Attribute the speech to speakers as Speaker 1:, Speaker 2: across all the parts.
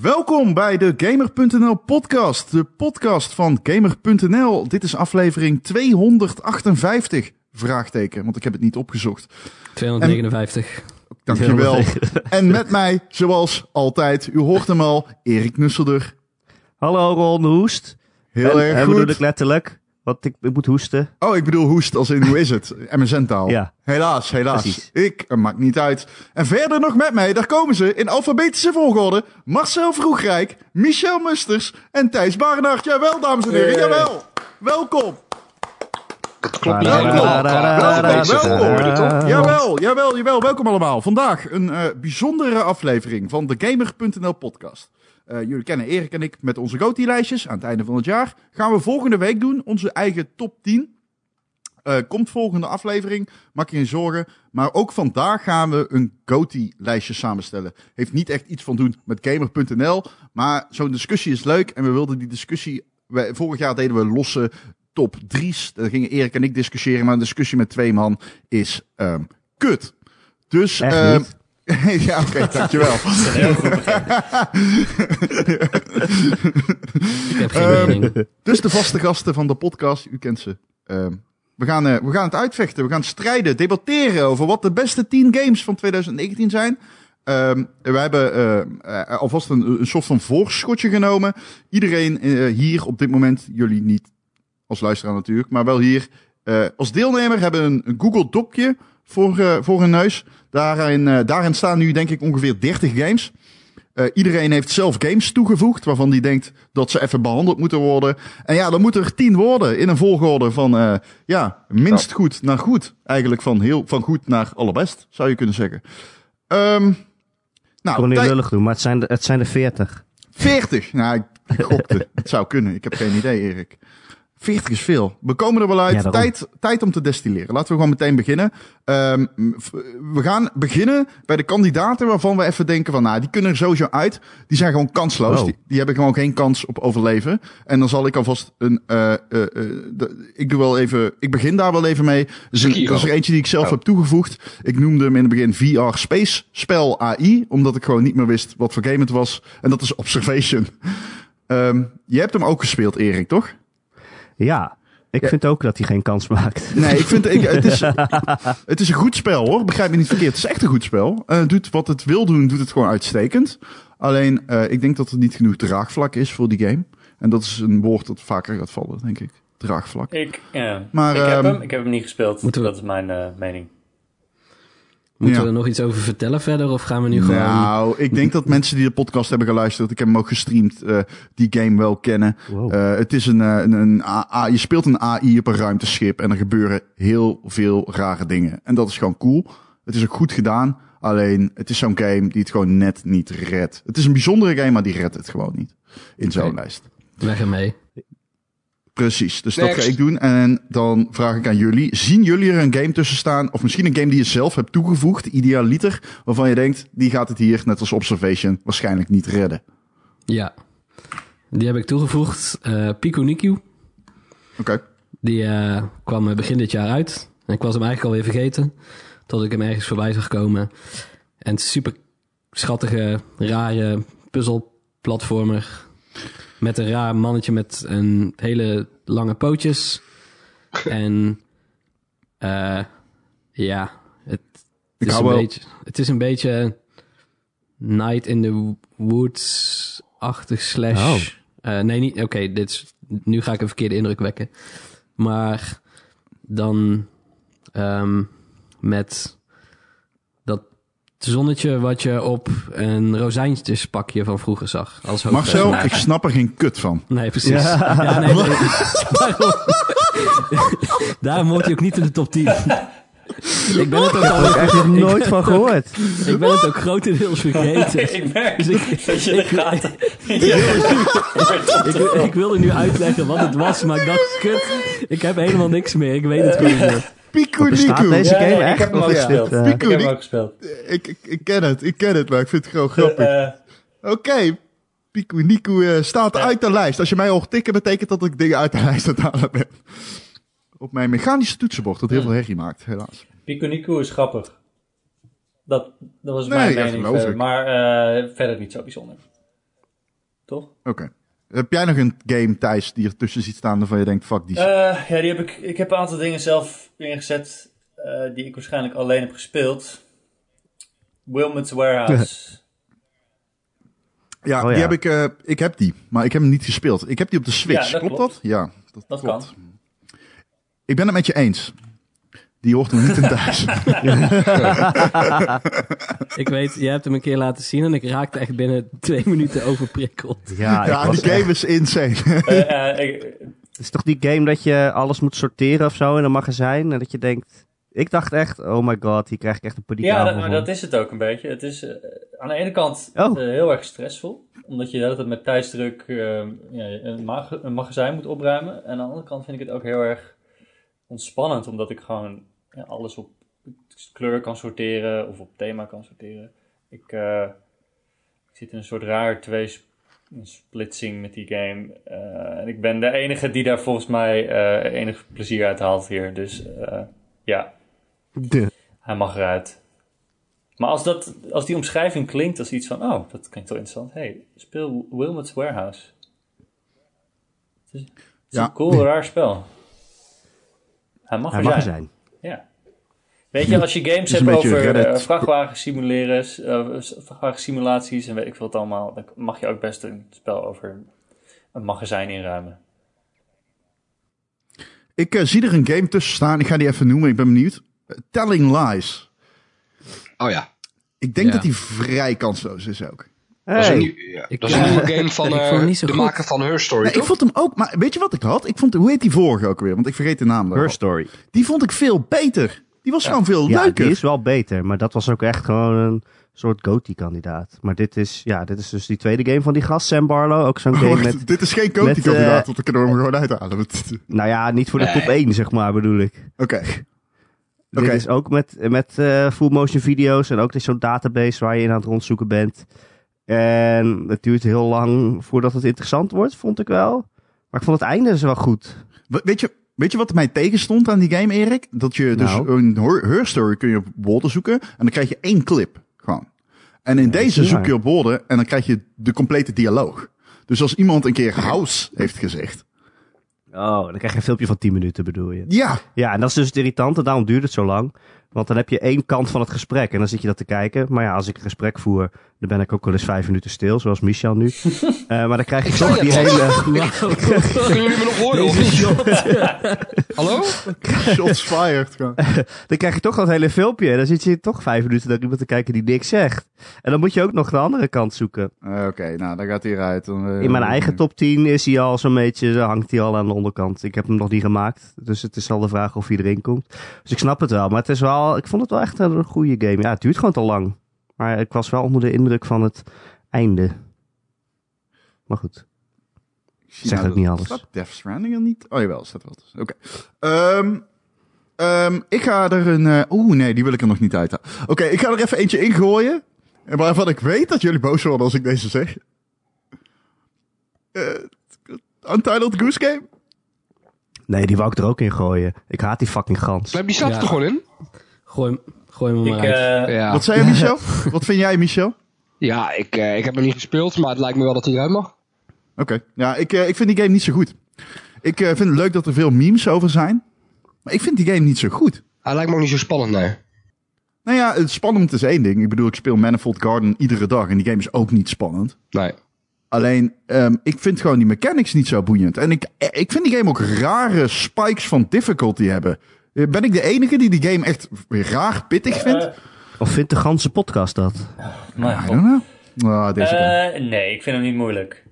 Speaker 1: Welkom bij de Gamer.nl podcast, de podcast van Gamer.nl. Dit is aflevering 258, vraagteken, want ik heb het niet opgezocht.
Speaker 2: 259.
Speaker 1: Dankjewel. En met mij, zoals altijd, u hoort hem al, Erik Nusselder.
Speaker 3: Hallo Ron Hoest.
Speaker 1: Heel
Speaker 3: en,
Speaker 1: erg
Speaker 3: en bedoel ik
Speaker 1: goed.
Speaker 3: letterlijk, want ik, ik moet hoesten.
Speaker 1: Oh, ik bedoel hoest als in hoe is het? MSN-taal.
Speaker 3: Ja.
Speaker 1: Helaas, helaas.
Speaker 3: Precies.
Speaker 1: Ik, eh, maakt niet uit. En verder nog met mij, daar komen ze in alfabetische volgorde. Marcel Vroegrijk, Michel Musters en Thijs Barnard. Jawel, dames en heren, jawel. Welkom.
Speaker 4: Klopt niet
Speaker 1: Welkom.
Speaker 4: helemaal.
Speaker 1: Welkom,
Speaker 4: Welkom,
Speaker 1: welkom.
Speaker 4: Hoor je dat toch?
Speaker 1: Jawel, jawel, jawel. Welkom allemaal. Vandaag een eh, bijzondere aflevering van de Gamer.nl podcast. Eh, jullie kennen Erik en ik met onze GOTY-lijstjes aan het einde van het jaar. Gaan we volgende week doen, onze eigen top 10. Eh, komt volgende aflevering, maak je geen zorgen. Maar ook vandaag gaan we een GOTY-lijstje samenstellen. Heeft niet echt iets van doen met Gamer.nl, maar zo'n discussie is leuk. En we wilden die discussie... we- vorig jaar deden we losse top 3's. Daar gingen Erik en ik discussiëren, maar een discussie met twee man is ehm, kut. Dus...
Speaker 3: Echt
Speaker 1: ehm,
Speaker 3: niet.
Speaker 1: ja, oké, dankjewel.
Speaker 2: Ik heb geen
Speaker 1: Ehm,
Speaker 2: mening.
Speaker 1: Dus de vaste gasten van de podcast, u kent ze. Ehm, we, gaan, eh, we gaan het uitvechten, we gaan strijden, debatteren over wat de beste 10 games van 2019 zijn. Ehm, we hebben eh, eh, alvast een, een soort van voorschotje genomen. Iedereen eh, hier op dit moment, jullie niet als luisteraar natuurlijk, maar wel hier eh, als deelnemer hebben een, een Google Docje voor, eh, voor hun neus. Daarin, eh, daarin staan nu denk ik ongeveer 30 games. Eh, iedereen heeft zelf games toegevoegd waarvan die denkt dat ze even behandeld moeten worden. En ja, dan moeten er 10 worden in een volgorde van eh, ja, minst goed naar goed. Eigenlijk van, heel, van goed naar allerbest, zou je kunnen zeggen. Ehm
Speaker 3: Ik
Speaker 1: nou,
Speaker 3: kon niet
Speaker 1: Thij-
Speaker 3: lullig doen, maar het zijn, de- het zijn er 40.
Speaker 1: 40. Nou, ik, ik gokte. Het zou kunnen. Ik heb geen idee, Erik. 40 is veel. We komen er wel uit.
Speaker 3: Ja, daarom.
Speaker 1: tijd, tijd om te destilleren. Laten we gewoon meteen beginnen. Ehm, v- we gaan beginnen bij de kandidaten waarvan we even denken van... Nou, die kunnen er sowieso uit. Die zijn gewoon kansloos.
Speaker 3: Wow.
Speaker 1: Die, die hebben gewoon geen kans op overleven. En dan zal ik alvast een... eh, eh, eh, de- ik, doe wel even, ik begin daar wel even mee. Dat is, een,
Speaker 4: Sekiro.
Speaker 1: dat is er eentje die ik zelf
Speaker 4: Oh.
Speaker 1: heb toegevoegd. Ik noemde hem in het begin VR Space Spel AI. Omdat ik gewoon niet meer wist wat voor game het was. En dat is Observation. Ehm, je hebt hem ook gespeeld, Erik, toch?
Speaker 3: Ja, ik
Speaker 1: Ja.
Speaker 3: vind ook dat hij geen kans maakt.
Speaker 1: Nee, ik vind ik, het, is, het is een goed spel hoor. Begrijp me niet verkeerd. Het is echt een goed spel. Eh, het doet wat het wil doen, doet het gewoon uitstekend. Alleen, eh, ik denk dat er niet genoeg draagvlak is voor die game. En dat is een woord dat vaker gaat vallen, denk ik. Draagvlak.
Speaker 5: Ik, ja.
Speaker 1: Maar,
Speaker 5: ik heb
Speaker 1: ehm,
Speaker 5: hem, ik heb hem niet gespeeld.
Speaker 2: Moeten we-
Speaker 5: Dat is mijn eh, mening.
Speaker 2: Moeten
Speaker 1: ja.
Speaker 2: we er nog iets over vertellen verder? Of gaan we nu gewoon...
Speaker 1: Nou, ik denk dat mensen die de podcast hebben geluisterd, ik heb hem ook gestreamd, eh, die game wel kennen.
Speaker 3: Wow.
Speaker 1: Eh, het is een, eh, een, een AA je speelt een AI op een ruimteschip en er gebeuren heel veel rare dingen. En dat is gewoon cool. Het is ook goed gedaan. Alleen, het is zo'n game die het gewoon net niet redt. Het is een bijzondere game, maar die redt het gewoon niet. In zo'n
Speaker 2: Oké.
Speaker 1: lijst.
Speaker 2: Weg ermee.
Speaker 1: Precies, dus dat
Speaker 4: Next.
Speaker 1: ga ik doen. En dan vraag ik aan jullie, zien jullie er een game tussen staan? Of misschien een game die je zelf hebt toegevoegd, idealiter, waarvan je denkt, die gaat het hier, net als Observation, waarschijnlijk niet redden.
Speaker 2: Ja. Die heb ik toegevoegd. Eh Pico Nikiu.
Speaker 1: Oké,
Speaker 2: Die eh, kwam eh, begin dit jaar uit. En ik was hem eigenlijk alweer vergeten. Tot ik hem ergens voorbij zag komen. En het is een super schattige, rare puzzelplatformer. Met een raar mannetje met een hele lange pootjes. En eh, ja, het,
Speaker 1: Ik
Speaker 2: is
Speaker 1: hou
Speaker 2: een
Speaker 1: wel.
Speaker 2: beetje, het is een beetje Night in the Woods-achtig slash...
Speaker 3: Oh.
Speaker 2: Eh, nee, niet. Oké, dit is. Nu ga ik een verkeerde indruk wekken. Maar dan ehm, met dat zonnetje wat je op een rozijntjespakje van vroeger zag. Als hoofdpersoon.
Speaker 1: Marcel, ik snap er geen kut van.
Speaker 2: Nee, precies. Ja. nee, nee. Daarom, daarom hoort hij ook niet in de top 10. ik, ben het ook al,
Speaker 3: Daar heb ik echt nog nooit van gehoord.
Speaker 2: ik ben het ook grotendeels vergeten.
Speaker 5: ik merk
Speaker 2: Dus ik,
Speaker 5: dat je de gaten... Ja.
Speaker 2: Ik, ik wilde nu uitleggen wat het was, maar ik dacht, kut, ik heb helemaal niks meer. Ik weet het gewoon niet meer.
Speaker 1: Pico
Speaker 3: Bestaat
Speaker 1: Nico.
Speaker 3: deze
Speaker 5: Ja,
Speaker 3: game
Speaker 5: ja, ik
Speaker 3: echt?
Speaker 5: heb hem
Speaker 3: Of
Speaker 5: ook
Speaker 3: is dit,
Speaker 5: gespeeld.
Speaker 3: eh,
Speaker 1: Pico
Speaker 5: Ik heb hem
Speaker 1: Nico.
Speaker 5: ook gespeeld.
Speaker 1: Ik, ik, ik ken het, ik ken het, maar ik vind het gewoon grappig.
Speaker 5: Eh,
Speaker 1: Oké, Pico Nico eh, staat uit de lijst. Als je mij hoort tikken, betekent dat ik dingen uit de lijst aan het halen ben. Op mijn mechanische toetsenbord, dat heel veel herrie maakt, helaas.
Speaker 5: Pico Nico is grappig. Dat, dat was
Speaker 1: Nee,
Speaker 5: mijn
Speaker 1: ja,
Speaker 5: mening.
Speaker 1: geloof
Speaker 5: verder.
Speaker 1: ik.
Speaker 5: Maar eh, verder niet zo bijzonder. toch?
Speaker 1: Oké. Heb jij nog een game, Thijs, die ertussen ziet staan waarvan je denkt, fuck die shit?
Speaker 5: Eh, ja, die heb ik, ik heb een aantal dingen zelf ingezet eh, die ik waarschijnlijk alleen heb gespeeld. Wilmot's Warehouse.
Speaker 1: ja,
Speaker 3: oh ja.
Speaker 1: die heb ik, eh, ik heb die, maar ik heb hem niet gespeeld. Ik heb die op de Switch,
Speaker 5: Ja, dat
Speaker 1: klopt,
Speaker 5: klopt.
Speaker 1: dat? Ja, dat,
Speaker 5: Dat
Speaker 1: klopt. Ik ben het met je eens. Die hoort er niet in thuis.
Speaker 2: Ik weet, jij hebt hem een keer laten zien en ik raakte echt binnen twee minuten overprikkeld.
Speaker 3: Ja, ik
Speaker 1: ja,
Speaker 3: was
Speaker 1: die
Speaker 3: echt-
Speaker 1: game is insane.
Speaker 5: Eh, eh, ik-
Speaker 3: Het is toch die game dat je alles moet sorteren of zo in een magazijn? En dat je denkt... Ik dacht echt, oh my god, hier krijg ik echt een
Speaker 5: ja, dat,
Speaker 3: paniekaanval
Speaker 5: maar
Speaker 3: van.
Speaker 5: dat is het ook een beetje. Het is eh, aan de ene kant
Speaker 3: Oh.
Speaker 5: eh, heel erg stressvol, omdat je de hele tijd met tijdsdruk eh, ja, een, mag- een magazijn moet opruimen. En aan de andere kant vind ik het ook heel erg ontspannend, omdat ik gewoon ja, alles op kleur kan sorteren of op thema kan sorteren. Ik, eh, ik zit in een soort raar twee splitsing met die game. Eh, en ik ben de enige die daar volgens mij eh, enig plezier uit haalt hier. Dus eh, ja,
Speaker 3: De-
Speaker 5: hij mag eruit. Maar als, dat, als die omschrijving klinkt als iets van... Oh, dat klinkt wel interessant. hey, speel Wilmot's Warehouse. Het is, het is
Speaker 1: Ja.
Speaker 5: een cool, raar spel. Hij mag,
Speaker 3: Hij
Speaker 5: er
Speaker 3: mag er
Speaker 5: zijn.
Speaker 3: zijn.
Speaker 5: Ja. Weet je, als je games
Speaker 1: is
Speaker 5: hebt
Speaker 1: een beetje
Speaker 5: over
Speaker 1: Reddit.
Speaker 5: eh, vrachtwagensimuleren, eh, s- vrachtwagensimulaties en weet ik veel het allemaal... dan mag je ook best een spel over een magazijn inruimen.
Speaker 1: ik eh, zie er een game tussen staan. Ik ga die even noemen, ik ben benieuwd. Eh, Telling Lies.
Speaker 4: Oh ja.
Speaker 1: Ik denk
Speaker 2: Ja.
Speaker 1: dat die vrij kansloos is ook.
Speaker 4: Dat is een,
Speaker 3: Hey.
Speaker 4: nieuw- ja,
Speaker 2: Ik-
Speaker 4: dat is een nieuwe game van
Speaker 2: ik
Speaker 4: eh,
Speaker 2: vond hem niet zo
Speaker 4: de
Speaker 2: goed.
Speaker 4: maker van Her Story,
Speaker 1: Nee, ik
Speaker 4: toch?
Speaker 1: vond hem ook, maar weet je wat ik had? Ik vond, hoe heet die vorige ook weer? Want ik vergeet de naam. daarvan.
Speaker 3: Her Story.
Speaker 1: Die vond ik veel beter. Die was gewoon veel
Speaker 3: Ja,
Speaker 1: leuker.
Speaker 3: die is wel beter, maar dat was ook echt gewoon een soort GOTY-kandidaat. Maar dit is, ja, dit is dus die tweede game van die gast, Sam Barlow. Ook zo'n game
Speaker 1: Oh, Wacht,
Speaker 3: met,
Speaker 1: dit is geen
Speaker 3: met,
Speaker 1: Coty-kandidaat,
Speaker 3: eh,
Speaker 1: want we kunnen hem gewoon uithalen. Oké.
Speaker 3: nou ja, niet voor de
Speaker 4: Nee.
Speaker 3: top 1, zeg maar, bedoel ik.
Speaker 1: Oké.
Speaker 3: Dit is ook met, met eh, full motion video's en ook dit is zo'n database waar je in aan het rondzoeken bent. En het duurt heel lang voordat het interessant wordt, vond ik wel. Maar ik vond het einde dus wel goed.
Speaker 1: We- Weet je, weet je wat mij tegenstond aan die game, Erik? Dat je dus
Speaker 3: Nou.
Speaker 1: een hor- herstory kun je op woorden zoeken en dan krijg je één clip gewoon. En in deze
Speaker 3: is
Speaker 1: zoek
Speaker 3: waar.
Speaker 1: je op woorden en dan krijg je de complete dialoog. Dus als iemand een keer house heeft gezegd.
Speaker 3: Oh, dan krijg je een filmpje van 10 minuten, bedoel je?
Speaker 1: Ja,
Speaker 3: Ja, en dat is dus het irritante. Daarom duurt het zo lang. Want dan heb je één kant van het gesprek. En dan zit je dat te kijken. Maar ja, als ik een gesprek voer, dan ben ik ook wel eens vijf minuten stil. Zoals Michel nu. Eh, maar dan krijg je toch die hele...
Speaker 4: Kunnen jullie me nog horen? of niet? Hallo?
Speaker 1: shots fired. gewoon.
Speaker 3: Dan krijg je toch dat hele filmpje. En dan zit je toch vijf minuten naar iemand te kijken die niks zegt. En dan moet je ook nog de andere kant zoeken.
Speaker 1: Eh, Oké, nou, daar gaat hij eruit. Dan, eh,
Speaker 3: In mijn eigen top 10 is hij al zo'n beetje, eh, hangt hij al aan de onderkant. Ik heb hem nog niet gemaakt. Dus het is al de vraag of hij erin komt. Dus ik snap het wel. Maar het is wel, ik vond het wel echt een goede game. Ja, het duurt gewoon te lang. Maar ik was wel onder de indruk van het einde. Maar goed.
Speaker 1: Ik zie
Speaker 3: Zegt ook niet
Speaker 1: dat-
Speaker 3: alles.
Speaker 1: Staat Death Stranding er niet? Oh jawel, staat wel tussen. Oké. Ehm, ehm, ik ga er een... eh, Oeh, nee, die wil ik er nog niet uit. Oké, ik ga er even eentje ingooien. En waarvan ik weet dat jullie boos worden als ik deze zeg. Eh, Untitled Goose Game?
Speaker 3: Nee, die wou ik er ook in gooien. Ik haat die fucking gans.
Speaker 4: Maar Die staat
Speaker 2: Ja.
Speaker 4: er gewoon in.
Speaker 2: Gooi, hem- gooi hem er
Speaker 5: Ik,
Speaker 2: maar uit.
Speaker 5: eh,
Speaker 4: Ja,
Speaker 1: Wat zei je, Michel? Wat vind jij, Michel? Oké.
Speaker 4: ja ik, eh, ik heb hem niet gespeeld, maar het lijkt me wel dat hij eruit mag.
Speaker 1: Ja, ik, eh, ik vind die game niet zo goed. Ik eh, vind het leuk dat er veel memes over zijn. Maar ik vind die game niet zo goed.
Speaker 4: Hij lijkt me ook niet zo spannend, nee.
Speaker 1: Nou ja, het spannend is één ding. Ik bedoel, ik speel Manifold Garden iedere dag en die game is ook niet spannend.
Speaker 4: Nee.
Speaker 1: Alleen, ehm, ik vind gewoon die mechanics niet zo boeiend. En ik, eh, ik vind die game ook rare spikes van difficulty hebben. Eh, Ben ik de enige die die game echt raar pittig vindt?
Speaker 5: eh,
Speaker 3: Of vindt de ganse podcast dat?
Speaker 5: mijn
Speaker 1: I
Speaker 5: god.
Speaker 1: don't know. Ah, deze game.
Speaker 5: Eh, nee, ik vind hem niet moeilijk.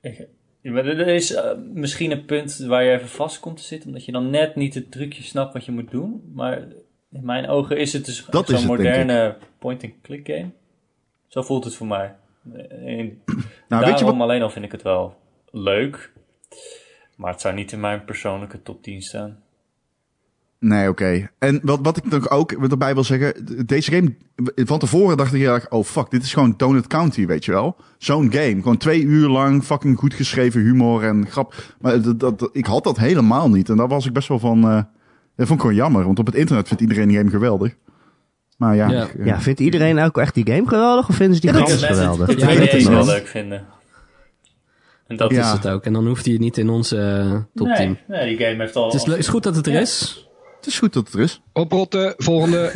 Speaker 5: Ik- maar er is eh, misschien een punt waar je even vast komt te zitten, omdat je dan net niet het trucje snapt wat je moet doen. Maar in mijn ogen is het dus
Speaker 1: Dat
Speaker 5: zo'n
Speaker 1: is het, denk
Speaker 5: moderne point-and-click game. Zo voelt het voor mij. Eh, En
Speaker 1: nou, weet je
Speaker 5: daarom
Speaker 1: wat?
Speaker 5: alleen al vind ik het wel leuk. Maar het zou niet in mijn persoonlijke top 10 staan.
Speaker 1: Nee, oké. En wat, wat ik nog ook erbij wil zeggen. d- Deze game, van tevoren dacht ik heel erg, oh fuck, dit is gewoon Donut County, weet je wel. Zo'n game. Gewoon twee uur lang fucking goed geschreven humor en grap. Maar dat, dat, dat- ik had dat helemaal niet. En daar was ik best wel van, eh dat vond ik gewoon jammer. Want op het internet vindt iedereen die game geweldig. Maar ja.
Speaker 2: Ja.
Speaker 1: ik, eh,
Speaker 3: Ja, vindt iedereen ook echt die game geweldig? Of vinden ze die
Speaker 5: Ik denk
Speaker 3: gans
Speaker 5: dat mensen
Speaker 3: geweldig?
Speaker 5: het
Speaker 2: Ja,
Speaker 5: idee
Speaker 2: dat is
Speaker 5: wel
Speaker 2: het.
Speaker 5: leuk vinden. En dat
Speaker 2: Dat
Speaker 1: Ja.
Speaker 2: is het ook. En dan hoeft hij niet in onze eh, top 10.
Speaker 5: nee, nee, die game heeft al...
Speaker 2: Het is, le- is goed dat het er is.
Speaker 1: Het is goed dat het er is.
Speaker 4: Oprotten, volgende.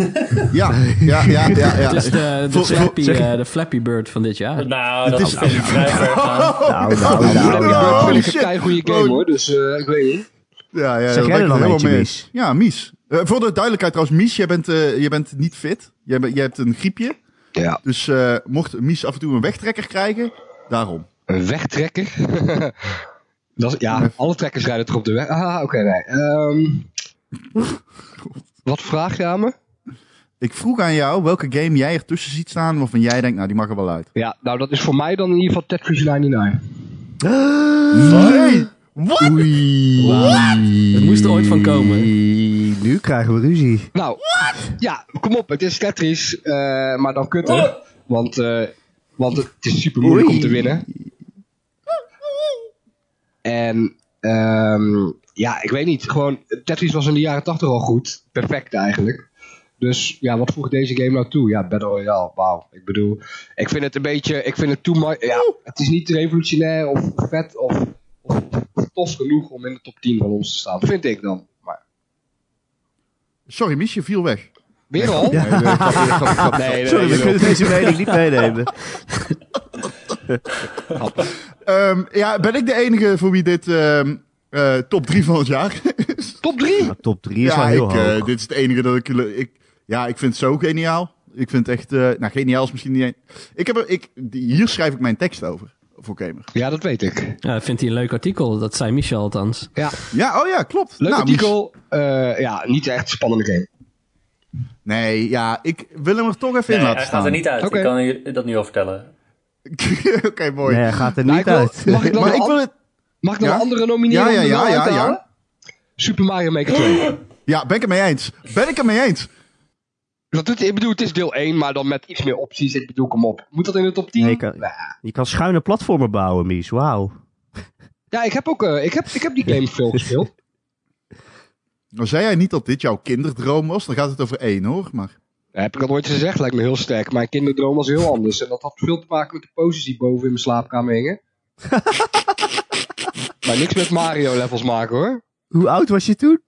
Speaker 1: Ja, ja, ja, ja. ja.
Speaker 2: Het is de, de,
Speaker 1: Vol- vol-
Speaker 2: flappy,
Speaker 1: zeg-
Speaker 2: eh, de Flappy Bird van dit jaar.
Speaker 5: Nou, dat
Speaker 1: Het
Speaker 5: is
Speaker 1: is-
Speaker 5: vind ik vrij ver gaan.
Speaker 3: Nou, nou, nou, nou,
Speaker 1: Oh,
Speaker 4: ik
Speaker 1: shit.
Speaker 4: heb een goede game
Speaker 1: Oh.
Speaker 4: hoor, dus eh, ik weet niet.
Speaker 1: Ja, ja,
Speaker 3: Zeg
Speaker 1: dat
Speaker 3: jij
Speaker 1: ben
Speaker 3: er
Speaker 1: ik
Speaker 3: dan
Speaker 1: helemaal
Speaker 3: eentje,
Speaker 1: mee
Speaker 3: Mies?
Speaker 1: eens. Ja, Mies. Eh, voor de duidelijkheid trouwens, Mies, jij bent, eh, jij bent niet fit. Jij, bent- jij hebt een griepje.
Speaker 4: Ja,
Speaker 1: Dus eh, mocht Mies af en toe een wegtrekker krijgen, daarom.
Speaker 4: een wegtrekker. dat is, ja, alle trekkers rijden toch op de weg. Ah, oké, nee. Ehm, wat vraag je aan me?
Speaker 1: Ik vroeg aan jou welke game jij ertussen ziet staan waarvan jij denkt, nou die mag er wel uit.
Speaker 4: Ja, nou dat is voor mij dan in ieder geval Tetris 99.
Speaker 1: Nee! Wat? Oei.
Speaker 2: Het moest er ooit van komen.
Speaker 3: Nu krijgen we ruzie.
Speaker 4: Nou, ja, kom op, het is Tetris, eh, maar dan kutter. Want, eh, want het is super moeilijk om te winnen. En ehm, ja, ik weet niet, gewoon Tetris was in de jaren 80 al goed. Perfect eigenlijk. Dus ja, wat voegt deze game nou toe? Ja, Battle Royale, wauw. Ik bedoel, ik vind het een beetje, ik vind het too much. Ja, het is niet revolutionair of vet of, of tof genoeg om in de top 10 van ons te staan. Vind ik dan. Maar
Speaker 1: Sorry, Mies, je viel weg.
Speaker 4: weer al?
Speaker 1: Nee, nee, grapje, grapje, grapje, grapje.
Speaker 4: Nee,
Speaker 3: Sorry, we
Speaker 4: jawel.
Speaker 3: kunnen deze mening niet meenemen.
Speaker 1: Ehm, ja, ben ik de enige voor wie dit ehm, eh, top 3 van het jaar is?
Speaker 4: Top 3!
Speaker 3: Maar top 3 is
Speaker 1: ja,
Speaker 3: wel heel
Speaker 1: ik, eh,
Speaker 3: hoog.
Speaker 1: dit is het enige dat ik, ik... Ja, ik vind het zo geniaal. Ik vind het echt... eh, nou, geniaal is misschien niet... een- Ik heb er, ik, hier schrijf ik mijn tekst over, voor Gamer.
Speaker 4: Ja, dat weet ik.
Speaker 2: Ja, dat vindt hij een leuk artikel. Dat zei Michel althans.
Speaker 4: Ja,
Speaker 1: Ja, oh ja, klopt.
Speaker 4: leuk
Speaker 1: Nou,
Speaker 4: artikel. Eh, ja, niet echt spannende game.
Speaker 1: Nee, ja, ik wil hem er toch even in
Speaker 5: Nee,
Speaker 1: laten
Speaker 5: hij gaat er
Speaker 1: staan.
Speaker 5: niet uit.
Speaker 4: Oké.
Speaker 5: Ik kan je dat nu al vertellen.
Speaker 1: Oké, mooi.
Speaker 3: Nee, gaat er
Speaker 4: Nou,
Speaker 3: niet
Speaker 4: ik wil-
Speaker 3: uit.
Speaker 4: Mag ik dan,
Speaker 1: Maar
Speaker 4: een,
Speaker 1: ik wil
Speaker 4: an-
Speaker 1: het...
Speaker 4: mag ik dan
Speaker 1: Ja?
Speaker 4: een andere nomineren?
Speaker 1: Ja, ja,
Speaker 4: om er
Speaker 1: ja,
Speaker 4: wel uit
Speaker 1: ja,
Speaker 4: te
Speaker 1: ja.
Speaker 4: halen? Super Mario Maker 2.
Speaker 1: Ja, ben ik het mee eens. Ben ik het mee eens.
Speaker 4: dat doet, ik bedoel, het is deel 1, maar dan met iets meer opties. Ik bedoel, kom op. Moet dat in de top 10?
Speaker 3: Nee, kan- Je kan schuine platformen bouwen, Mies. Wauw.
Speaker 4: Ja, ik heb, ook, eh, ik, heb, ik heb die game veel gespeeld.
Speaker 1: Nou, zei jij niet dat dit jouw kinderdroom was? Dan gaat het over één, hoor. Maar...
Speaker 4: Dat heb ik al ooit gezegd, lijkt me heel sterk. Mijn kinderdroom was heel anders. En dat had veel te maken met de poses die boven in mijn slaapkamer hingen. maar niks met Mario levels maken hoor.
Speaker 3: Hoe oud was je toen?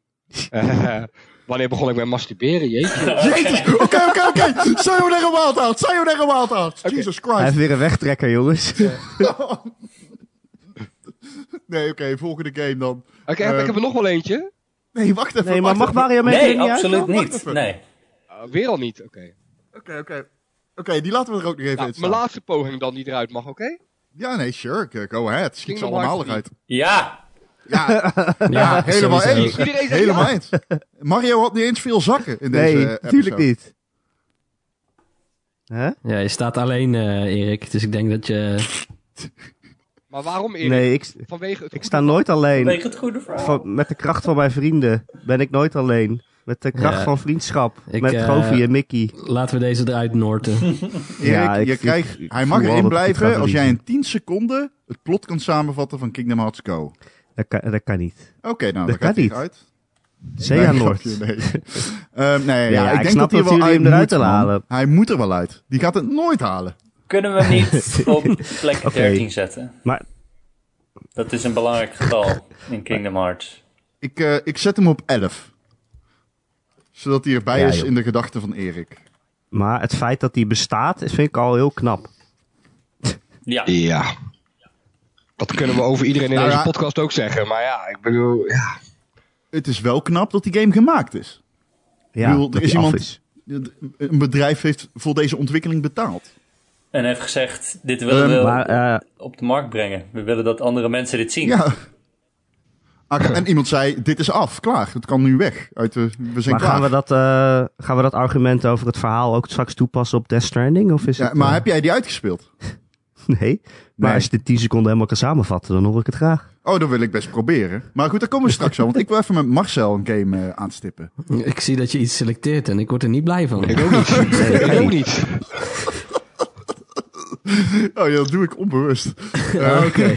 Speaker 4: Eh, wanneer begon ik met masturberen? Jeetje.
Speaker 1: Jezus, oké, oké, oké. Sayonara Wild Hearts, Sayonara Wild Hearts. Jesus
Speaker 3: Hij
Speaker 1: Christ.
Speaker 3: heeft weer een wegtrekker, jongens.
Speaker 1: nee, oké, volgende game dan.
Speaker 4: Oké, heb-
Speaker 1: Eh,
Speaker 4: ik heb er nog wel eentje.
Speaker 1: Nee, wacht even.
Speaker 3: Nee, maar
Speaker 1: wacht
Speaker 3: mag
Speaker 1: even.
Speaker 3: Mario Maker
Speaker 5: Nee,
Speaker 3: niet uit?
Speaker 5: absoluut
Speaker 1: Wacht
Speaker 5: niet.
Speaker 1: even.
Speaker 5: Nee.
Speaker 4: Eh, weer al niet, oké.
Speaker 1: Oké, oké. Oké, die laten we er ook nog even
Speaker 4: Nou,
Speaker 1: in staan.
Speaker 4: mijn laatste poging dan die eruit mag, oké?
Speaker 1: Ja, nee, sure. eh, Go ahead. Schiet ze
Speaker 4: Kingdom
Speaker 1: allemaal
Speaker 4: Hearts
Speaker 1: eruit.
Speaker 5: Ja,
Speaker 1: Ja,
Speaker 2: Ja,
Speaker 1: helemaal
Speaker 2: sowieso.
Speaker 1: eens.
Speaker 4: Iedereen zei
Speaker 1: Helemaal
Speaker 4: ja.
Speaker 1: eens. Mario had niet eens veel zakken in deze eh,
Speaker 3: Nee,
Speaker 1: episode.
Speaker 3: natuurlijk niet. Hè?
Speaker 2: Ja, je staat alleen, eh, Erik. Dus ik denk dat je...
Speaker 4: Maar waarom Erik?
Speaker 3: Nee, ik,
Speaker 4: Vanwege het
Speaker 3: ik
Speaker 4: goede-
Speaker 3: sta nooit alleen.
Speaker 5: wegen het goede verhaal.
Speaker 3: Van, met de kracht van mijn vrienden ben ik nooit alleen. Met de kracht
Speaker 2: Ja.
Speaker 3: van vriendschap.
Speaker 2: Ik,
Speaker 3: met
Speaker 2: eh,
Speaker 3: Goofy en Mickey.
Speaker 2: Laten we deze eruit noorten.
Speaker 1: Erik,
Speaker 3: Ja, ik-
Speaker 1: je
Speaker 3: ik-
Speaker 1: krijgt,
Speaker 3: ik
Speaker 1: hij
Speaker 3: voel
Speaker 1: mag
Speaker 3: al
Speaker 1: erin
Speaker 3: dat het gaat
Speaker 1: blijven als jij
Speaker 3: verliezen.
Speaker 1: in 10 seconden het plot kan samenvatten van Kingdom Hearts Go.
Speaker 3: Dat kan, dat kan niet.
Speaker 1: Oké, nou,
Speaker 3: Dat
Speaker 1: dat gaat
Speaker 3: kan
Speaker 1: niet
Speaker 3: niet.
Speaker 1: uit.
Speaker 3: Zea
Speaker 1: Nee,
Speaker 3: Noord.
Speaker 1: grapje, nee. Ehm, nee, ja,
Speaker 3: ja,
Speaker 1: ik
Speaker 3: ik
Speaker 1: denk dat
Speaker 3: snap
Speaker 1: hij
Speaker 3: dat
Speaker 1: wel
Speaker 3: jullie
Speaker 1: uit
Speaker 3: hem eruit
Speaker 1: moet,
Speaker 3: willen
Speaker 1: man.
Speaker 3: halen.
Speaker 1: Hij moet er wel uit. Die gaat het nooit halen.
Speaker 5: Kunnen we hem niet op plek
Speaker 3: Oké.
Speaker 5: 13 zetten?
Speaker 3: Maar-
Speaker 5: Dat is een belangrijk getal in Kingdom Hearts.
Speaker 1: Ik, eh, ik zet hem op 11. Zodat hij erbij
Speaker 3: Ja,
Speaker 1: is
Speaker 3: joh.
Speaker 1: in de gedachten van Erik.
Speaker 3: Maar het feit dat die bestaat, is- vind ik al heel knap.
Speaker 5: Ja,
Speaker 4: Ja. Dat kunnen we over iedereen in
Speaker 1: Nou
Speaker 4: deze
Speaker 1: ja.
Speaker 4: podcast ook zeggen. Maar ja, ik bedoel... Ja.
Speaker 1: Het is wel knap dat die game gemaakt is.
Speaker 3: Ja,
Speaker 1: bedoel, er
Speaker 3: dat
Speaker 1: is
Speaker 3: die af
Speaker 1: iemand- Een bedrijf heeft voor deze ontwikkeling betaald.
Speaker 5: en heeft gezegd, dit willen we
Speaker 3: Maar eh,
Speaker 5: op de markt brengen. We willen dat andere mensen dit zien.
Speaker 1: Ja. Ak- En iemand zei, dit is af, klaar. Het kan nu weg. Uit de, we zijn klaar.
Speaker 3: maar gaan we, dat, eh, gaan we dat argument over het verhaal ook straks toepassen op Death Stranding? Of is
Speaker 1: Ja,
Speaker 3: het,
Speaker 1: maar
Speaker 3: eh,
Speaker 1: heb jij die uitgespeeld?
Speaker 3: Nee. Maar
Speaker 1: Nee.
Speaker 3: als je dit 10 seconden helemaal kan samenvatten, dan hoor ik het graag.
Speaker 1: Oh, dat wil ik best proberen. Maar goed, daar komen we straks aan. Want ik wil even met Marcel een game eh, aanstippen.
Speaker 2: ik zie dat je iets selecteert en ik word er niet blij van.
Speaker 4: Ik ook niet.
Speaker 3: Nee, dat
Speaker 4: ik
Speaker 3: kan
Speaker 4: ook
Speaker 3: niet.
Speaker 4: niet.
Speaker 1: Oh ja, dat doe ik onbewust. Oh,
Speaker 2: Ah, Oké.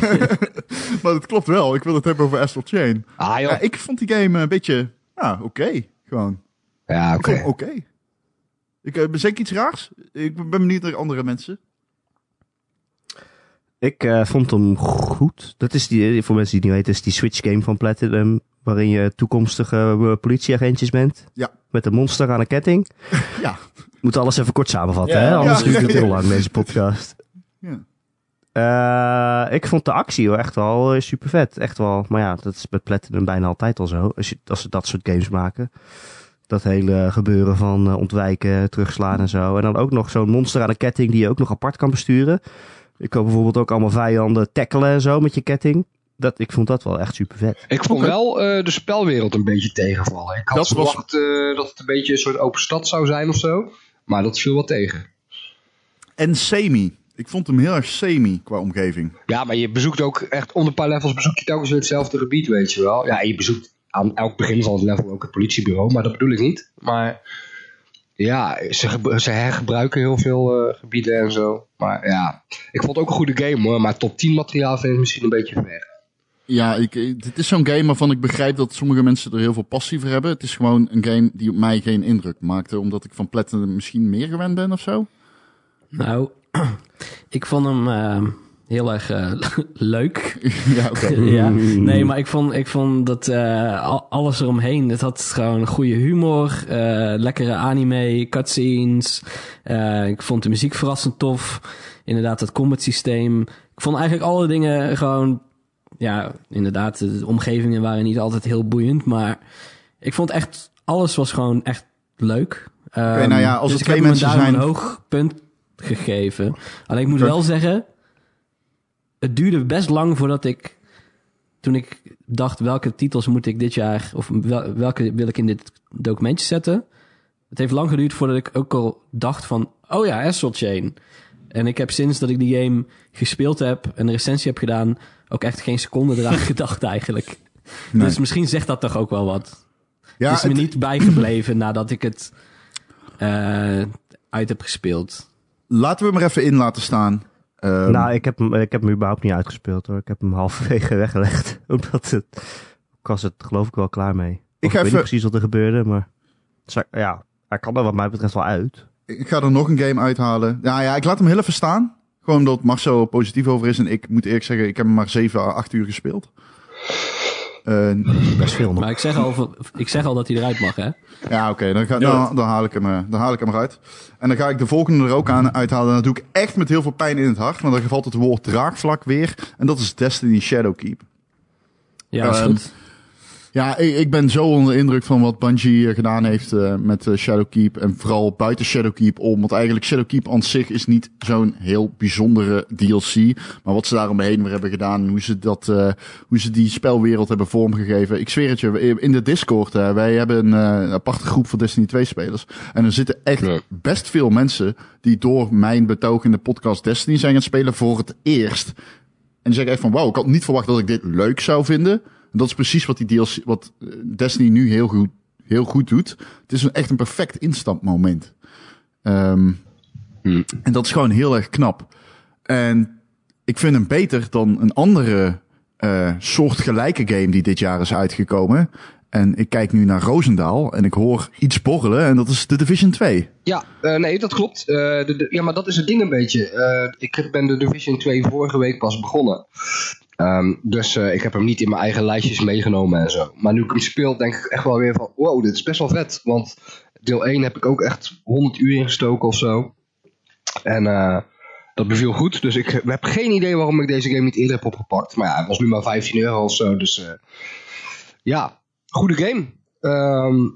Speaker 1: Maar dat klopt wel. Ik wil het hebben over Astral Chain.
Speaker 4: Ah
Speaker 1: Ja,
Speaker 4: joh.
Speaker 1: ik vond die game een beetje... Ja, oké. Gewoon.
Speaker 4: Ja,
Speaker 1: Ik
Speaker 4: oké.
Speaker 1: vond hem oké. Ik eh, zeg ik iets raars? Ik ben benieuwd naar andere mensen.
Speaker 3: Ik eh, vond hem goed. Dat is die, eh, voor mensen die het niet weten, is die Switch game van Platinum. Waarin je toekomstige eh, politieagentjes bent.
Speaker 1: Ja.
Speaker 3: Met een monster aan een ketting.
Speaker 1: Ja.
Speaker 3: Moet alles even kort samenvatten,
Speaker 5: Ja,
Speaker 3: hè?
Speaker 5: ja.
Speaker 3: Anders
Speaker 1: Ja.
Speaker 3: duurt het heel lang, deze podcast.
Speaker 1: Ja.
Speaker 3: Eh, ik vond de actie wel echt wel eh, super vet. Echt wel. Maar ja, dat is bij Platinum bijna altijd al zo. Als, je, als ze dat soort games maken. Dat hele gebeuren van eh, ontwijken, terugslaan en zo. En dan ook nog zo'n monster aan een ketting die je ook nog apart kan besturen. Ik kan bijvoorbeeld ook allemaal vijanden tackelen en zo met je ketting. Dat, ik vond dat wel echt super vet.
Speaker 4: Ik vond
Speaker 1: Oké.
Speaker 4: wel eh, de spelwereld een beetje tegenvallen. Ik had
Speaker 1: Dat was-
Speaker 4: verwacht eh, dat het een beetje een soort open stad zou zijn of zo. Maar dat viel wel tegen.
Speaker 1: En semi. Ik vond hem heel erg semi qua omgeving.
Speaker 4: Ja, maar je bezoekt ook echt onder een paar levels bezoek je telkens weer hetzelfde gebied, weet je wel. Ja, en je bezoekt aan elk begin van het level ook het politiebureau, maar dat bedoel ik niet. Maar ja, ze, gebru- ze hergebruiken heel veel eh, gebieden en zo. Maar ja, ik vond het ook een goede game hoor, maar top 10 materiaal vind ik misschien een beetje ver.
Speaker 1: Ja, ik, ik- dit is zo'n game waarvan ik begrijp dat sommige mensen er heel veel passie voor hebben. Het is gewoon een game die op mij geen indruk maakte. Omdat ik van Platinum misschien meer gewend ben of zo.
Speaker 2: Nou, ik vond hem eh, heel erg eh, leuk.
Speaker 1: ja, oké.
Speaker 2: ja. Nee, maar ik vond, ik vond dat eh, al- alles eromheen. Het had gewoon goede humor, eh, lekkere anime, cutscenes. Eh, ik vond de muziek verrassend tof. Inderdaad, dat combat systeem. Ik vond eigenlijk alle dingen gewoon. Ja, inderdaad, de omgevingen waren niet altijd heel boeiend. Maar ik vond echt. Alles was gewoon echt leuk. Oké,
Speaker 1: nou ja, als er
Speaker 2: dus
Speaker 1: twee
Speaker 2: ik heb
Speaker 1: mensen
Speaker 2: hem daarom
Speaker 1: zijn-
Speaker 2: een hoog punt gegeven. Alleen ik moet
Speaker 1: Oké.
Speaker 2: wel zeggen. Het duurde best lang voordat ik toen ik dacht welke titels moet ik dit jaar of wel- welke wil ik in dit documentje zetten. Het heeft lang geduurd voordat ik ook al dacht van oh ja, Astral Chain. En ik heb sinds dat ik die game gespeeld heb en een recensie heb gedaan ook echt geen seconde eraan gedacht eigenlijk.
Speaker 1: Nee.
Speaker 2: Dus misschien zegt dat toch ook wel wat.
Speaker 1: ja,
Speaker 2: het is me
Speaker 1: het-
Speaker 2: niet bijgebleven nadat ik het eh, uit heb gespeeld.
Speaker 1: laten we hem er even in laten staan. Ehm,
Speaker 3: nou, ik heb, hem, ik heb hem überhaupt niet uitgespeeld hoor. Ik heb hem halverwege weggelegd. Omdat het... Ik was het geloof ik wel klaar mee. Of Ik,
Speaker 1: ga
Speaker 3: weet
Speaker 1: even-
Speaker 3: niet precies wat er gebeurde, maar... Zou- Ja, hij kan er wat mij betreft wel uit.
Speaker 1: Ik ga er nog een game uithalen. Nou ja, ik laat hem heel even staan. Gewoon omdat Marcel er positief over is. En ik moet eerlijk zeggen, ik heb hem maar 7 à 8 uur gespeeld. Eh,
Speaker 3: Best veel nog.
Speaker 2: Maar ik zeg al, van- ik zeg al dat hij eruit mag, hè?
Speaker 1: ja, oké. dan, ga- dan, dan, haal ik hem, eh, dan haal ik hem eruit. En dan ga ik de volgende er ook aan uithalen. En dat doe ik echt met heel veel pijn in het hart. Want dan valt het woord draagvlak weer. En dat is Destiny Shadowkeep.
Speaker 2: Ja, is
Speaker 1: Ehm,
Speaker 2: goed.
Speaker 1: Ja, ik, ik ben zo onder de indruk van wat Bungie eh, gedaan heeft eh, met eh, Shadowkeep. En vooral buiten Shadowkeep om. Want eigenlijk Shadowkeep aan zich is niet zo'n heel bijzondere DLC. Maar wat ze daaromheen weer hebben gedaan. Hoe ze, dat, eh, hoe ze die spelwereld hebben vormgegeven. Ik zweer het je, in de Discord. eh, wij hebben een, eh, een aparte groep voor Destiny 2 spelers. En er zitten echt
Speaker 4: Ja.
Speaker 1: best veel mensen die door mijn betoog in de podcast Destiny zijn gaan spelen voor het eerst. En die zeggen echt van, wauw, ik had niet verwacht dat ik dit leuk zou vinden. En dat is precies wat, die DLC, wat eh, Destiny nu heel goed, heel goed doet. Het is een, echt een perfect instapmoment. Ehm,
Speaker 4: Hmm.
Speaker 1: En dat is gewoon heel erg knap. En ik vind hem beter dan een andere eh soortgelijke game die dit jaar is uitgekomen. En ik kijk nu naar Roosendaal en ik hoor iets borrelen en dat is The Division 2.
Speaker 4: Ja, eh, nee, dat klopt. Eh, de, de- ja, maar dat is het ding een beetje. Eh, ik ben de Division 2 vorige week pas begonnen. Ehm, dus eh, ik heb hem niet in mijn eigen lijstjes meegenomen en zo. Maar nu ik hem speel, denk ik echt wel weer van... Wow, dit is best wel vet. Want deel 1 heb ik ook echt 100 uur ingestoken of zo. En eh, dat beviel goed. Dus ik heb geen idee waarom ik deze game niet eerder heb opgepakt. Maar ja, het was nu maar 15 euro of zo. Dus eh, ja, goede game. Ehm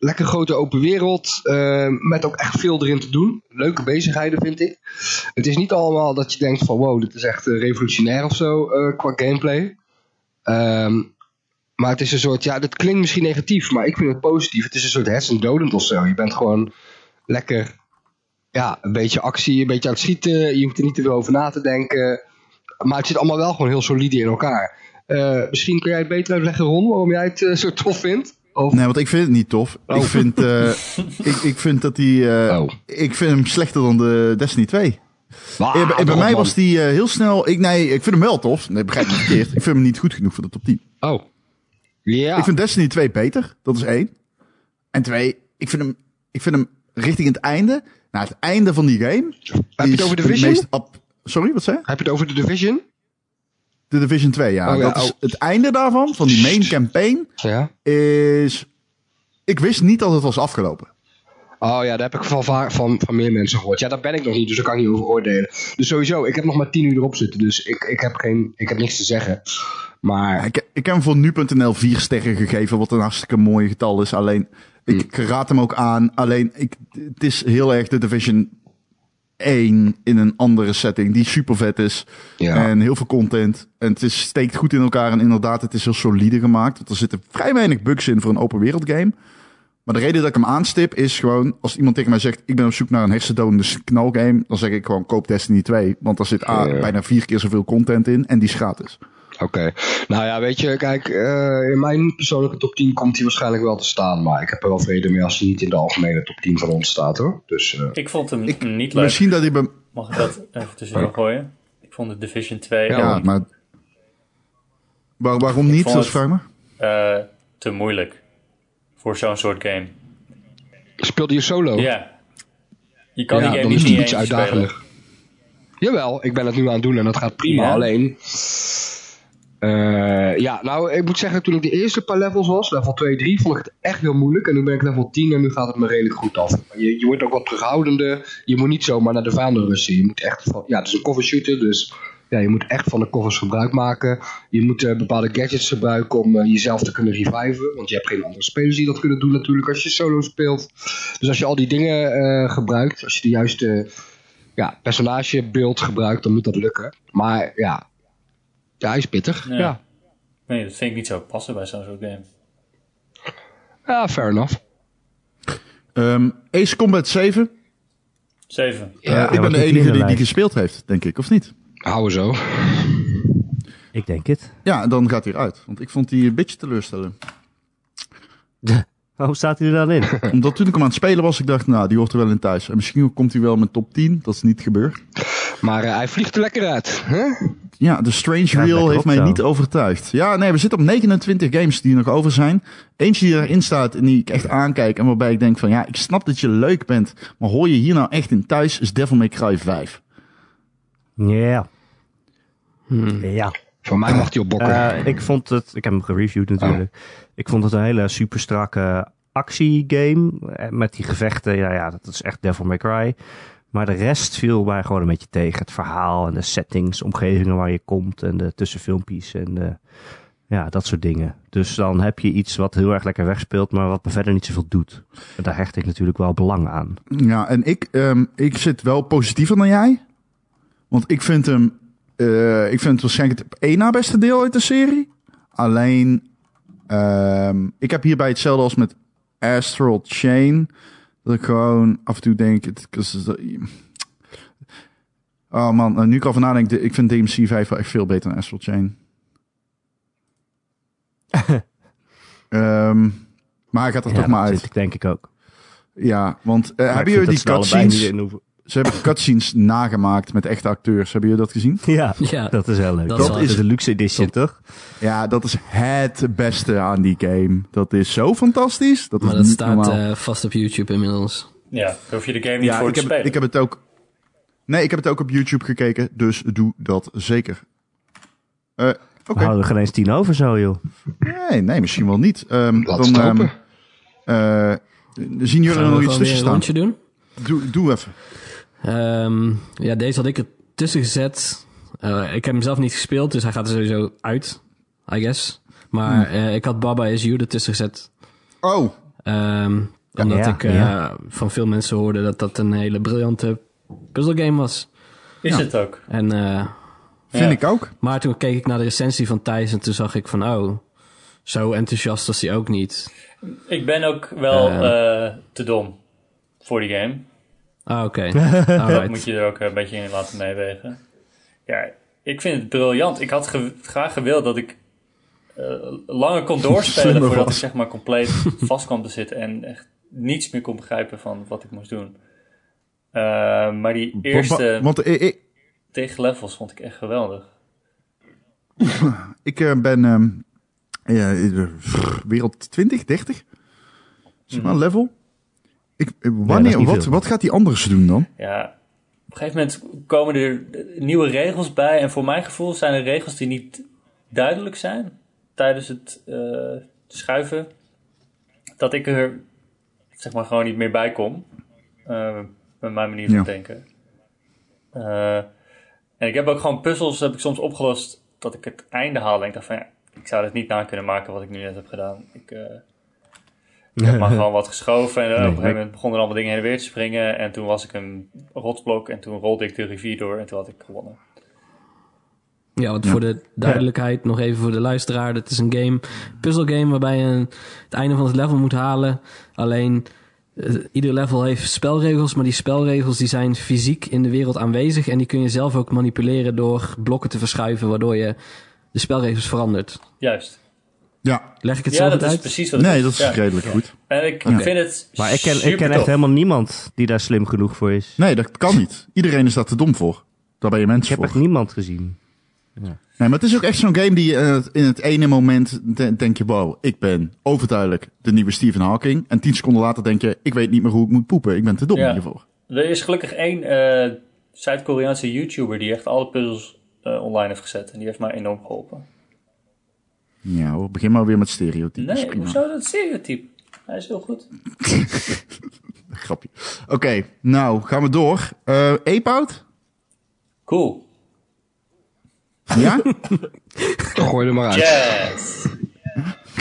Speaker 4: lekker grote open wereld. eh, met ook echt veel erin te doen. Leuke bezigheden vind ik. Het is niet allemaal dat je denkt van wow, dit is echt eh, revolutionair of zo eh, qua gameplay. Ehm, maar het is een soort, ja, dat klinkt misschien negatief, maar ik vind het positief. Het is een soort hersendodend of zo. Je bent gewoon lekker, ja, een beetje actie, een beetje aan het schieten. Je hoeft er niet te veel over na te denken. Maar het zit allemaal wel gewoon heel solide in elkaar. Eh, misschien kun jij het beter uitleggen, Ron, waarom jij het eh, zo tof vindt? Of...
Speaker 1: Nee, want ik vind het niet tof.
Speaker 4: Oh.
Speaker 1: Ik, vind, eh, ik, ik vind dat die... eh,
Speaker 4: Oh.
Speaker 1: Ik vind hem slechter dan de Destiny 2. Eh,
Speaker 4: Waar,
Speaker 1: bij- bij
Speaker 4: toch,
Speaker 1: mij
Speaker 4: Ah, man.
Speaker 1: was die eh, heel snel. Ik, nee, ik vind hem wel tof. Nee, begrijp me niet verkeerd. Ik vind hem niet goed genoeg voor de top 10.
Speaker 4: Oh. Ja.
Speaker 1: Ik vind Destiny 2 beter. Dat is één. En twee, ik vind hem, ik vind hem richting het einde. Naar het einde van die game.
Speaker 4: Heb je het over Division?
Speaker 1: meest ab- Sorry, wat zei je?
Speaker 4: Heb je het over de Division?
Speaker 1: De Division 2, ja.
Speaker 4: Oh ja,
Speaker 1: dat is
Speaker 4: oh.
Speaker 1: het einde daarvan, van die main campaign,
Speaker 4: Ja.
Speaker 1: is... Ik wist niet dat het was afgelopen.
Speaker 4: Oh ja, daar heb ik van, va- van, van meer mensen gehoord. Ja, daar ben ik nog niet, dus daar kan ik niet over oordelen. Dus sowieso, ik heb nog maar tien uur erop zitten, dus ik, ik, heb, geen, ik heb niks te zeggen. Maar
Speaker 1: Ik, ik heb hem voor nu.nl vier sterren gegeven, wat een hartstikke mooi getal is. Alleen, ik
Speaker 4: Hmm.
Speaker 1: raad hem ook aan. Alleen, ik, het is heel erg de Division 1 in een andere setting, die super vet is.
Speaker 4: ja,
Speaker 1: En heel veel content. En het is, steekt goed in elkaar. En inderdaad, het is heel solide gemaakt. Want er zitten vrij weinig bugs in voor een open wereld game. Maar de reden dat ik hem aanstip is gewoon... Als iemand tegen mij zegt, ik ben op zoek naar een hersendodende knalgame... dan zeg ik gewoon, koop Destiny 2. Want daar zit A,
Speaker 4: Ja.
Speaker 1: bijna vier keer zoveel content in. En die is gratis.
Speaker 4: oké. Nou ja, weet je, kijk, eh, in mijn persoonlijke top 10 komt hij waarschijnlijk wel te staan. Maar ik heb er wel vrede mee als hij niet in de algemene top 10 van ons staat, hoor. Dus eh,
Speaker 5: Ik vond hem
Speaker 1: Ik-
Speaker 5: niet leuk.
Speaker 1: Misschien dat hij... Bij,
Speaker 5: Mag ik dat even tussendoor gooien? Ik vond de Division 2
Speaker 1: ja,
Speaker 5: ook,
Speaker 1: maar... waar- waarom niet,
Speaker 5: Oh. vond
Speaker 1: dat
Speaker 5: het-
Speaker 1: vraag me.
Speaker 5: eh, te moeilijk voor zo'n soort game.
Speaker 4: speelde je solo?
Speaker 5: Ja. Je kan die game
Speaker 4: dan
Speaker 5: niet
Speaker 4: is
Speaker 5: in
Speaker 4: het
Speaker 5: je
Speaker 4: iets
Speaker 5: eentje spelen.
Speaker 4: uitdagender. Jawel, ik ben het nu aan het doen en dat gaat prima.
Speaker 5: Ja.
Speaker 4: Alleen. eh, ja, nou, ik moet zeggen, toen ik de eerste paar levels was, level 2, 3, vond ik het echt heel moeilijk. En nu ben ik level 10 en nu gaat het me redelijk goed af. Je, je wordt ook wat terughoudender. Je moet niet zomaar naar de vaandel rusten. Je moet echt van, ja, het is een cover shooter, dus ja, je moet echt van de covers gebruik maken. Je moet eh, bepaalde gadgets gebruiken om eh, jezelf te kunnen reviven. Want je hebt geen andere spelers die dat kunnen doen natuurlijk als je solo speelt. Dus als je al die dingen eh, gebruikt, als je de juiste ja, personagebeeld gebruikt, dan moet dat lukken. Maar ja, ja hij is pittig.
Speaker 5: Ja.
Speaker 4: Ja, ja.
Speaker 5: Nee, dat vind ik niet zo passen bij zo'n soort game.
Speaker 4: fair enough.
Speaker 1: Ehm, Ace Combat 7.
Speaker 5: 7.
Speaker 4: Ja,
Speaker 1: ik ben de
Speaker 3: wat doet die
Speaker 1: enige
Speaker 3: in de
Speaker 1: die die
Speaker 3: lijst?
Speaker 1: gespeeld heeft, denk ik. Of niet?
Speaker 4: Houden zo.
Speaker 3: Ik denk het.
Speaker 1: Ja, dan gaat hij eruit. Want ik vond die een beetje teleurstellend.
Speaker 3: Waarom staat hij er dan in?
Speaker 1: Omdat toen ik hem aan het spelen was, ik dacht, nou, die hoort er wel in thuis. En misschien komt hij wel met top 10. Dat is niet gebeurd.
Speaker 4: Maar eh, hij vliegt er lekker uit. Hè?
Speaker 1: Ja, de Strange
Speaker 3: Ja,
Speaker 1: Reel
Speaker 3: lekker
Speaker 1: heeft
Speaker 3: op
Speaker 1: mij
Speaker 3: zo.
Speaker 1: niet overtuigd. Ja, nee, we zitten op 29 games die nog over zijn. Eentje die erin staat en die ik echt aankijk. En waarbij ik denk van, ja, ik snap dat je leuk bent. Maar hoor je hier nou echt in thuis, is Devil May Cry 5.
Speaker 3: Ja. Hmm. Ja.
Speaker 4: Voor mij mag hij op bokken.
Speaker 3: Eh, ik vond het, ik heb hem gereviewd natuurlijk. Ik vond het een hele super strakke actiegame. Eh, Met die gevechten, ja, ja, dat is echt Devil May Cry. Maar de rest viel mij gewoon een beetje tegen. Het verhaal en de settings, omgevingen waar je komt en de tussenfilmpjes en de, ja, dat soort dingen. Dus dan heb je iets wat heel erg lekker wegspeelt, maar wat me verder niet zoveel doet. En daar hecht ik natuurlijk wel belang aan.
Speaker 1: Ja, en ik, ehm, ik zit wel positiever dan jij. Want ik vind hem, eh, ik vind het waarschijnlijk het één na beste deel uit de serie. Alleen, ehm, ik heb hierbij hetzelfde als met Astral Chain. Dat ik gewoon af en toe denk, het, het is- oh man, nou, nu ik over nadenk, de- ik vind DMC 5 wel echt veel beter dan Astral Chain. Ehm, maar hij gaat er
Speaker 3: Ja,
Speaker 1: toch maar
Speaker 3: dat
Speaker 1: uit.
Speaker 3: zit ik denk ik ook.
Speaker 1: Ja, want eh,
Speaker 3: Maar
Speaker 1: hebben
Speaker 3: ik
Speaker 1: jullie die
Speaker 3: vind dat ze er allebei
Speaker 1: cutscenes...
Speaker 3: niet in hoeven-
Speaker 1: Ze hebben cutscenes nagemaakt met echte acteurs. Hebben jullie dat gezien?
Speaker 3: Ja,
Speaker 2: Ja.
Speaker 3: dat is heel leuk.
Speaker 2: Dat
Speaker 3: Dat,
Speaker 2: is wel
Speaker 3: is
Speaker 2: leuk.
Speaker 3: de luxe edition, toch?
Speaker 1: Ja, dat is het beste aan die game. Dat is zo fantastisch. Dat
Speaker 2: Maar
Speaker 1: is
Speaker 2: dat
Speaker 1: niet
Speaker 2: staat
Speaker 1: normaal.
Speaker 2: eh, vast op YouTube inmiddels.
Speaker 5: Ja, daar hoef je de game niet
Speaker 1: ja,
Speaker 5: voor
Speaker 1: ik
Speaker 5: te
Speaker 1: heb,
Speaker 5: spelen.
Speaker 1: ik heb het ook. Nee, ik heb het ook op YouTube gekeken. Dus doe dat zeker. Eh, Oké.
Speaker 3: We houden er geen eens tien over zo, joh.
Speaker 1: Nee, nee, misschien wel niet. Ehm,
Speaker 4: Laat
Speaker 1: dan
Speaker 4: het
Speaker 1: ehm,
Speaker 4: hopen.
Speaker 1: eh, zien jullie er
Speaker 2: Gaan
Speaker 1: nog
Speaker 2: we
Speaker 1: iets
Speaker 2: gewoon weer
Speaker 1: tussen
Speaker 2: een
Speaker 1: staan?
Speaker 2: rondje doen?
Speaker 1: Doe, doe even.
Speaker 2: Ehm, ja, deze had ik er tussen gezet. Eh, ik heb hem zelf niet gespeeld, dus hij gaat er sowieso uit, I guess. Maar
Speaker 3: Hmm.
Speaker 2: eh, ik had Baba Is You ertussen gezet.
Speaker 1: Oh,
Speaker 2: Ehm, omdat
Speaker 3: ja,
Speaker 2: ik eh,
Speaker 3: ja.
Speaker 2: van veel mensen hoorde dat dat een hele briljante puzzelgame was.
Speaker 5: Is
Speaker 1: Ja.
Speaker 5: het ook.
Speaker 2: En, eh,
Speaker 1: vind
Speaker 5: Ja.
Speaker 1: ik ook.
Speaker 2: maar toen keek ik naar de recensie van Thijs en toen zag ik van... Oh, zo enthousiast was hij ook niet.
Speaker 5: Ik ben ook wel
Speaker 2: Ehm.
Speaker 5: eh, te dom voor die game.
Speaker 2: Ah, oké.
Speaker 5: Dat
Speaker 2: Alright.
Speaker 5: moet je er ook een beetje in laten meewegen. Ja, ik vind het briljant. Ik had ge- graag gewild dat ik eh, langer kon doorspelen
Speaker 1: Slimmer
Speaker 5: voordat
Speaker 1: was.
Speaker 5: ik zeg maar compleet vast kwam te zitten en echt niets meer kon begrijpen van wat ik moest doen. Eh, maar die eerste
Speaker 1: Wa- Want eh, ik,
Speaker 5: tegen levels vond ik echt geweldig.
Speaker 1: Ik eh, ben ehm, ja, eh, pff, wereld 20, 30. Zeg maar, level. Ik, eh,
Speaker 3: Ja, dat is
Speaker 1: wanneer,
Speaker 3: niet
Speaker 1: wat,
Speaker 3: veel.
Speaker 1: wat gaat hij anders doen dan?
Speaker 5: Ja, op een gegeven moment komen er nieuwe regels bij. En voor mijn gevoel zijn er regels die niet duidelijk zijn tijdens het eh, schuiven. Dat ik er zeg maar gewoon niet meer bij kom. Eh, met mijn manier van
Speaker 1: Ja.
Speaker 5: denken. Eh, en ik heb ook gewoon puzzels heb ik soms opgelost dat ik het einde haalde. En ik dacht van ja, ik zou dit niet na kunnen maken wat ik nu net heb gedaan. Ik, eh, ik heb maar gewoon wat geschoven. En eh, op een gegeven moment begonnen er allemaal dingen heen en weer te springen. En toen was ik een rotsblok en toen rolde ik de rivier door en toen had ik gewonnen.
Speaker 2: Ja, want voor de duidelijkheid, nog even voor de luisteraar. Het is een game, puzzelgame, waarbij je een- het einde van het level moet halen. Alleen, eh, ieder level heeft spelregels, maar die spelregels die zijn fysiek in de wereld aanwezig. En die kun je zelf ook manipuleren door blokken te verschuiven, waardoor je de spelregels verandert.
Speaker 5: Juist.
Speaker 1: Ja,
Speaker 2: Leg ik het
Speaker 5: Ja,
Speaker 2: zo
Speaker 5: dat
Speaker 2: goed
Speaker 5: is
Speaker 2: uit?
Speaker 5: precies wat het
Speaker 1: nee, dat is
Speaker 5: Ja.
Speaker 1: redelijk goed.
Speaker 5: En ik
Speaker 2: Oké.
Speaker 5: vind het
Speaker 3: Maar ik ken, ik ken
Speaker 5: supertof.
Speaker 3: echt helemaal niemand die daar slim genoeg voor is.
Speaker 1: Nee, dat kan niet. Iedereen is daar te dom voor. Daar ben je
Speaker 3: Ik
Speaker 1: mens
Speaker 3: heb
Speaker 1: voor.
Speaker 3: echt niemand gezien.
Speaker 1: Nee, maar het is ook echt zo'n game die je, eh, het- in het ene moment de- denk je, wow, ik ben overduidelijk de nieuwe Stephen Hawking. En tien seconden later denk je, ik weet niet meer hoe ik moet poepen. Ik ben te dom
Speaker 5: Ja.
Speaker 1: hiervoor.
Speaker 5: Er is gelukkig één eh, Zuid-Koreaanse YouTuber die echt alle puzzels eh, online heeft gezet. En die heeft mij enorm geholpen.
Speaker 1: Ja hoor, begin maar weer met stereotypes.
Speaker 5: Nee,
Speaker 1: Prima.
Speaker 5: hoezo dat stereotype? Hij is heel goed.
Speaker 1: Grapje. Oké, nou gaan we door. Eh Ape-out?
Speaker 5: Cool.
Speaker 1: Ja?
Speaker 4: Toch gooi er maar uit.
Speaker 5: Yes.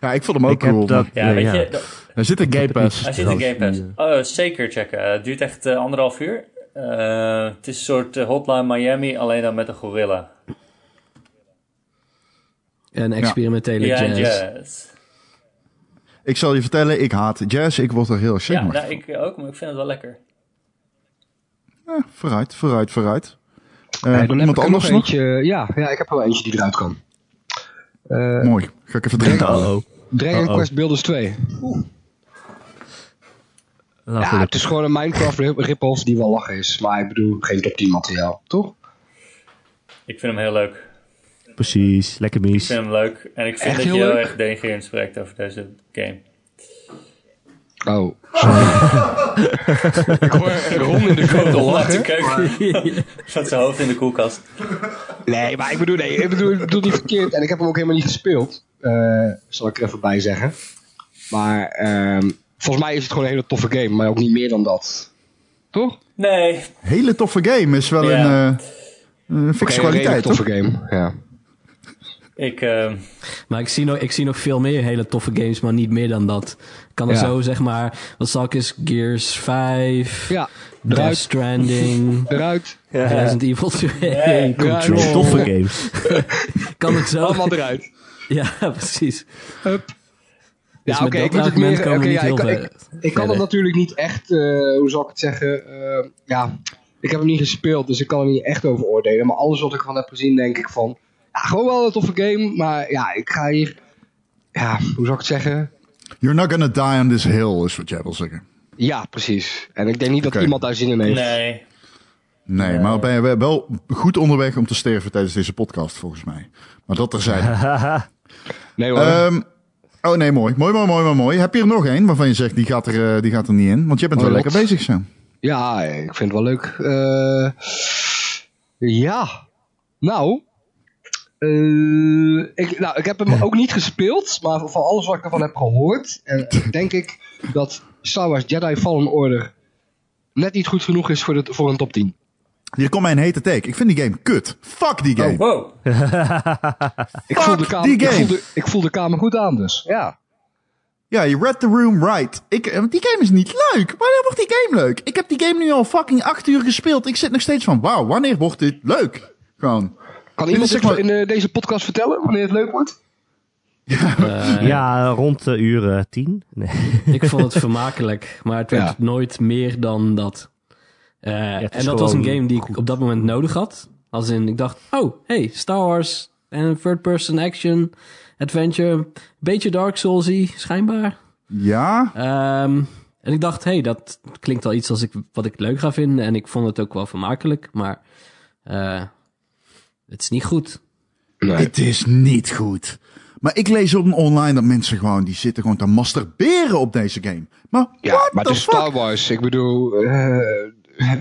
Speaker 1: ja, ik vond hem ook
Speaker 3: ik heb
Speaker 1: cool.
Speaker 3: dat.
Speaker 5: Ja, weet je, dat-
Speaker 1: Er zit een Game Pass.
Speaker 5: Hij zit in
Speaker 3: Dat
Speaker 5: Game Pass.
Speaker 3: is
Speaker 5: Oh, zeker checken. Eh, Het duurt echt eh, anderhalf uur. Eh, het is een soort eh, Hotline Miami, alleen dan met een gorilla.
Speaker 2: Een experimentele
Speaker 5: Ja, en
Speaker 2: jazz.
Speaker 5: jazz.
Speaker 1: Ik zal je vertellen, ik haat jazz. Ik word er heel
Speaker 5: Ja,
Speaker 1: shit
Speaker 5: nou, ik ook, maar ik vind het wel lekker.
Speaker 1: Ja, vooruit, vooruit, vooruit. Eh,
Speaker 4: Eh, dan heb
Speaker 1: iemand
Speaker 4: ik er
Speaker 1: anders
Speaker 4: nog
Speaker 1: nog?
Speaker 4: eentje. eh, Ja, ja, ik heb er wel eentje die eruit kan. Eh
Speaker 1: Mooi. Ga ik even drinken.
Speaker 3: Uh-oh.
Speaker 4: Dragon
Speaker 3: Uh-oh.
Speaker 4: Quest Builders 2.
Speaker 3: Nou,
Speaker 4: ja,
Speaker 3: goed.
Speaker 4: het is gewoon een Minecraft rip- rip-off die wel lachen is. Maar ik bedoel, geen top 10 materiaal, toch?
Speaker 5: Ik vind hem heel leuk. Ik
Speaker 3: Precies, lekker mies.
Speaker 5: vind hem leuk. En ik vind
Speaker 4: Echt
Speaker 5: dat je
Speaker 4: heel
Speaker 5: heel
Speaker 4: leuk?
Speaker 5: erg denigrerend spreekt over deze game.
Speaker 4: Oh, sorry. ik hoor Ron in de keuken
Speaker 5: Laat de
Speaker 4: lachen.
Speaker 5: keuken. Zet zijn hoofd in de koelkast.
Speaker 4: Nee, maar ik bedoel, nee, ik bedoel, ik bedoel niet verkeerd. En ik heb hem ook helemaal niet gespeeld. Eh, zal ik er even bij zeggen. Maar ehm, volgens mij is het gewoon een hele toffe game. Maar ook niet meer dan dat. Toch?
Speaker 5: Nee,
Speaker 1: Hele toffe game. Is wel
Speaker 5: Ja.
Speaker 1: een, eh, een fikse
Speaker 4: Oké, een
Speaker 1: kwaliteit,
Speaker 4: redelijk
Speaker 1: toch?
Speaker 4: toffe game, ja.
Speaker 5: ik... ehm,
Speaker 2: Maar ik zie, nog, ik zie nog veel meer hele toffe games, maar niet meer dan dat. Ik Kan er
Speaker 4: Ja.
Speaker 2: zo, zeg maar, wat zal ik eens? Gears 5,
Speaker 4: Ja,
Speaker 2: Death
Speaker 4: eruit,
Speaker 2: Stranding,
Speaker 4: eruit.
Speaker 2: Resident Evil 2.
Speaker 5: Nee.
Speaker 4: Control.
Speaker 3: Control. Toffe games.
Speaker 2: Kan het zo?
Speaker 4: Allemaal eruit.
Speaker 2: Ja, precies. Dus
Speaker 4: Ja,
Speaker 2: met
Speaker 4: oké,
Speaker 2: dat
Speaker 4: ik moet het
Speaker 2: argument
Speaker 4: meer...
Speaker 2: komen we
Speaker 4: oké,
Speaker 2: niet
Speaker 4: ja,
Speaker 2: heel
Speaker 4: ik, kan-
Speaker 2: ver-
Speaker 4: ik, ik kan hem
Speaker 2: verder.
Speaker 4: natuurlijk niet echt... eh, hoe zal ik het zeggen? eh, ja, ik heb hem niet gespeeld, dus ik kan er niet echt over oordelen. Maar alles wat ik van heb gezien, denk ik van... Ja, gewoon wel een toffe game, maar ja, ik ga hier... Ja, hoe zal ik het zeggen?
Speaker 1: You're not gonna die on this hill, is wat jij wil zeggen.
Speaker 4: Ja, precies. En ik denk niet dat
Speaker 1: Oké.
Speaker 4: iemand daar zin in heeft.
Speaker 5: nee.
Speaker 1: Nee, maar ben je wel goed onderweg om te sterven tijdens deze podcast, volgens mij. Maar dat terzijde.
Speaker 4: Nee hoor.
Speaker 1: Ehm oh nee, mooi. Mooi, mooi, mooi, mooi, mooi. Heb je er nog één waarvan je zegt, die gaat er, eh, die gaat er niet in? Want je bent
Speaker 4: Oh,
Speaker 1: wel
Speaker 4: wat?
Speaker 1: lekker bezig, zo.
Speaker 4: ja, ik vind het wel leuk. Eh, ja. Nou... eh, ik, nou, ik heb hem ook niet gespeeld, maar van alles wat ik ervan heb gehoord, eh, denk ik dat Star Wars Jedi Fallen Order net niet goed genoeg is voor, de, voor een top 10.
Speaker 1: Hier komt mijn hete take. Ik vind die game kut. Fuck die game.
Speaker 5: Wow.
Speaker 4: Ik
Speaker 1: Fuck
Speaker 4: voel, de kamer,
Speaker 1: die
Speaker 4: ik,
Speaker 1: game.
Speaker 4: voel de, ik voel de kamer goed aan, dus ja.
Speaker 1: Ja, je read the room right. Ik, eh, want die game is niet leuk. Wanneer wordt die game leuk? Ik heb die game nu al fucking acht uur gespeeld. Ik zit nog steeds van, wauw, wanneer wordt dit leuk? Gewoon.
Speaker 4: Kan
Speaker 1: is
Speaker 4: iemand
Speaker 1: zeg
Speaker 4: dit
Speaker 1: maar-
Speaker 4: in eh, deze podcast vertellen wanneer het leuk wordt?
Speaker 3: Ja, rond de uur eh, tien. Nee.
Speaker 2: Ik vond het vermakelijk, maar het werd
Speaker 4: Ja.
Speaker 2: nooit meer dan dat. Eh,
Speaker 3: het is
Speaker 2: en dat was een
Speaker 3: gewoon
Speaker 2: game die ik op dat moment nodig had. Als in, ik dacht, oh, hey, Star Wars en een third-person action, adventure, beetje Dark Soulsy, schijnbaar.
Speaker 1: Ja,
Speaker 2: Ehm, en ik dacht, hey, dat klinkt wel iets als ik, wat ik leuk ga vinden. En ik vond het ook wel vermakelijk, maar eh, het is niet goed.
Speaker 4: Nee.
Speaker 1: het is niet goed. Maar ik lees op online dat mensen gewoon, die zitten gewoon te masturberen op deze game. Maar
Speaker 4: Ja,
Speaker 1: what
Speaker 4: maar
Speaker 1: the
Speaker 4: het is
Speaker 1: fuck?
Speaker 4: Star Wars. Ik bedoel, eh,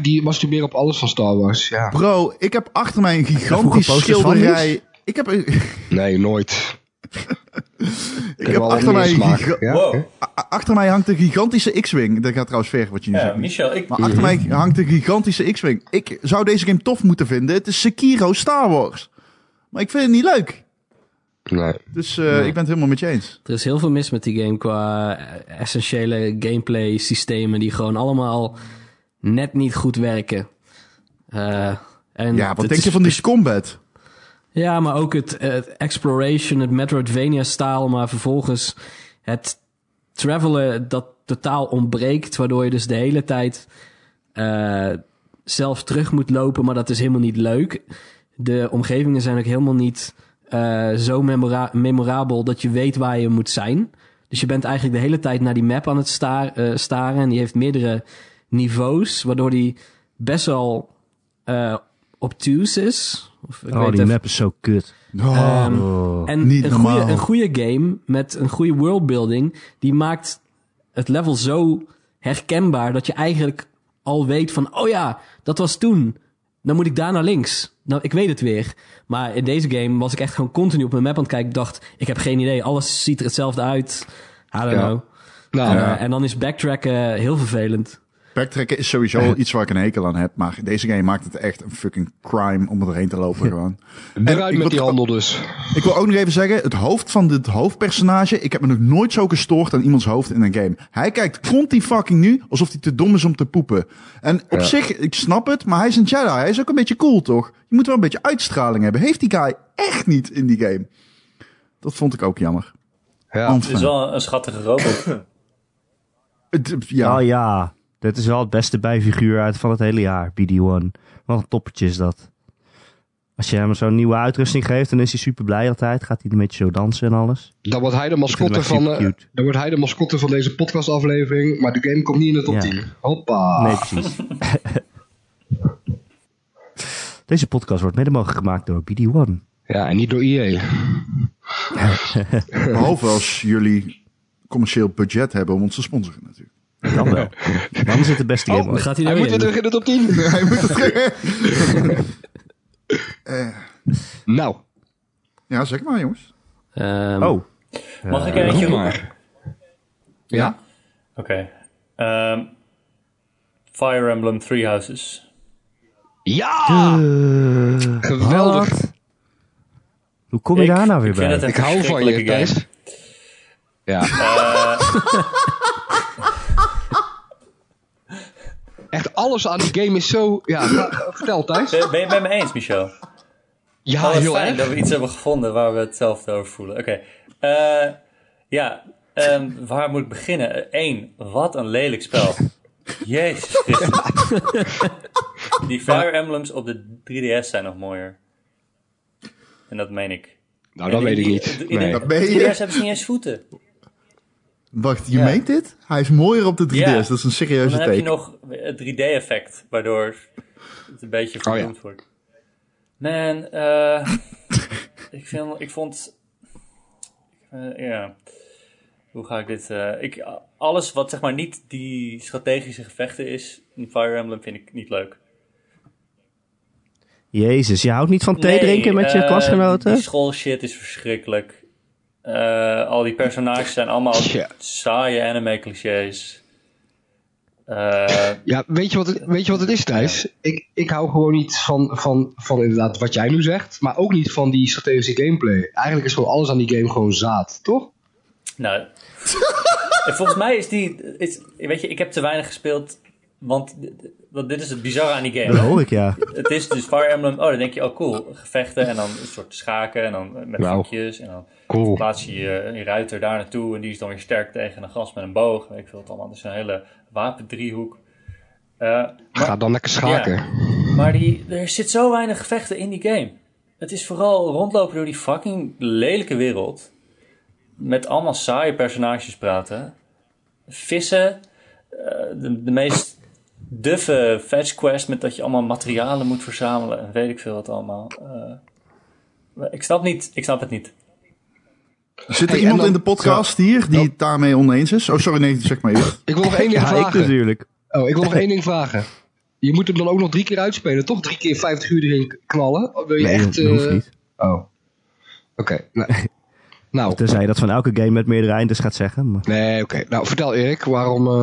Speaker 4: die masturberen op alles van Star Wars. Ja.
Speaker 1: Bro, ik heb achter mij een
Speaker 3: vroeger
Speaker 1: gigantische
Speaker 3: posters van
Speaker 1: schilderij. Ik heb, een-
Speaker 4: Nee, nooit.
Speaker 1: ik heb achter mij een giga-
Speaker 4: Ja?
Speaker 5: Wow.
Speaker 1: A- Achter mij hangt een gigantische X-Wing. Dat gaat trouwens ver wat je nu
Speaker 5: Ja,
Speaker 1: zegt.
Speaker 5: Michel, ik...
Speaker 1: Maar
Speaker 2: Mhm.
Speaker 1: achter mij hangt een gigantische X-Wing. Ik zou deze game tof moeten vinden. Het is Sekiro Star Wars. Maar ik vind het niet leuk.
Speaker 4: Nee.
Speaker 1: Dus eh,
Speaker 2: Nee.
Speaker 1: ik ben het helemaal met je eens.
Speaker 2: Er is heel veel mis met die game qua eh, essentiële gameplay systemen die gewoon allemaal net niet goed werken. Eh, en
Speaker 1: Ja, wat
Speaker 2: het
Speaker 1: denk je
Speaker 2: is-
Speaker 1: van die combat?
Speaker 2: Ja, maar ook het, eh, het exploration, het Metroidvania-staal, maar vervolgens het travelen dat totaal ontbreekt, waardoor je dus de hele tijd eh, zelf terug moet lopen, maar dat is helemaal niet leuk. De omgevingen zijn ook helemaal niet eh, zo memora- memorabel dat je weet waar je moet zijn. Dus je bent eigenlijk de hele tijd naar die map aan het staar- eh, staren en die heeft meerdere niveaus, waardoor die best wel eh obtuse is. Of, ik
Speaker 3: Oh,
Speaker 2: weet
Speaker 3: die
Speaker 2: even-
Speaker 3: map is zo kut.
Speaker 1: Oh,
Speaker 2: Ehm,
Speaker 3: Oh.
Speaker 2: en
Speaker 1: Niet
Speaker 2: een, goede,
Speaker 1: normaal.
Speaker 2: een goede game met een goede worldbuilding, die maakt het level zo herkenbaar dat je eigenlijk al weet van, oh ja, dat was toen. Dan moet ik daar naar links. Nou, ik weet het weer. Maar in deze game was ik echt gewoon continu op mijn map aan het kijken. Ik dacht, ik heb geen idee. Alles ziet er hetzelfde uit. I don't
Speaker 4: Ja.
Speaker 2: know.
Speaker 4: Nou,
Speaker 2: Eh, en dan is backtracken heel vervelend.
Speaker 1: backtracken is sowieso wel iets waar ik een hekel aan heb. Maar deze game maakt het echt een fucking crime om erheen te lopen gewoon. En ik
Speaker 4: eruit
Speaker 1: wil-
Speaker 4: met die handel dus.
Speaker 1: Ik wil ook nog even zeggen, het hoofd van dit hoofdpersonage, ik heb me nog nooit zo gestoord aan iemands hoofd in een game. Hij kijkt continu fucking nu alsof hij te dom is om te poepen. En op
Speaker 4: Ja.
Speaker 1: zich, ik snap het, maar hij is een Jedi. Hij is ook een beetje cool, toch? Je moet wel een beetje uitstraling hebben. Heeft die guy echt niet in die game? Dat vond ik ook jammer.
Speaker 4: Ja.
Speaker 1: Enfin.
Speaker 5: Het is wel een, een schattige robot.
Speaker 1: Het- ja.
Speaker 3: Oh ja, dit is wel het beste bijfiguur uit van het hele jaar, BD1. Wat een toppertje is dat. Als je hem zo'n nieuwe uitrusting geeft, dan is hij super blij altijd. Gaat hij een beetje zo dansen en alles.
Speaker 4: Dan wordt hij de mascotte
Speaker 3: Ik vind het
Speaker 4: van,
Speaker 3: wel
Speaker 4: eh,
Speaker 3: cute.
Speaker 4: dan wordt hij de mascotte van deze podcastaflevering, maar de game komt niet in de top
Speaker 3: Ja.
Speaker 4: 10. Hoppa.
Speaker 3: Nee,
Speaker 5: Ah.
Speaker 3: precies. Deze podcast wordt mede mogelijk gemaakt door BD1.
Speaker 4: Ja, en niet door E EA.
Speaker 1: Behalve als jullie commercieel budget hebben om ons te sponsoren natuurlijk.
Speaker 3: Dan wel. Dan is het de
Speaker 5: Oh,
Speaker 3: beste game
Speaker 2: Dan
Speaker 3: ooit.
Speaker 2: gaat hij
Speaker 4: Hij
Speaker 2: nou
Speaker 4: moet weer terug in de top 10.
Speaker 1: Hij moet het terug. Eh,
Speaker 4: nou,
Speaker 1: ja, zeg maar jongens.
Speaker 3: Oh,
Speaker 5: Mag ik er eentje roepen? Oké.
Speaker 4: Ja?
Speaker 5: Ehm, Fire Emblem Three Houses.
Speaker 4: Ja!
Speaker 3: geweldig.
Speaker 4: Geweldig.
Speaker 3: Hoe kom je
Speaker 5: Ik-
Speaker 3: daar nou weer
Speaker 5: ik vind
Speaker 3: bij?
Speaker 5: het een
Speaker 4: Ik hou van je,
Speaker 5: verschrikkelijke game.
Speaker 4: Thijs. Ja. Eh. Echt alles aan die game is zo... Ja, ga- vertel Thijs.
Speaker 5: Ben ben je het met me eens, Michel?
Speaker 4: Ja,
Speaker 5: Oh, wat
Speaker 4: heel
Speaker 5: fijn
Speaker 4: erg.
Speaker 5: dat we iets hebben gevonden waar we hetzelfde over voelen. Oké. Eh, ja, ehm, waar moet ik beginnen? Eén, wat een lelijk spel. Jezus Christus. Die Fire Emblems op de 3DS zijn nog mooier. En dat meen ik.
Speaker 4: Nou, dat
Speaker 5: En die-
Speaker 4: weet ik
Speaker 5: die-
Speaker 4: niet.
Speaker 5: die-
Speaker 4: Nee.
Speaker 1: Dat meen je?
Speaker 5: 3DS hebben ze niet eens voeten.
Speaker 1: Wacht, je meent dit? Hij is mooier op de 3DS.
Speaker 5: Ja.
Speaker 1: Dat is een serieuze
Speaker 5: Dan heb je
Speaker 1: teken.
Speaker 5: nog het 3D-effect, waardoor het een
Speaker 3: Oh
Speaker 5: beetje verdomd wordt. Man, eh, ik, vind, ik vond... eh, Ja, hoe ga ik dit... eh, ik, alles wat zeg maar niet die strategische gevechten is in Fire Emblem vind ik niet leuk.
Speaker 3: Jezus, je houdt niet van thee drinken met je
Speaker 5: eh,
Speaker 3: klasgenoten?
Speaker 5: Die school shit is verschrikkelijk. Eh, al die personages zijn allemaal
Speaker 4: Tja.
Speaker 5: saaie anime clichés. Eh
Speaker 4: Ja, weet je wat het, weet je wat het is, Thijs? Ik, ik hou gewoon niet van, van, van inderdaad wat jij nu zegt, maar ook niet van die strategische gameplay. Eigenlijk is gewoon alles aan die game gewoon zaad, toch?
Speaker 5: Nou, en volgens mij is die. Is, weet je, ik heb te weinig gespeeld. Want, d- d- want dit is het bizarre aan die
Speaker 3: Dat
Speaker 5: game.
Speaker 4: Nou.
Speaker 3: hoor ik, ja.
Speaker 5: Het is dus Fire Emblem. Oh, dan denk je, oh cool. Gevechten en dan een soort schaken. En dan eh, met
Speaker 4: Nou.
Speaker 5: vakjes. En dan
Speaker 4: Cool.
Speaker 5: plaats je je, je ruiter daar naartoe. En die is dan weer sterk tegen een gast met een boog. Weet Ik vind het allemaal. Het is een hele wapendriehoek. Eh
Speaker 4: Ga dan lekker schaken.
Speaker 5: maar die, er zit zo weinig gevechten in die game. Het is vooral rondlopen door die fucking lelijke wereld. Met allemaal saaie personages praten. Vissen. eh, de, de meest duffe fetch quest met dat je allemaal materialen moet verzamelen. En weet ik veel wat allemaal. Eh, maar ik snap, niet, ik snap het niet.
Speaker 1: Zit er
Speaker 4: Hey,
Speaker 1: iemand
Speaker 4: en dan-
Speaker 1: in de podcast hier die het daarmee oneens is? Oh, sorry, nee, zeg maar eerst.
Speaker 4: Ik dus- wil nog één ding
Speaker 3: Ja, ik
Speaker 4: vragen.
Speaker 3: natuurlijk.
Speaker 4: Oh, ik wil nog één ding vragen. Je moet hem dan ook nog drie keer uitspelen, toch? Drie keer 50 uur erin knallen? Of Wil je
Speaker 3: Nee,
Speaker 4: echt,
Speaker 3: dat hoeft
Speaker 4: eh,
Speaker 3: niet.
Speaker 4: Oh. Oké. Nou. nou.
Speaker 3: Tenzij je dat van elke game met meerdere eindes gaat zeggen. Maar...
Speaker 4: Nee, oké. Nou, vertel Erik, waarom eh,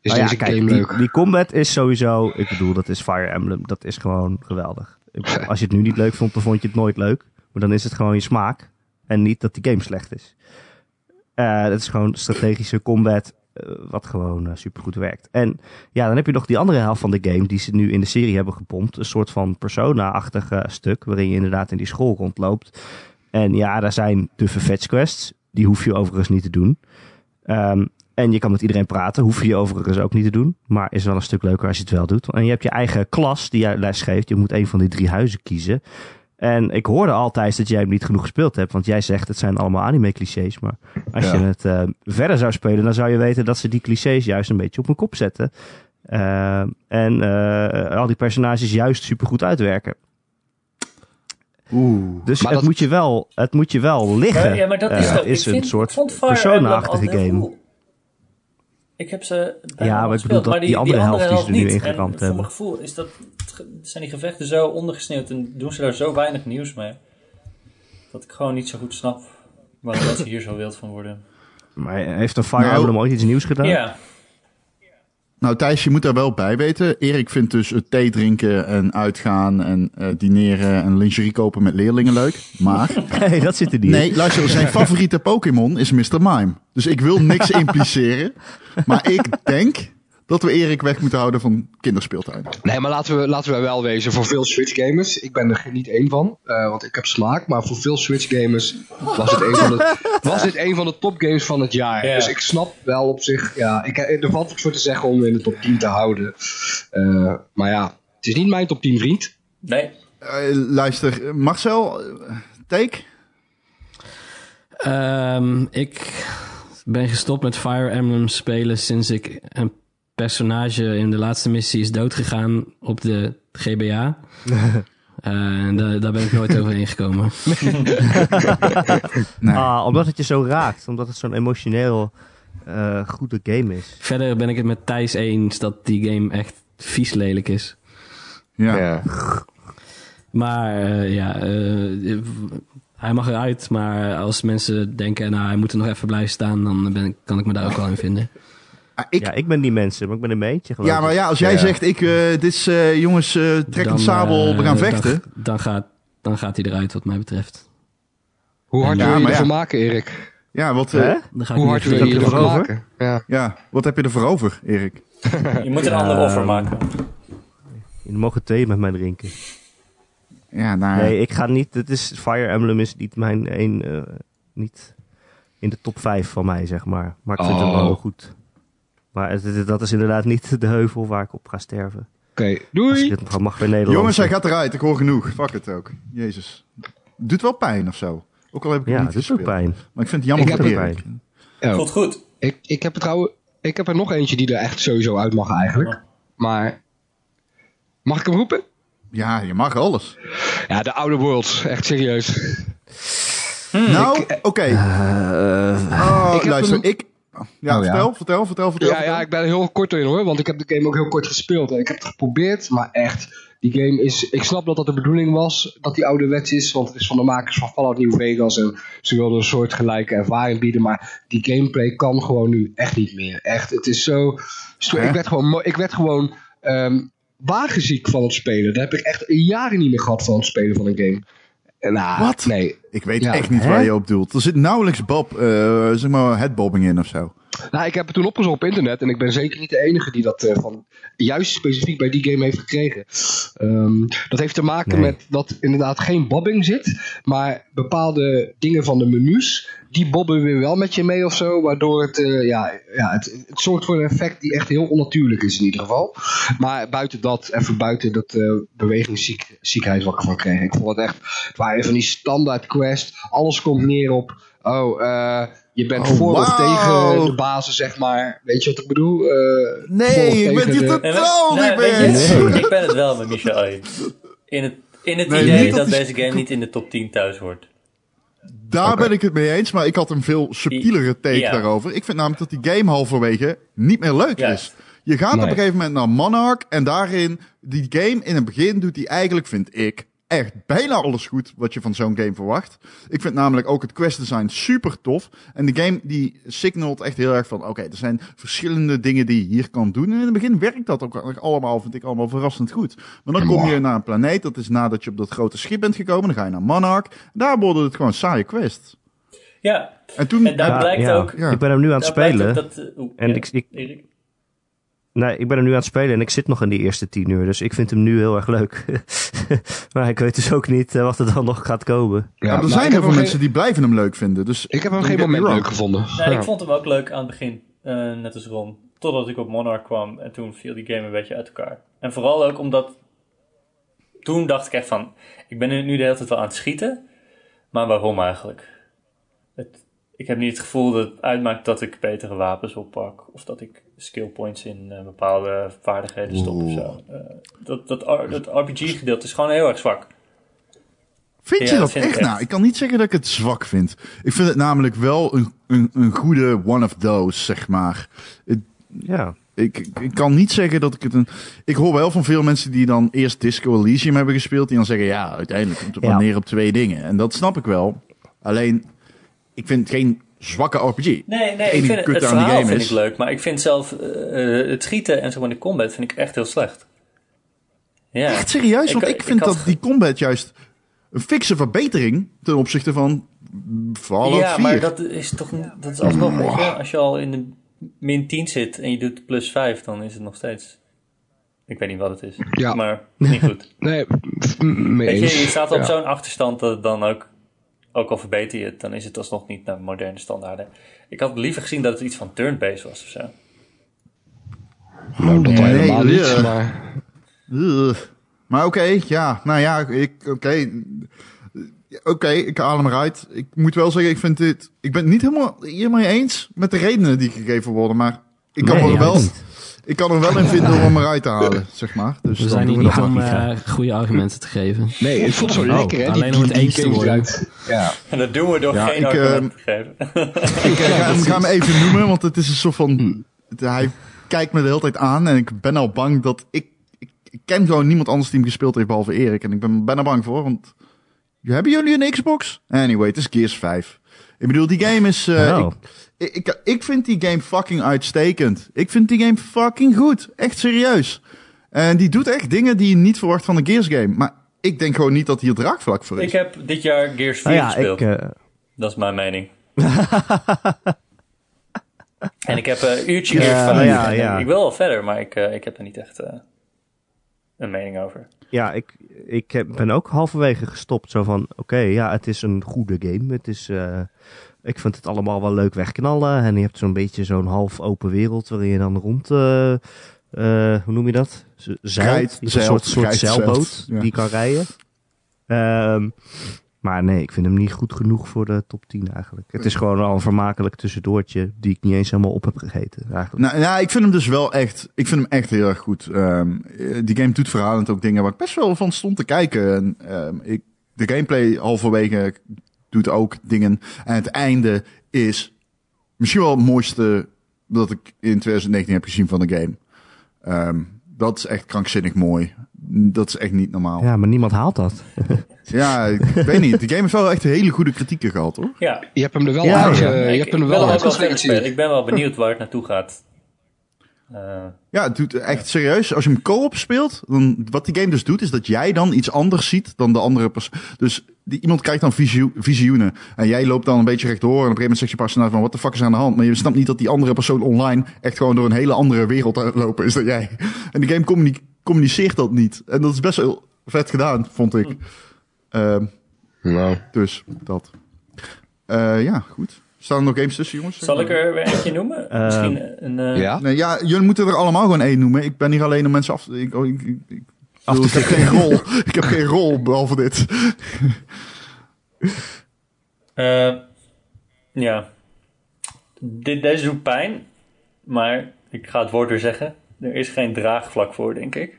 Speaker 4: is
Speaker 3: Nou ja,
Speaker 4: deze
Speaker 3: kijk,
Speaker 4: game
Speaker 3: die,
Speaker 4: leuk?
Speaker 3: Die combat is sowieso, ik bedoel, dat is Fire Emblem. Dat is gewoon geweldig. Ik bedoel, Als je het nu niet leuk vond, dan vond je het nooit leuk. Maar dan is het gewoon je smaak. En niet dat die game slecht is. Eh, het is gewoon strategische combat, eh, wat gewoon eh, supergoed werkt. En ja, dan heb je nog die andere helft van de game, die ze nu in de serie hebben gepompt. Een soort van persona-achtig eh, stuk, waarin je inderdaad in die school rondloopt. En ja, daar zijn de fetch quests. Die hoef je overigens niet te doen. Ehm, en je kan met iedereen praten. Hoef je overigens ook niet te doen. Maar is wel een stuk leuker als je het wel doet. En je hebt je eigen klas die jij lesgeeft. Je moet een van die drie huizen kiezen. En ik hoorde altijd dat jij hem niet genoeg gespeeld hebt. Want jij zegt het zijn allemaal anime-clichés. Maar als
Speaker 4: Ja.
Speaker 3: je het eh, verder zou spelen, dan zou je weten dat ze die clichés juist een beetje op hun kop zetten. Ehm, en eh, al die personages juist supergoed uitwerken.
Speaker 1: Oeh.
Speaker 3: Dus
Speaker 4: Maar
Speaker 3: het,
Speaker 4: dat-
Speaker 3: moet je wel, het moet je wel liggen.
Speaker 5: Ja, maar dat is
Speaker 3: Eh,
Speaker 5: toch... ik
Speaker 3: is een
Speaker 5: vind-
Speaker 3: soort
Speaker 5: ik vond Fire
Speaker 3: persona-achtige
Speaker 5: Emblem altijd
Speaker 3: game.
Speaker 5: cool. Ik heb ze bijna
Speaker 3: Ja, maar ik bedoel
Speaker 5: gespeeld,
Speaker 3: dat
Speaker 5: maar
Speaker 3: die andere helft die ze er nu
Speaker 5: niet.
Speaker 3: ingeramd
Speaker 5: En Voor
Speaker 3: hebben.
Speaker 5: mijn gevoel is dat, zijn die gevechten zo ondergesneeuwd en doen ze daar zo weinig nieuws mee. Dat ik gewoon niet zo goed snap waarom mensen hier zo wild van worden.
Speaker 3: Maar heeft een Fire
Speaker 1: Nou-
Speaker 3: Emblem ooit iets nieuws gedaan?
Speaker 5: Ja,
Speaker 1: Nou, Thijs, je moet daar wel bij weten. Erik vindt dus het thee drinken en uitgaan en eh, dineren en lingerie kopen met leerlingen leuk. Maar
Speaker 3: Nee, dat zit er niet. in.
Speaker 1: Nee, luister, zijn favoriete Pokémon is Mr. Mime. Dus ik wil niks impliceren. Maar ik denk dat we Erik weg moeten houden van kinderspeeltuin.
Speaker 4: Nee, maar laten we, laten we wel wezen. Voor veel Switch gamers, ik ben er niet één van, eh, want ik heb smaak. Maar voor veel Switch gamers was, het een van de, was dit een van de topgames van het jaar.
Speaker 5: Ja.
Speaker 4: Dus ik snap wel op zich, ja, ik, eh, er valt iets voor te zeggen om in de top 10 te houden. Eh, maar ja, het is niet mijn top 10 vriend.
Speaker 5: nee.
Speaker 1: Eh, luister, eh, Marcel, eh, take.
Speaker 2: Ehm, ik ben gestopt met Fire Emblem spelen sinds ik een personage in de laatste missie is doodgegaan op de GBA. Eh, en da- daar ben ik nooit overheen gekomen.
Speaker 1: Nee.
Speaker 3: Ah, omdat het je zo raakt. Omdat het zo'n emotioneel eh, goede game is.
Speaker 2: Verder ben ik het met Thijs eens dat die game echt vies lelijk is.
Speaker 1: ja.
Speaker 2: Maar eh, ja, eh, hij mag eruit. Maar als mensen denken, nou hij moet er nog even blijven staan, dan ben ik- kan ik me daar ook wel in vinden.
Speaker 1: Ah, ik,
Speaker 3: ja,
Speaker 1: ja,
Speaker 3: ik ben die mensen, maar ik ben een meentje geloof ik.
Speaker 1: maar ja, als jij zegt, ik, eh, dit is, eh, jongens, eh, trek een
Speaker 2: Dan,
Speaker 1: sabel, we
Speaker 2: eh,
Speaker 1: gaan
Speaker 2: dan-
Speaker 1: vechten.
Speaker 2: Dan, gaat, dan gaat hij eruit wat mij betreft.
Speaker 4: Hoe hard
Speaker 1: Ja,
Speaker 4: wil je
Speaker 1: maar
Speaker 4: ervan
Speaker 1: ja.
Speaker 4: maken, Erik?
Speaker 1: Ja wat, eh,
Speaker 3: Hè?
Speaker 2: Dan ga ik
Speaker 4: Hoe
Speaker 2: niet
Speaker 4: hard
Speaker 2: verder.
Speaker 4: wil je
Speaker 3: er
Speaker 4: ervan
Speaker 3: over?
Speaker 4: maken? Ja.
Speaker 1: ja, wat heb je ervoor over, Erik?
Speaker 5: Je moet een ander offer maken.
Speaker 3: Jullie mogen thee met mij drinken.
Speaker 1: Ja, nou,
Speaker 3: Nee, ik ga niet. Het is, Fire Emblem is niet mijn één. eh, niet in de top 5 van mij, zeg maar. Maar ik vind het wel
Speaker 4: Oh.
Speaker 3: goed. Maar het- het- dat is inderdaad niet de heuvel waar ik op ga sterven.
Speaker 4: Oké,
Speaker 3: Als ik
Speaker 4: doei!
Speaker 3: dit nog mag bij Nederland.
Speaker 1: jongens, hij gaat eruit, ik hoor genoeg. Fuck het ook. Jezus. Doet wel pijn of zo. Ook al heb ik het
Speaker 3: Ja,
Speaker 1: niet
Speaker 3: het is ook
Speaker 1: gespeeld.
Speaker 3: pijn.
Speaker 1: Maar ik vind het jammer
Speaker 4: Ik
Speaker 1: voor
Speaker 3: heb ook
Speaker 1: Erik.
Speaker 4: Oh.
Speaker 5: Goed, goed.
Speaker 4: Ik, ik heb er trouwens. Ik heb er nog eentje die er echt sowieso uit mag eigenlijk. Maar. Mag ik hem roepen?
Speaker 1: Ja, je mag alles.
Speaker 4: Ja, de oude world. Echt serieus.
Speaker 1: Nou, oké.
Speaker 3: Eh,
Speaker 1: Oh,
Speaker 4: Hmm, eh, ik heb
Speaker 1: luister,
Speaker 4: een-
Speaker 1: ik... Ja,
Speaker 4: Oh, ja.
Speaker 1: vertel, vertel, vertel, vertel.
Speaker 4: Ja,
Speaker 1: vertel.
Speaker 4: ja, ik ben er heel kort in hoor. Want ik heb de game ook heel kort gespeeld. En ik heb het geprobeerd. Maar echt. Die game is. Ik snap dat dat de bedoeling was. Dat die ouderwets is. Want het is van de makers van Fallout New Vegas. En ze wilden een soort gelijke ervaring bieden. Maar die gameplay kan gewoon nu echt niet meer. Echt. Het is zo. zo-
Speaker 1: Hè?
Speaker 4: Ik werd gewoon. mo- Ik werd gewoon ehm, wagenziek van het spelen. Daar heb ik echt jaren niet meer gehad van het spelen van een game. En, nou,
Speaker 1: Wat?
Speaker 4: Nee,
Speaker 1: Ik weet
Speaker 4: Ja,
Speaker 1: echt niet
Speaker 3: hè?
Speaker 1: waar je op doelt. Er zit nauwelijks Bob, eh, zeg maar, headbobbing in of zo.
Speaker 4: Nou, ik heb het toen opgezocht op internet en ik ben zeker niet de enige die dat eh, van juist specifiek bij die game heeft gekregen. Ehm, dat heeft te maken
Speaker 3: Nee.
Speaker 4: met dat inderdaad geen bobbing zit, maar bepaalde dingen van de menus, die bobben weer wel met je mee of zo, waardoor het, eh, ja, ja, het, het zorgt voor een effect die echt heel onnatuurlijk is in ieder geval. Maar buiten dat, even buiten dat eh bewegingsziekheid wat ik ervan kreeg, ik vond het echt, het waren van die standaard quest, alles komt neer op, oh, eh, je bent
Speaker 1: Oh,
Speaker 4: voor of
Speaker 1: wauw.
Speaker 4: tegen de bazen, zeg maar. Weet je wat ik bedoel? Eh, voor of
Speaker 1: Nee, ik
Speaker 4: tegen
Speaker 1: ben het
Speaker 4: de-
Speaker 1: hier
Speaker 5: En
Speaker 1: totaal
Speaker 5: nee,
Speaker 1: niet
Speaker 5: weet
Speaker 1: mee eens.
Speaker 5: je, Ik ben het wel met Michel eens. In het, in het
Speaker 1: Nee,
Speaker 5: idee
Speaker 1: niet
Speaker 5: dat,
Speaker 1: dat die-
Speaker 5: deze game niet in de top 10 thuis hoort.
Speaker 1: Daar ben ik het mee eens, maar ik had een veel subtielere take
Speaker 5: Ja.
Speaker 1: daarover. Ik vind namelijk dat die game halverwege niet meer leuk
Speaker 5: Ja.
Speaker 1: is. Je gaat op
Speaker 4: Nee.
Speaker 1: een gegeven moment naar Monarch en daarin, die game in het begin doet die eigenlijk, vind ik, echt bijna alles goed wat je van zo'n game verwacht. Ik vind namelijk ook het quest design super tof. En de game die signalt echt heel erg van, oké, er zijn verschillende dingen die je hier kan doen. En in het begin werkt dat ook allemaal, vind ik allemaal verrassend goed. Maar dan kom je naar een planeet, dat is nadat je op dat grote schip bent gekomen. Dan ga je naar Monarch. Daar worden het gewoon saaie quests.
Speaker 5: Ja,
Speaker 1: En toen...
Speaker 5: en daar
Speaker 3: Ja,
Speaker 5: blijkt
Speaker 3: ja.
Speaker 5: ook...
Speaker 1: Ja.
Speaker 3: Ik ben hem nu aan het
Speaker 5: daar blijkt
Speaker 3: spelen.
Speaker 5: ook Dat, eh, oeh,
Speaker 3: En
Speaker 5: ja,
Speaker 3: ik- ik-
Speaker 5: Erik.
Speaker 3: Nee, ik ben hem nu aan het spelen en ik zit nog in die eerste tien uur. Dus ik vind hem nu heel erg leuk. maar ik weet dus ook niet eh, wat er dan nog gaat komen.
Speaker 1: Ja,
Speaker 4: maar
Speaker 1: er
Speaker 4: ik
Speaker 1: zijn
Speaker 4: heb
Speaker 1: heel veel
Speaker 4: hem
Speaker 1: mensen
Speaker 4: geen-
Speaker 1: die blijven hem leuk vinden. Dus
Speaker 4: Ik heb hem
Speaker 1: Don't
Speaker 4: geen
Speaker 1: get me
Speaker 4: moment
Speaker 1: wrong.
Speaker 4: leuk gevonden.
Speaker 5: Nou,
Speaker 4: Ja.
Speaker 5: ik vond hem ook leuk aan het begin, eh, net als Ron. Totdat ik op Monarch kwam en toen viel die game een beetje uit elkaar. En vooral ook omdat... Toen dacht ik echt van, ik ben nu de hele tijd wel aan het schieten, maar waarom eigenlijk? Het, ik heb niet het gevoel dat het uitmaakt dat ik betere wapens oppak. Of dat ik skill points in eh, bepaalde vaardigheden stop of zo. Eh, dat dat, R- dat RPG-gedeelte is gewoon heel erg zwak.
Speaker 1: Vind je
Speaker 5: Ja,
Speaker 1: dat
Speaker 5: vind ik
Speaker 1: echt?
Speaker 5: echt.
Speaker 1: Nou, ik kan niet zeggen dat ik het zwak vind. Ik vind het namelijk wel een, een, een goede one of those, zeg maar. Het-
Speaker 3: Ja.
Speaker 1: Ik, ik, ik kan niet zeggen dat ik het een. Ik hoor wel van veel mensen die dan eerst Disco Elysium hebben gespeeld. Die dan zeggen: ja, uiteindelijk komt het wel
Speaker 3: Ja.
Speaker 1: neer op twee dingen. En dat snap ik wel. Alleen, ik vind het geen zwakke RPG.
Speaker 5: Nee, nee ik
Speaker 1: enige
Speaker 5: vind het,
Speaker 1: kut
Speaker 5: het
Speaker 1: aan die
Speaker 5: verhaal
Speaker 1: game
Speaker 5: vind
Speaker 1: is-
Speaker 5: ik leuk, maar ik vind zelf eh, eh, het schieten en zo maar de combat vind ik echt heel slecht. Ja.
Speaker 1: Echt serieus,
Speaker 5: Ik-
Speaker 1: want ik,
Speaker 5: ik
Speaker 1: vind
Speaker 5: had
Speaker 1: dat
Speaker 5: ge-
Speaker 1: die combat juist een fikse verbetering ten opzichte van Fallout
Speaker 5: ja,
Speaker 1: 4.
Speaker 5: maar dat is toch niet- dat is alsnog, weet je, als je al in de min 10 zit en je doet plus 5, dan is het nog steeds. Ik weet niet wat het is,
Speaker 4: Ja.
Speaker 5: maar niet goed.
Speaker 4: Nee, pff, m- mee
Speaker 5: Weet je,
Speaker 4: eens.
Speaker 5: je staat op
Speaker 4: Ja.
Speaker 5: zo'n achterstand dat het dan ook, ook al verbeter je het, dan is het alsnog niet naar moderne standaarden. Ik had liever gezien dat het iets van turn-based was of zo.
Speaker 4: Nou, dat al
Speaker 1: Nee,
Speaker 4: helemaal
Speaker 1: ja.
Speaker 4: niet, maar...
Speaker 1: Ugh. Maar oké, ja, nou ja, ik, oké. Oké, ik haal hem eruit. Ik moet wel zeggen, ik vind dit. Ik ben het niet helemaal hiermee eens met de redenen die gegeven worden, maar ik kan,
Speaker 3: Nee,
Speaker 1: er, wel,
Speaker 3: juist niet.
Speaker 1: ik kan er wel in vinden om hem eruit te halen, zeg maar. Dus
Speaker 2: We
Speaker 1: dan
Speaker 2: zijn
Speaker 1: doen
Speaker 2: hier niet
Speaker 1: dat
Speaker 2: om
Speaker 1: maar.
Speaker 2: eh, goede argumenten te geven.
Speaker 4: Nee, het
Speaker 1: Oh,
Speaker 4: voelt zo lekker, hè?
Speaker 2: alleen om het eens te
Speaker 4: games
Speaker 2: worden.
Speaker 4: eruit. Ja.
Speaker 5: En dat doen we door
Speaker 1: Ja,
Speaker 5: geen
Speaker 1: ik, ehm,
Speaker 5: argument te geven.
Speaker 1: Ik eh, ga, hem- ga hem even noemen, want het is een soort van. het- Hij kijkt me de hele tijd aan en ik ben al bang dat ik. Ik, ik ken gewoon niemand anders die hem gespeeld heeft behalve Erik. En ik ben bijna bang voor, want. Hebben jullie een Xbox? Anyway, het is Gears 5. Ik bedoel, die game is. eh,
Speaker 3: Oh.
Speaker 1: ik- ik, ik, ik vind die game fucking uitstekend. Ik vind die game fucking goed. Echt serieus. En die doet echt dingen die je niet verwacht van een Gears game. Maar ik denk gewoon niet dat hier draagvlak voor
Speaker 5: Ik
Speaker 1: is.
Speaker 5: heb dit jaar Gears 4
Speaker 3: Nou ja,
Speaker 5: gespeeld.
Speaker 3: ik, eh,
Speaker 5: Dat is mijn mening. en ik heb eh, een uurtje
Speaker 3: Ja,
Speaker 5: Gears 5.
Speaker 3: nou ja,
Speaker 5: En
Speaker 3: ja.
Speaker 5: Ik wil wel verder, maar ik, eh, ik heb er niet echt eh, een mening over.
Speaker 3: ja, ik, ik heb- ben ook halverwege gestopt. Zo van, oké, ja, het is een goede game. Het is, eh, ik vind het allemaal wel leuk wegknallen. En je hebt zo'n beetje zo'n half open wereld waarin je dan rond... eh, eh, hoe noem je dat? Z- Zeilt.
Speaker 1: Krijt,
Speaker 3: Een
Speaker 1: zeilt,
Speaker 3: soort, soort
Speaker 1: krijt, zeilt.
Speaker 3: zeilboot
Speaker 1: Ja.
Speaker 3: die je kan rijden. Ehm, maar nee, ik vind hem niet goed genoeg voor de top 10 eigenlijk. Het is gewoon al een vermakelijk tussendoortje die ik niet eens helemaal op heb gegeten eigenlijk.
Speaker 1: Nou, ja, ik vind hem dus wel echt. Ik vind hem echt heel erg goed. Ehm, eh, die game doet verhalend ook dingen waar ik best wel van stond te kijken. En, ehm, ik, de gameplay halverwege doet ook dingen. En het einde is misschien wel het mooiste dat ik in 2019 heb gezien van de game. Ehm, dat is echt krankzinnig mooi. Dat is echt niet normaal. Ja,
Speaker 3: Ja, maar niemand haalt dat.
Speaker 1: ik weet niet. De game heeft wel echt hele goede kritieken gehad, hoor.
Speaker 5: Ja,
Speaker 4: Je hebt hem er wel
Speaker 3: Ja,
Speaker 4: uit.
Speaker 3: ja.
Speaker 4: eh,
Speaker 5: ik,
Speaker 4: je hebt hem er
Speaker 5: ik wil
Speaker 4: wel
Speaker 5: hem
Speaker 4: uit
Speaker 5: ook wel verder
Speaker 4: gesleept.
Speaker 5: spelen. Ik ben wel benieuwd waar het naartoe gaat. Eh,
Speaker 1: Ja, het doet echt serieus. Als je hem co-op speelt, dan, wat die game dus doet, is dat jij dan iets anders ziet dan de andere persoon. Dus die, iemand kijkt dan visio- visioenen. En jij loopt dan een beetje rechtdoor. En op een gegeven moment zegt je personage van, wat de fuck is er aan de hand? Maar je snapt niet dat die andere persoon online echt gewoon door een hele andere wereld aan het lopen is dan jij. En de game communi- communiceert dat niet. En dat is best wel vet gedaan, vond ik. Ehm,
Speaker 4: Nou,
Speaker 1: dus dat. Eh, ja, goed. Staan er nog games tussen, jongens?
Speaker 5: zal ik er weer eentje noemen?
Speaker 3: Eh,
Speaker 5: Misschien een... eh,
Speaker 4: ja.
Speaker 1: Nee, ja, jullie moeten er allemaal gewoon één noemen. Ik ben hier alleen om mensen af te... Ik, oh, ik, ik, ik,
Speaker 3: Af te
Speaker 1: ik heb geen rol. ik heb geen rol, behalve dit.
Speaker 5: eh, ja. Dit, deze doet pijn, maar ik ga het woord weer zeggen. Er is geen draagvlak voor, denk ik.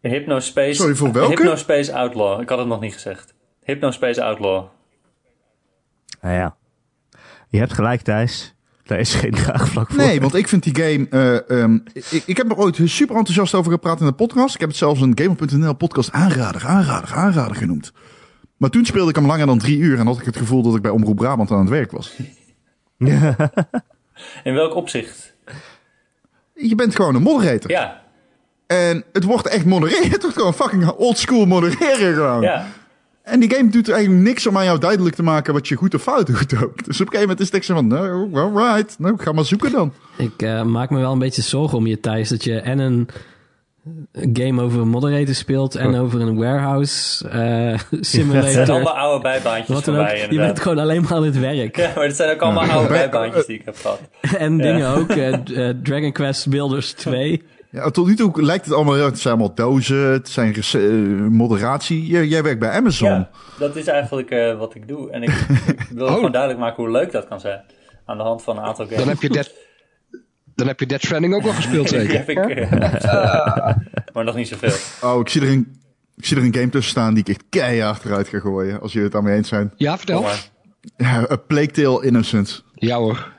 Speaker 5: Hypnospace.
Speaker 1: Sorry, voor welke?
Speaker 5: Hypnospace Outlaw. Ik had het nog niet gezegd. Hypnospace Outlaw.
Speaker 3: Nou ja. Je hebt gelijk, Thijs. Daar is geen draagvlak voor.
Speaker 1: Nee, want ik vind die game. eh, ehm, ik, ik heb er ooit super enthousiast over gepraat in de podcast. Ik heb het zelfs een Gamer.nl podcast aanrader, aanrader, aanrader genoemd. Maar toen speelde ik hem langer dan drie uur en had ik het gevoel dat ik bij Omroep Brabant aan het werk was.
Speaker 5: In welk opzicht?
Speaker 1: Je bent gewoon een moderator.
Speaker 5: Ja,
Speaker 1: En het wordt echt modereren. Het wordt gewoon fucking oldschool modereren gewoon.
Speaker 5: ja.
Speaker 1: En die game doet eigenlijk niks om aan jou duidelijk te maken wat je goed of fout doet ook. Dus op een gegeven moment is het echt zo van, nou, alright, nou, ga maar zoeken dan.
Speaker 2: Ik eh, maak me wel een beetje zorgen om je, Thijs. Dat je en een game over een moderator speelt... en over een warehouse eh,
Speaker 5: Het zijn
Speaker 2: simulator.
Speaker 5: allemaal oude bijbaantjes
Speaker 2: Wat
Speaker 5: voor
Speaker 2: dan ook.
Speaker 5: mij
Speaker 2: Je bent
Speaker 5: inderdaad.
Speaker 2: gewoon alleen maar aan het werk.
Speaker 5: Ja, maar het zijn ook allemaal oude
Speaker 1: Bij-
Speaker 5: bijbaantjes die ik heb gehad.
Speaker 2: En dingen ook. eh, d- eh, Dragon Quest Builders 2.
Speaker 1: Ja, tot nu toe lijkt het allemaal heel erg. Het zijn allemaal dozen, het zijn rece- eh, moderatie. Jij, jij werkt bij Amazon.
Speaker 5: Ja, dat is eigenlijk eh, wat ik doe. En ik, ik wil gewoon duidelijk maken hoe leuk dat kan zijn. Aan de hand van een aantal games.
Speaker 4: Dan heb je Dead, dan heb je Dead Stranding ook wel gespeeld
Speaker 5: Die
Speaker 4: zeker?
Speaker 5: heb ik, eh, maar nog niet zoveel.
Speaker 1: Oh, ik zie, er een, ik zie er een game tussen staan die ik echt keihard eruit ga gooien. Als jullie het daarmee eens zijn.
Speaker 4: Ja,
Speaker 5: Kom
Speaker 4: vertel.
Speaker 5: maar.
Speaker 1: Ja, A Plague Tale Innocence.
Speaker 4: Ja hoor.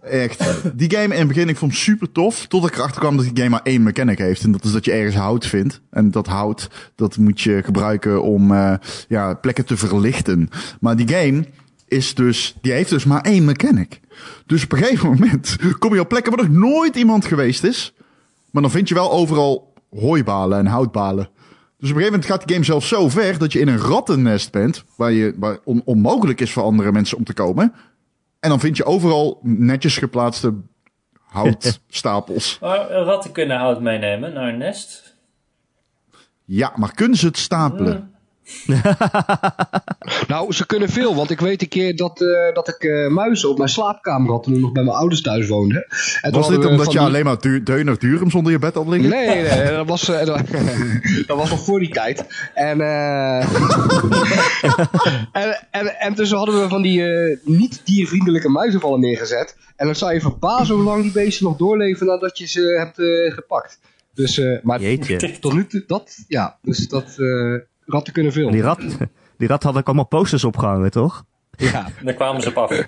Speaker 1: Echt. Die game in het begin, ik vond hem super tof. Tot ik erachter kwam dat die game maar één mechanic heeft. En dat is dat je ergens hout vindt. En dat hout, dat moet je gebruiken om eh, ja, plekken te verlichten. Maar die game is dus, die heeft dus maar één mechanic. Dus op een gegeven moment kom je op plekken waar nog nooit iemand geweest is. Maar dan vind je wel overal hooibalen en houtbalen. Dus op een gegeven moment gaat de game zelfs zo ver dat je in een rattennest bent. Waar, je, waar on- onmogelijk is voor andere mensen om te komen. En dan vind je overal netjes geplaatste houtstapels.
Speaker 5: Maar eh, ratten kunnen hout meenemen naar een nest.
Speaker 1: Ja, maar kunnen ze het stapelen?
Speaker 4: Nou, ze kunnen veel, want ik weet een keer dat, eh, dat ik eh, muizen op mijn slaapkamer had toen ik nog bij mijn ouders thuis woonde. En toen
Speaker 1: Was
Speaker 4: hadden
Speaker 1: dit
Speaker 4: we
Speaker 1: omdat
Speaker 4: van
Speaker 1: je
Speaker 4: die-
Speaker 1: alleen maar du deuner durum zonder je bed had liggen?
Speaker 4: Nee, nee, nee, dat was, eh, dat, dat was nog voor die tijd. En, eh en, en, en dus hadden we van die eh, niet diervriendelijke muizenvallen neergezet. En dan zou je verbazen hoe lang die beesten nog doorleven nadat je ze hebt eh, gepakt. Dus, eh, maar
Speaker 3: Jeetje.
Speaker 4: tot nu toe, dat, ja, dus dat, eh, ratten kunnen veel.
Speaker 3: Die rat, die rat had ook allemaal posters opgehangen, toch?
Speaker 4: Ja,
Speaker 5: Daar kwamen ze op af.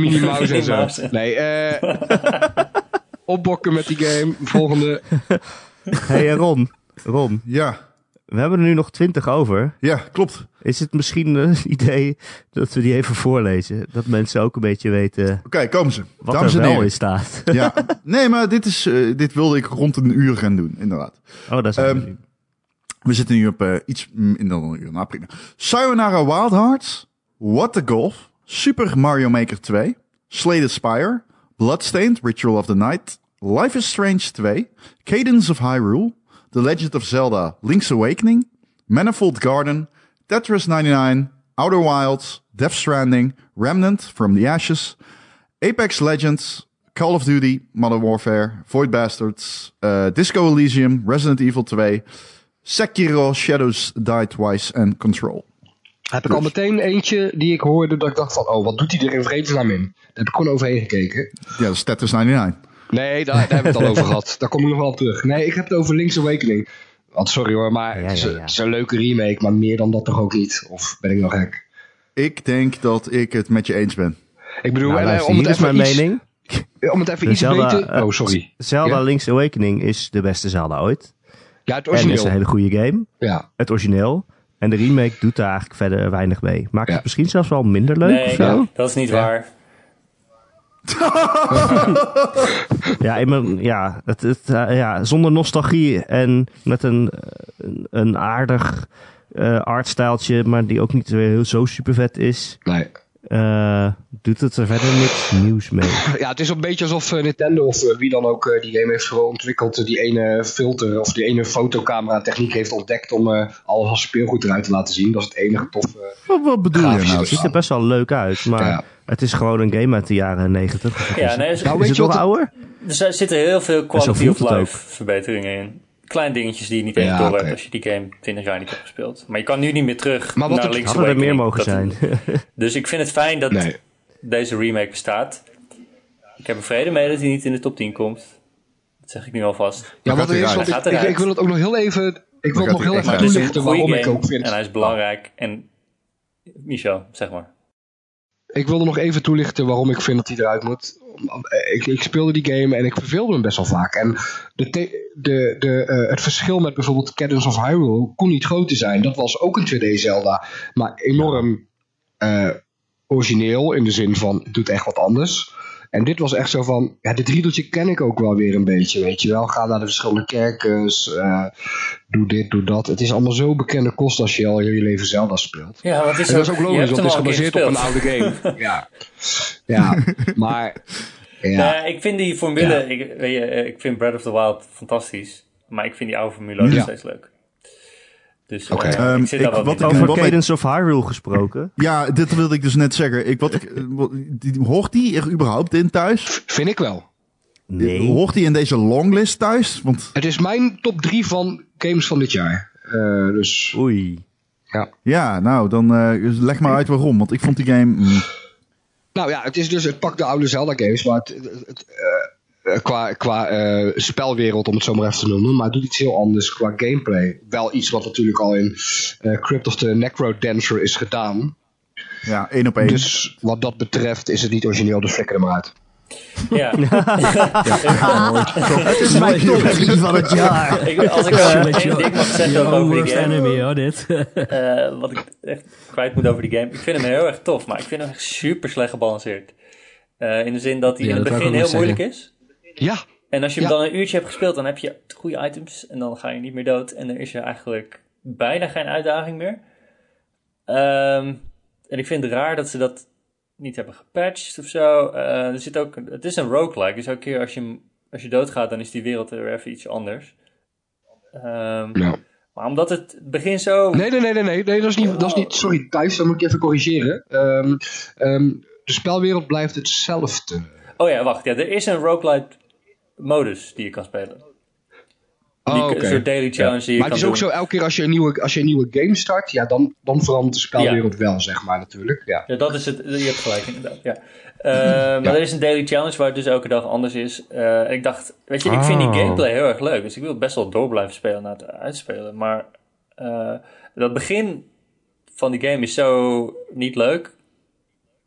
Speaker 4: Minnie Mouse en
Speaker 5: Minnie
Speaker 4: zo.
Speaker 5: Mouse.
Speaker 4: Nee, eh opbokken met die game. Volgende.
Speaker 3: Hé hey, eh, Ron, Ron,
Speaker 1: Ja,
Speaker 3: we hebben er nu nog twintig over.
Speaker 1: ja, klopt.
Speaker 3: Is het misschien een idee dat we die even voorlezen? Dat mensen ook een beetje weten
Speaker 1: Oké, komen ze.
Speaker 3: wat
Speaker 1: Dames
Speaker 3: er
Speaker 1: en
Speaker 3: wel
Speaker 1: heren.
Speaker 3: in staat.
Speaker 1: Ja. Nee, maar dit, is, eh, dit wilde ik rond een uur gaan doen, inderdaad.
Speaker 3: Oh, dat is
Speaker 1: Ehm, We zitten nu op eh, iets minder dan een uur. Nou, prima. Sayonara Wild Hearts, What the Golf, Super Mario Maker 2, Slated Spire, Bloodstained, Ritual of the Night, Life is Strange 2, Cadence of Hyrule, The Legend of Zelda, Link's Awakening, Manifold Garden, Tetris 99, Outer Wilds, Death Stranding, Remnant from the Ashes, Apex Legends, Call of Duty, Modern Warfare, Void Bastards, eh, Disco Elysium, Resident Evil 2, Sekiro, Shadows Die Twice en Control.
Speaker 4: Heb ik al meteen eentje die ik hoorde dat ik dacht van, oh, wat doet hij er in vredesnaam in? Daar heb ik gewoon overheen gekeken.
Speaker 1: Ja, dat is Tetris 99.
Speaker 4: Nee, daar, daar hebben we het al over gehad. Daar kom ik nog wel op terug. Nee, ik heb het over Link's Awakening. Want sorry hoor, maar
Speaker 3: Ja, ja,
Speaker 4: het, is,
Speaker 3: ja.
Speaker 4: het is een leuke remake, maar meer dan dat toch ook niet? Of ben ik nog gek?
Speaker 1: Ik denk dat ik het met je eens ben.
Speaker 4: Ik bedoel,
Speaker 3: nou,
Speaker 4: en, eh,
Speaker 3: luister,
Speaker 4: om, het
Speaker 3: hier is
Speaker 4: even
Speaker 3: mijn
Speaker 4: iets,
Speaker 3: mening.
Speaker 4: om het even
Speaker 3: De
Speaker 4: iets
Speaker 3: Zelda,
Speaker 4: beter...
Speaker 3: eh,
Speaker 4: Oh, sorry.
Speaker 3: Zelda
Speaker 4: Ja?
Speaker 3: Link's Awakening is de beste Zelda ooit.
Speaker 4: Ja, het
Speaker 3: En is
Speaker 4: origineel.
Speaker 3: een hele goede game.
Speaker 4: Ja.
Speaker 3: Het origineel. En de remake doet daar eigenlijk verder weinig mee. Maakt
Speaker 4: Ja.
Speaker 3: het misschien zelfs wel minder leuk of
Speaker 5: Nee,
Speaker 3: zo? Ja,
Speaker 5: dat is niet waar.
Speaker 3: ik ben- ja, het, het, eh, ja, zonder nostalgie en met een, eh, een, een aardig eh artstijltje, maar die ook niet weer heel zo super vet is.
Speaker 4: Nee.
Speaker 3: eh, doet het er verder niks nieuws mee.
Speaker 4: Ja, het is een beetje alsof eh, Nintendo of eh, wie dan ook eh, die game heeft gewoon ontwikkeld, eh, die ene filter of die ene fotocamera techniek heeft ontdekt om eh al haar speelgoed eruit te laten zien. Dat is het enige eh. toffe.
Speaker 1: Wat, wat bedoel je
Speaker 4: Grafisch
Speaker 1: nou?
Speaker 3: Het ziet er best wel leuk uit, maar
Speaker 4: Ja.
Speaker 3: het is gewoon een game uit de jaren 90.
Speaker 5: Ja, nee, er,
Speaker 4: Nou,
Speaker 3: Is
Speaker 4: weet
Speaker 3: het
Speaker 4: je
Speaker 3: nog
Speaker 4: wat? het-
Speaker 3: ouder?
Speaker 5: er zijn- zitten heel veel quality
Speaker 3: voelt
Speaker 5: of
Speaker 3: het
Speaker 5: life
Speaker 3: ook.
Speaker 5: verbeteringen in. Klein dingetjes die je niet eens
Speaker 4: Ja,
Speaker 5: door hebt
Speaker 4: oké.
Speaker 5: als je die game 20 jaar niet hebt gespeeld. Maar je kan nu niet meer terug
Speaker 4: Maar wat
Speaker 5: naar
Speaker 4: het-
Speaker 5: links
Speaker 3: Hadden er meer
Speaker 5: Awakening.
Speaker 3: mogen
Speaker 5: Dat-
Speaker 3: zijn.
Speaker 5: Dus ik vind het fijn dat
Speaker 4: Nee.
Speaker 5: deze remake bestaat. Ik heb er vrede mee dat hij niet in de top 10 komt. Dat zeg ik nu alvast.
Speaker 4: Ja, wat
Speaker 1: gaat
Speaker 4: er is,
Speaker 1: eruit.
Speaker 4: want ik,
Speaker 5: Gaat
Speaker 4: ik,
Speaker 5: eruit.
Speaker 4: ik wil het ook nog heel even. Ik wil
Speaker 1: gaat
Speaker 4: het nog heel
Speaker 1: hij eruit.
Speaker 4: even
Speaker 5: Maar het is
Speaker 4: toelichten
Speaker 5: een
Speaker 4: waarom
Speaker 5: goede
Speaker 4: ik ook
Speaker 5: game
Speaker 4: vind.
Speaker 5: en hij is belangrijk. En Michel, zeg maar.
Speaker 4: ik wilde nog even toelichten waarom ik vind dat die eruit moet. Ik, ik speelde die game en ik verveelde hem best wel vaak. En de the- de, de, eh, het verschil met bijvoorbeeld Cadence of Hyrule kon niet groter zijn. Dat was ook een 2D Zelda, maar enorm eh, origineel in de zin van het doet echt wat anders. En dit was echt zo van, ja, dit riedeltje ken ik ook wel weer een beetje, weet je wel. Ga naar de verschillende kerkers, eh, doe dit, doe dat. Het is allemaal zo bekende kost als je al heel je leven Zelda speelt.
Speaker 5: Ja, want het is
Speaker 4: En dat is
Speaker 5: ook-
Speaker 4: ook
Speaker 5: je
Speaker 4: logisch,
Speaker 5: hebt
Speaker 4: want
Speaker 5: hem
Speaker 4: het is
Speaker 5: al een keer
Speaker 4: gebaseerd op een oude game. Ja, ja maar... Ja.
Speaker 5: Nou, ik vind die formule, ik, weet je, eh, ik vind Breath of the Wild fantastisch, maar ik vind die oude formule ook nog
Speaker 4: Ja.
Speaker 5: steeds leuk. Dus
Speaker 4: Oké.
Speaker 5: eh,
Speaker 1: Ehm,
Speaker 5: ik zit
Speaker 1: ik-
Speaker 5: daar wel
Speaker 1: wat
Speaker 5: wat
Speaker 1: ik-
Speaker 3: Over
Speaker 1: wat mij-
Speaker 3: Cadence of Hyrule gesproken.
Speaker 1: Ja, dit wilde ik dus net zeggen. Ik, wat ik, eh, wat- die, hoort die er überhaupt in thuis?
Speaker 4: Vind ik wel.
Speaker 3: Nee.
Speaker 1: Hoort die in deze longlist thuis? Want
Speaker 4: Het is mijn top 3 van games van dit jaar. Eh, dus
Speaker 3: Oei.
Speaker 4: ja.
Speaker 1: ja, nou, dan eh, dus leg maar uit waarom. Want ik vond die game... mm,
Speaker 4: Nou ja, het is dus het pakt de oude Zelda games, maar het, het- het, eh, eh, qua, qua eh, spelwereld om het zo maar even te noemen, maar het doet iets heel anders qua gameplay. Wel iets wat natuurlijk al in eh, Crypt of the Necro Dancer is gedaan.
Speaker 1: ja, één op één.
Speaker 4: Dus wat dat betreft is het niet origineel, dus flikker hem uit.
Speaker 5: Ja.
Speaker 3: Het is mijn top 3 van het jaar.
Speaker 5: Ik, als ik eh, één ding mag zeggen
Speaker 2: Your own
Speaker 5: over die
Speaker 2: worst
Speaker 5: game,
Speaker 2: enemy, hoor, dit.
Speaker 5: eh, wat ik echt kwijt moet over die game. Ik vind hem heel erg tof, maar ik vind hem echt super slecht gebalanceerd. Eh, in de zin dat hij
Speaker 2: Ja,
Speaker 5: in het
Speaker 2: dat wou
Speaker 5: begin
Speaker 2: ik ook
Speaker 5: heel
Speaker 2: nog
Speaker 5: moeilijk is.
Speaker 4: Ja,
Speaker 5: En als je hem
Speaker 4: Ja.
Speaker 5: dan een uurtje hebt gespeeld, dan heb je goede items en dan ga je niet meer dood. En dan is er eigenlijk bijna geen uitdaging meer. Ehm, en ik vind het raar dat ze dat niet hebben gepatcht of zo. Eh, er zit ook, het is een roguelike, dus elke keer als je, hem- als je doodgaat, dan is die wereld er weer even iets anders. Ehm,
Speaker 4: ja.
Speaker 5: Maar omdat het begin zo...
Speaker 4: Nee, nee, nee, nee, nee, nee dat, is niet, dat is niet. Oh, Sorry, Thijs, dan moet ik je even corrigeren. Ehm, ehm, de spelwereld blijft hetzelfde.
Speaker 5: Oh ja, wacht. Ja, er is een roguelite modus die je kan spelen. Die
Speaker 4: Oh,
Speaker 5: k-
Speaker 4: oké.
Speaker 5: soort daily challenge die je
Speaker 4: Maar
Speaker 5: kan
Speaker 4: het is ook
Speaker 5: doen.
Speaker 4: zo, elke keer als je een nieuwe, als je een nieuwe game start, ja, dan, dan verandert de spelwereld wel, zeg maar, natuurlijk. Ja.
Speaker 5: Ja, dat is het. Je hebt gelijk, inderdaad. Ja. Eh, Maar er is een daily challenge waar het dus elke dag anders is. Eh, en ik dacht, weet je, ik vind die gameplay heel erg leuk. Dus ik wil best wel door blijven spelen na het uitspelen. Maar eh, dat begin van die game is zo niet leuk.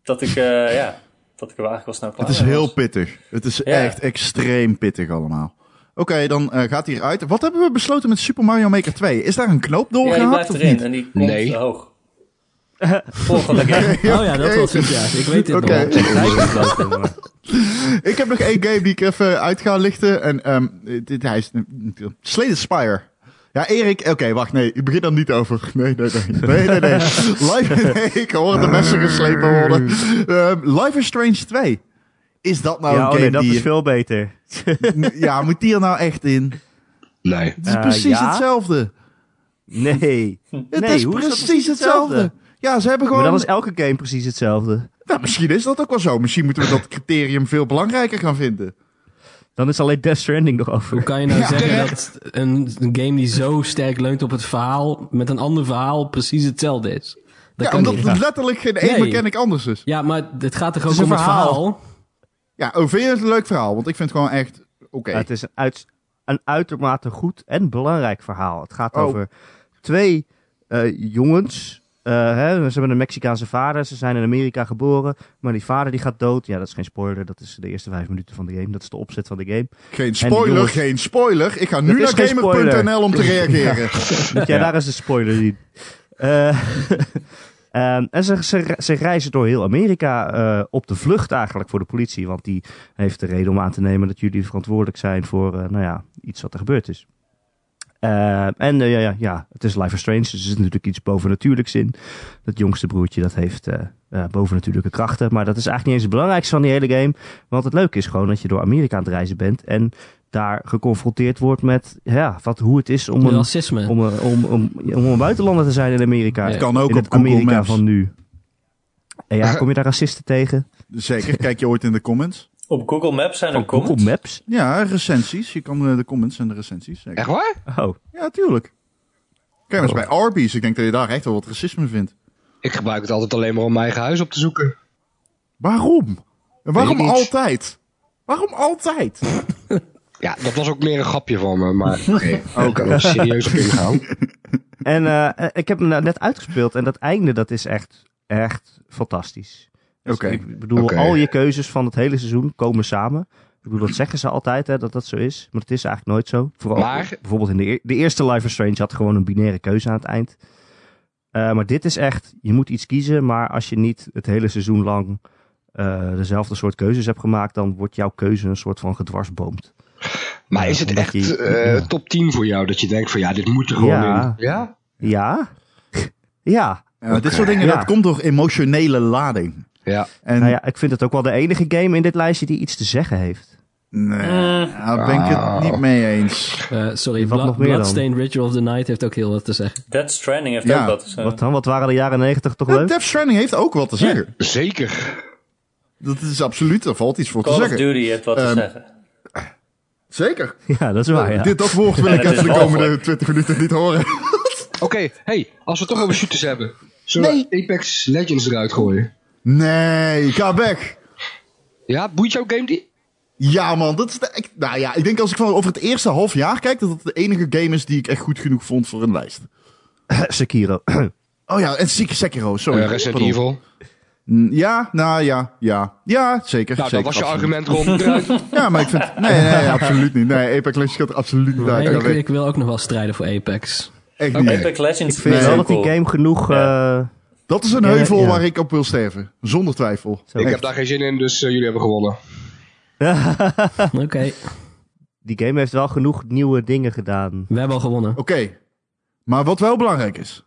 Speaker 5: Dat ik, eh, ja, dat ik er eigenlijk wel snel klaar
Speaker 1: Het is
Speaker 5: mee
Speaker 1: heel
Speaker 5: was.
Speaker 1: pittig. Het is echt extreem pittig allemaal. Oké, dan eh, gaat hij eruit. Wat hebben we besloten met Super Mario Maker 2? Is daar een knoop
Speaker 5: Ja, die
Speaker 1: doorgehakt
Speaker 5: blijft
Speaker 1: of
Speaker 5: erin
Speaker 1: niet?
Speaker 5: en die komt
Speaker 4: Nee.
Speaker 5: te hoog. Volgende game.
Speaker 2: Oh ja, dat was het, ja. Ik weet dit
Speaker 1: Oké.
Speaker 2: nog. Ik lijk het wel.
Speaker 1: Ik heb nog één game die ik even uit ga lichten. En ehm, dit, hij is... Slay the Spire. Ja, Erik... Oké, wacht. Nee, ik begin dan niet over. Nee, nee, nee. Nee, nee, nee. Life... Nee, ik hoor de messen geslepen worden. Ehm, Life is Strange 2. Is dat nou
Speaker 3: Ja,
Speaker 1: een
Speaker 3: oh
Speaker 1: game
Speaker 3: nee, dat
Speaker 1: die...
Speaker 3: is veel beter.
Speaker 1: Ja, moet die er nou echt in?
Speaker 4: Nee.
Speaker 1: Het is
Speaker 3: Eh,
Speaker 1: precies
Speaker 3: ja?
Speaker 1: hetzelfde.
Speaker 3: Nee.
Speaker 1: Het
Speaker 3: Nee,
Speaker 1: is
Speaker 3: hoe is dat
Speaker 1: precies hetzelfde. Ja, ze hebben
Speaker 3: Maar
Speaker 1: gewoon...
Speaker 3: dan was elke game precies hetzelfde.
Speaker 1: Nou, misschien is dat ook wel zo. Misschien moeten we dat criterium veel belangrijker gaan vinden.
Speaker 3: Dan is alleen Death Stranding nog
Speaker 2: Hoe
Speaker 3: over.
Speaker 2: kan je nou
Speaker 1: Ja,
Speaker 2: zeggen
Speaker 1: terecht.
Speaker 2: dat een game die zo sterk leunt op het verhaal, met een ander verhaal precies hetzelfde is? Dat
Speaker 1: ja,
Speaker 2: kan
Speaker 1: omdat
Speaker 2: niet.
Speaker 1: het letterlijk geen één
Speaker 2: Nee.
Speaker 1: mechanic anders is.
Speaker 2: Ja, maar het gaat toch ook
Speaker 1: is
Speaker 2: om
Speaker 1: een
Speaker 2: het
Speaker 1: verhaal.
Speaker 2: verhaal?
Speaker 1: Ja, oh, vind je het een leuk verhaal? Want ik vind het gewoon echt oké.
Speaker 3: Ja, het is een, uit, een uitermate goed en belangrijk verhaal. Het gaat
Speaker 1: Oh.
Speaker 3: over twee eh, jongens. eh, hè, ze hebben een Mexicaanse vader. Ze zijn in Amerika geboren. Maar die vader die gaat dood. Ja, dat is geen spoiler. Dat is de eerste vijf minuten van de game. Dat is de opzet van de game.
Speaker 1: Geen
Speaker 3: die
Speaker 1: spoiler,
Speaker 3: jongens-
Speaker 1: geen spoiler. Ik ga nu
Speaker 3: Het is
Speaker 1: naar
Speaker 3: geen spoiler.
Speaker 1: gamer.nl om te reageren.
Speaker 3: Moet jij daar eens een spoiler zien? Eh, ehm, en ze, ze, ze reizen door heel Amerika eh, op de vlucht eigenlijk voor de politie. Want die heeft de reden om aan te nemen dat jullie verantwoordelijk zijn voor eh, nou ja, iets wat er gebeurd is. Eh, en eh, ja, ja, ja, het is Life is Strange, dus er zit natuurlijk iets bovennatuurlijks in. Dat jongste broertje dat heeft eh, eh, bovennatuurlijke krachten. Maar dat is eigenlijk niet eens het belangrijkste van die hele game. Want het leuke is gewoon dat je door Amerika aan het reizen bent. En daar geconfronteerd wordt met ja, wat, hoe het is om een
Speaker 2: Racisme.
Speaker 3: om, eh, om, om, om een buitenlander te zijn in Amerika.
Speaker 2: Het
Speaker 1: kan ook
Speaker 3: in
Speaker 1: op
Speaker 3: het
Speaker 1: Google
Speaker 3: Amerika
Speaker 1: Maps.
Speaker 3: van nu. En ja, kom je daar racisten tegen?
Speaker 1: Zeker, kijk je ooit in de comments?
Speaker 5: Op Google Maps zijn er
Speaker 3: Van Google Maps?
Speaker 5: comments.
Speaker 1: Ja, recensies. Je kan eh, de comments en de recensies. Zeker.
Speaker 4: Echt waar?
Speaker 3: Oh,
Speaker 1: Ja, tuurlijk. Kijk maar eens bij Arby's. Ik denk dat je daar echt wel wat racisme vindt.
Speaker 4: Ik gebruik het altijd alleen maar om mijn eigen huis op te zoeken.
Speaker 1: Waarom? En waarom
Speaker 4: Weet ik niet.
Speaker 1: altijd? Waarom altijd?
Speaker 4: Ja, dat was ook meer een grapje van me, maar oké. ook kan er serieus op ingaan.
Speaker 3: en eh, eh, ik heb hem nou net uitgespeeld en dat einde dat is echt, echt fantastisch.
Speaker 1: Oké.
Speaker 3: Ik bedoel,
Speaker 4: Oké.
Speaker 3: al je keuzes van het hele seizoen komen samen. Ik bedoel, dat zeggen ze altijd, hè, dat dat zo is. Maar het is eigenlijk nooit zo. Vooral
Speaker 4: Maar-
Speaker 3: bijvoorbeeld in de, eer- de eerste Life is Strange had gewoon een binaire keuze aan het eind. Eh, maar dit is echt, je moet iets kiezen. Maar als je niet het hele seizoen lang eh, dezelfde soort keuzes hebt gemaakt... dan wordt jouw keuze een soort van gedwarsboomd.
Speaker 4: Maar
Speaker 3: Ja,
Speaker 4: is het
Speaker 3: omdat
Speaker 4: echt
Speaker 3: je-
Speaker 4: eh,
Speaker 3: ja.
Speaker 4: top 10 voor jou? Dat je denkt van ja, dit moet er gewoon
Speaker 3: Ja.
Speaker 4: in. Ja?
Speaker 3: Ja? ja.
Speaker 1: Ja, Dit soort dingen,
Speaker 3: Ja.
Speaker 1: dat komt door emotionele lading.
Speaker 4: Ja.
Speaker 1: En
Speaker 3: Nou ja, ik vind het ook wel de enige game in dit lijstje die iets te zeggen heeft.
Speaker 1: nee,
Speaker 5: Mm.
Speaker 4: Eh.
Speaker 1: daar ben ik het niet mee eens.
Speaker 2: Eh, sorry,
Speaker 3: Wat
Speaker 2: Bla-
Speaker 3: nog meer dan?
Speaker 2: Bloodstained Ritual of the Night heeft ook heel wat te zeggen.
Speaker 5: Dead Stranding heeft
Speaker 1: Ja,
Speaker 5: ook wat. Dus, eh,
Speaker 3: Wat dan? Wat waren de jaren negentig toch
Speaker 1: Ja,
Speaker 3: leuk?
Speaker 1: Death Stranding heeft ook wat te zeggen.
Speaker 4: Zeker.
Speaker 1: Dat is absoluut, daar valt iets voor te
Speaker 5: Call of
Speaker 1: zeggen.
Speaker 5: Duty heeft wat te
Speaker 1: Ehm,
Speaker 5: zeggen.
Speaker 1: Zeker.
Speaker 3: Ja, dat is waar, Ah, ja.
Speaker 1: Dit, dat woord wil ik
Speaker 5: dat
Speaker 1: uit
Speaker 5: is
Speaker 1: de
Speaker 5: walgelijk.
Speaker 1: komende 20 minuten niet horen.
Speaker 4: Oké, hey, als we het toch over shooters hebben. Zullen we Apex Legends eruit gooien?
Speaker 1: Nee, ga weg.
Speaker 4: Ja, boeit jouw game die?
Speaker 1: Ja, man. Dat is de, ik, nou ja, ik denk als ik van over het eerste half jaar kijk, dat dat de enige game is die ik echt goed genoeg vond voor een lijst.
Speaker 3: Sekiro.
Speaker 1: Oh ja, en Sek- Sekiro, sorry.
Speaker 4: Eh, Resident
Speaker 1: Pardon.
Speaker 4: Evil.
Speaker 1: Mm, Ja, nou ja, ja. Ja, zeker.
Speaker 4: Nou, dat
Speaker 1: zeker,
Speaker 4: was
Speaker 1: absoluut.
Speaker 4: je argument rond. Eruit.
Speaker 1: Ja, maar ik vind... Nee, nee, absoluut niet. Nee, Apex Legends gaat er absoluut niet uit.
Speaker 2: Nee,
Speaker 1: Dat
Speaker 2: ik,
Speaker 1: weet ik
Speaker 2: ik wil ook nog wel strijden voor Apex.
Speaker 1: echt
Speaker 4: Oké.
Speaker 1: niet.
Speaker 5: Apex Legends
Speaker 3: Ik vind
Speaker 1: Nee,
Speaker 3: wel
Speaker 5: ook
Speaker 3: dat die
Speaker 5: cool.
Speaker 3: game genoeg... eh,
Speaker 1: Dat is een
Speaker 3: Ja,
Speaker 1: heuvel
Speaker 3: ja.
Speaker 1: waar ik op wil sterven. Zonder twijfel.
Speaker 3: zo
Speaker 4: Ik heb
Speaker 3: echt-
Speaker 4: daar geen zin in, dus eh, jullie hebben gewonnen.
Speaker 2: Oké,
Speaker 3: die game heeft wel genoeg nieuwe dingen gedaan.
Speaker 2: we hebben al gewonnen.
Speaker 1: Oké. Maar wat wel belangrijk is.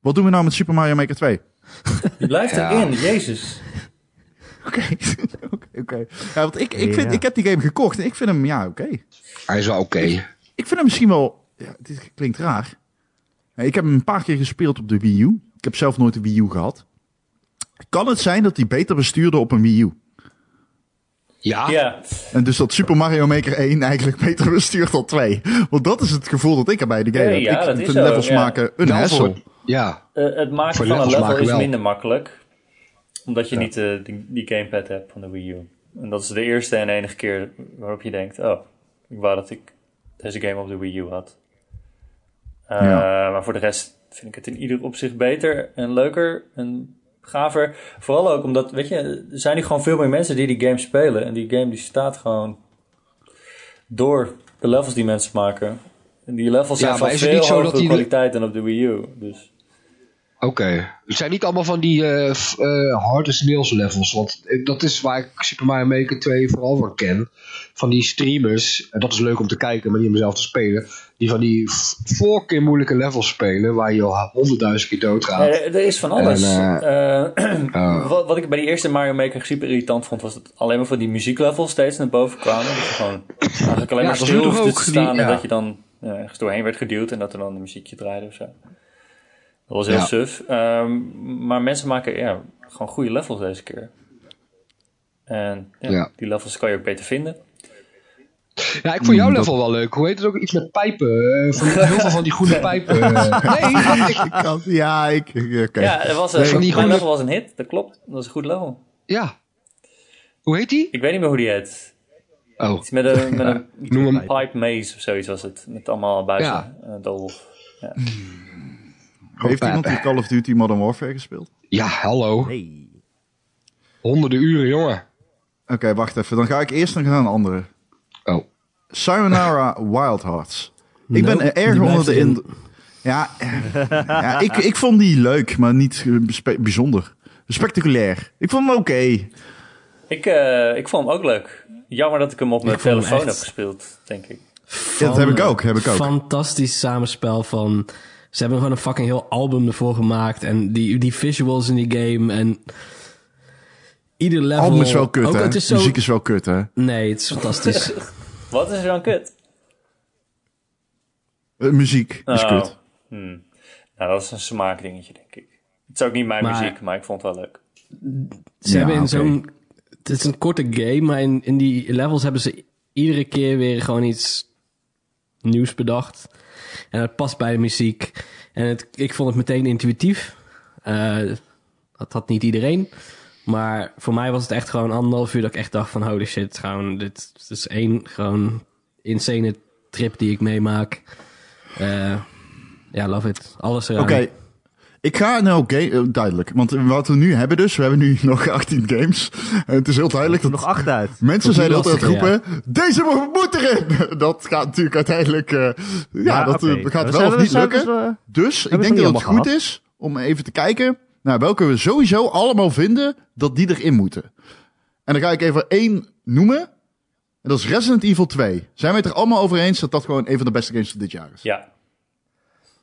Speaker 1: Wat doen we nou met Super Mario Maker 2?
Speaker 5: Die blijft
Speaker 4: Ja.
Speaker 5: erin, jezus.
Speaker 1: Oké. Oké, Oké. Ja, want ik, ik, vind,
Speaker 3: Ja.
Speaker 1: ik heb die game gekocht en ik vind hem, ja, oké.
Speaker 4: Hij is wel oké.
Speaker 1: Ik vind hem misschien wel, ja, dit klinkt raar. Nee, Ik heb hem een paar keer gespeeld op de Wii U. Ik heb zelf nooit de Wii U gehad. Kan het zijn dat die beter bestuurde op een Wii U?
Speaker 4: Ja.
Speaker 5: Ja,
Speaker 1: En dus dat Super Mario Maker 1 eigenlijk beter bestuurt dan 2. Want dat is het gevoel dat ik er bij de game
Speaker 5: Nee,
Speaker 1: heb.
Speaker 5: ja,
Speaker 1: ik
Speaker 5: dat
Speaker 1: vind
Speaker 5: is zo,
Speaker 1: levels
Speaker 5: ja. Nou,
Speaker 1: maken een
Speaker 4: Wel
Speaker 1: hassel.
Speaker 4: voor- ja.
Speaker 5: eh, het maken
Speaker 4: Voor
Speaker 5: van een
Speaker 4: levels
Speaker 5: level
Speaker 4: maken
Speaker 5: is
Speaker 4: wel.
Speaker 5: minder makkelijk. Omdat je niet eh, die, die gamepad hebt van de Wii U. En dat is de eerste en enige keer waarop je denkt... Oh, ik wou dat ik deze game op de Wii U had. Eh,
Speaker 1: Ja.
Speaker 5: Maar voor de rest vind ik het in ieder opzicht beter en leuker en gaver. Vooral ook omdat, weet je, er zijn nu gewoon veel meer mensen die die game spelen. En die game die staat gewoon door de levels die mensen maken. En die levels
Speaker 4: Ja,
Speaker 5: zijn van
Speaker 4: maar is het
Speaker 5: veel
Speaker 4: niet zo dat
Speaker 5: hogere
Speaker 4: die de-
Speaker 5: kwaliteit dan op de Wii U. Dus...
Speaker 4: Oké. Het zijn niet allemaal van die eh f- eh, harde sneels levels. Want eh, dat is waar ik Super Mario Maker 2 vooral van ken. Van die streamers. En dat is leuk om te kijken, maar niet om zelf te spelen. Die van die f- voorkeur moeilijke levels spelen. Waar je al honderdduizend keer doodgaat.
Speaker 5: Ja, er er is van alles.
Speaker 4: En, oh.
Speaker 5: Eh, wat, wat ik bij die eerste Mario Maker super irritant vond, was dat alleen maar van die muzieklevels steeds naar boven kwamen. Dat je gewoon eigenlijk alleen
Speaker 4: Ja,
Speaker 5: maar
Speaker 4: dat
Speaker 5: stil
Speaker 4: doet
Speaker 5: hoefde
Speaker 4: ook
Speaker 5: te
Speaker 4: die-
Speaker 5: staan en
Speaker 4: ja.
Speaker 5: dat je dan eh, ergens doorheen werd geduwd en dat er dan een muziekje draaide of zo. Dat was heel
Speaker 4: Ja.
Speaker 5: suf. Ehm, maar mensen maken ja, gewoon goede levels deze keer. En ja,
Speaker 4: Ja.
Speaker 5: die levels kan je ook beter vinden.
Speaker 4: Ja, ik vond jouw level wel leuk. Hoe heet het ook? Iets met pijpen. eh, van die- heel veel van die groene pijpen. eh. Nee, dat ik-
Speaker 1: Ik kan- ja, ik... oké.
Speaker 5: Ja, dat was, een
Speaker 4: Nee, die
Speaker 5: mijn
Speaker 4: goede-
Speaker 5: level was een hit, dat klopt. Dat was een goed level.
Speaker 4: Ja. Hoe heet die?
Speaker 5: Ik weet niet meer hoe die heet.
Speaker 4: Oh.
Speaker 5: Iets met een, met een iets
Speaker 4: noem
Speaker 5: met
Speaker 4: hem.
Speaker 5: pipe maze of zoiets was het. Met allemaal buizen.
Speaker 4: Ja.
Speaker 5: eh, dol.
Speaker 1: Heeft iemand die Call of Duty Modern Warfare gespeeld?
Speaker 4: Ja, hallo.
Speaker 3: Nee.
Speaker 4: Honderden uren, jongen.
Speaker 1: Oké, wacht even. Dan ga ik eerst nog naar een andere.
Speaker 4: Oh.
Speaker 1: Sayonara Wild Hearts. Ik ben
Speaker 2: Nope,
Speaker 1: er erg
Speaker 2: die
Speaker 1: onder
Speaker 2: blijft
Speaker 1: de
Speaker 2: erin.
Speaker 1: indruk. Ja, eh, ja ik, ik vond die leuk, maar niet eh, spe- bijzonder. Spectaculair. Ik vond hem oké.
Speaker 5: Ik, eh, ik vond hem ook leuk. Jammer dat ik hem op mijn
Speaker 2: Ik vond hem
Speaker 5: telefoon
Speaker 2: echt-
Speaker 5: heb gespeeld, denk ik.
Speaker 1: Ja, dat heb ik ook, heb ik ook.
Speaker 2: Fantastisch samenspel van... Ze hebben gewoon een fucking heel album ervoor gemaakt. En die, die visuals in die game en... Ieder level...
Speaker 1: Album is wel kut,
Speaker 2: ook,
Speaker 1: hè?
Speaker 2: Het is zo...
Speaker 1: Muziek is wel kut, hè?
Speaker 2: Nee, het is fantastisch.
Speaker 5: Wat is er dan kut?
Speaker 1: Eh, muziek is
Speaker 5: Oh.
Speaker 1: kut.
Speaker 5: Hmm. Nou, dat is een smaakdingetje, denk ik. Het is ook niet mijn
Speaker 2: Maar-
Speaker 5: muziek, maar ik vond het wel leuk.
Speaker 2: Ze
Speaker 1: Ja,
Speaker 2: hebben in
Speaker 1: oké.
Speaker 2: zo'n... Het is een korte game, maar in, in die levels hebben ze iedere keer weer gewoon iets nieuws bedacht. En dat past bij de muziek. En het, ik vond het meteen intuïtief. Eh, dat had niet iedereen. Maar voor mij was het echt gewoon anderhalf uur dat ik echt dacht van... Holy shit, gewoon, dit, dit is één gewoon insane trip die ik meemaak. Eh, ja, love it. Alles eraan.
Speaker 1: Oké. Ik ga, nou oké, eh, duidelijk. Want wat we nu hebben dus, we hebben nu nog 18 games. En het is heel duidelijk
Speaker 3: er
Speaker 1: dat
Speaker 3: nog acht uit.
Speaker 1: mensen
Speaker 2: Tot nu
Speaker 1: zijn altijd aan het
Speaker 2: lastiger,
Speaker 1: roepen, deze mo- moet erin! Dat gaat natuurlijk uiteindelijk, eh, ja, dat eh,
Speaker 3: oké.
Speaker 1: gaat
Speaker 3: We
Speaker 1: wel
Speaker 3: zijn-
Speaker 1: of
Speaker 3: we
Speaker 1: niet
Speaker 3: zijn
Speaker 1: lukken.
Speaker 3: dus, eh,
Speaker 1: Dus ik
Speaker 3: Hebben
Speaker 1: denk
Speaker 3: ze
Speaker 1: dat
Speaker 3: niet
Speaker 1: het
Speaker 3: allemaal
Speaker 1: goed is om even te kijken naar welke we sowieso allemaal vinden dat die erin moeten. En dan ga ik even één noemen. En dat is Resident Evil 2. Zijn we het er allemaal over eens dat dat gewoon een van de beste games van dit jaar is?
Speaker 5: Ja.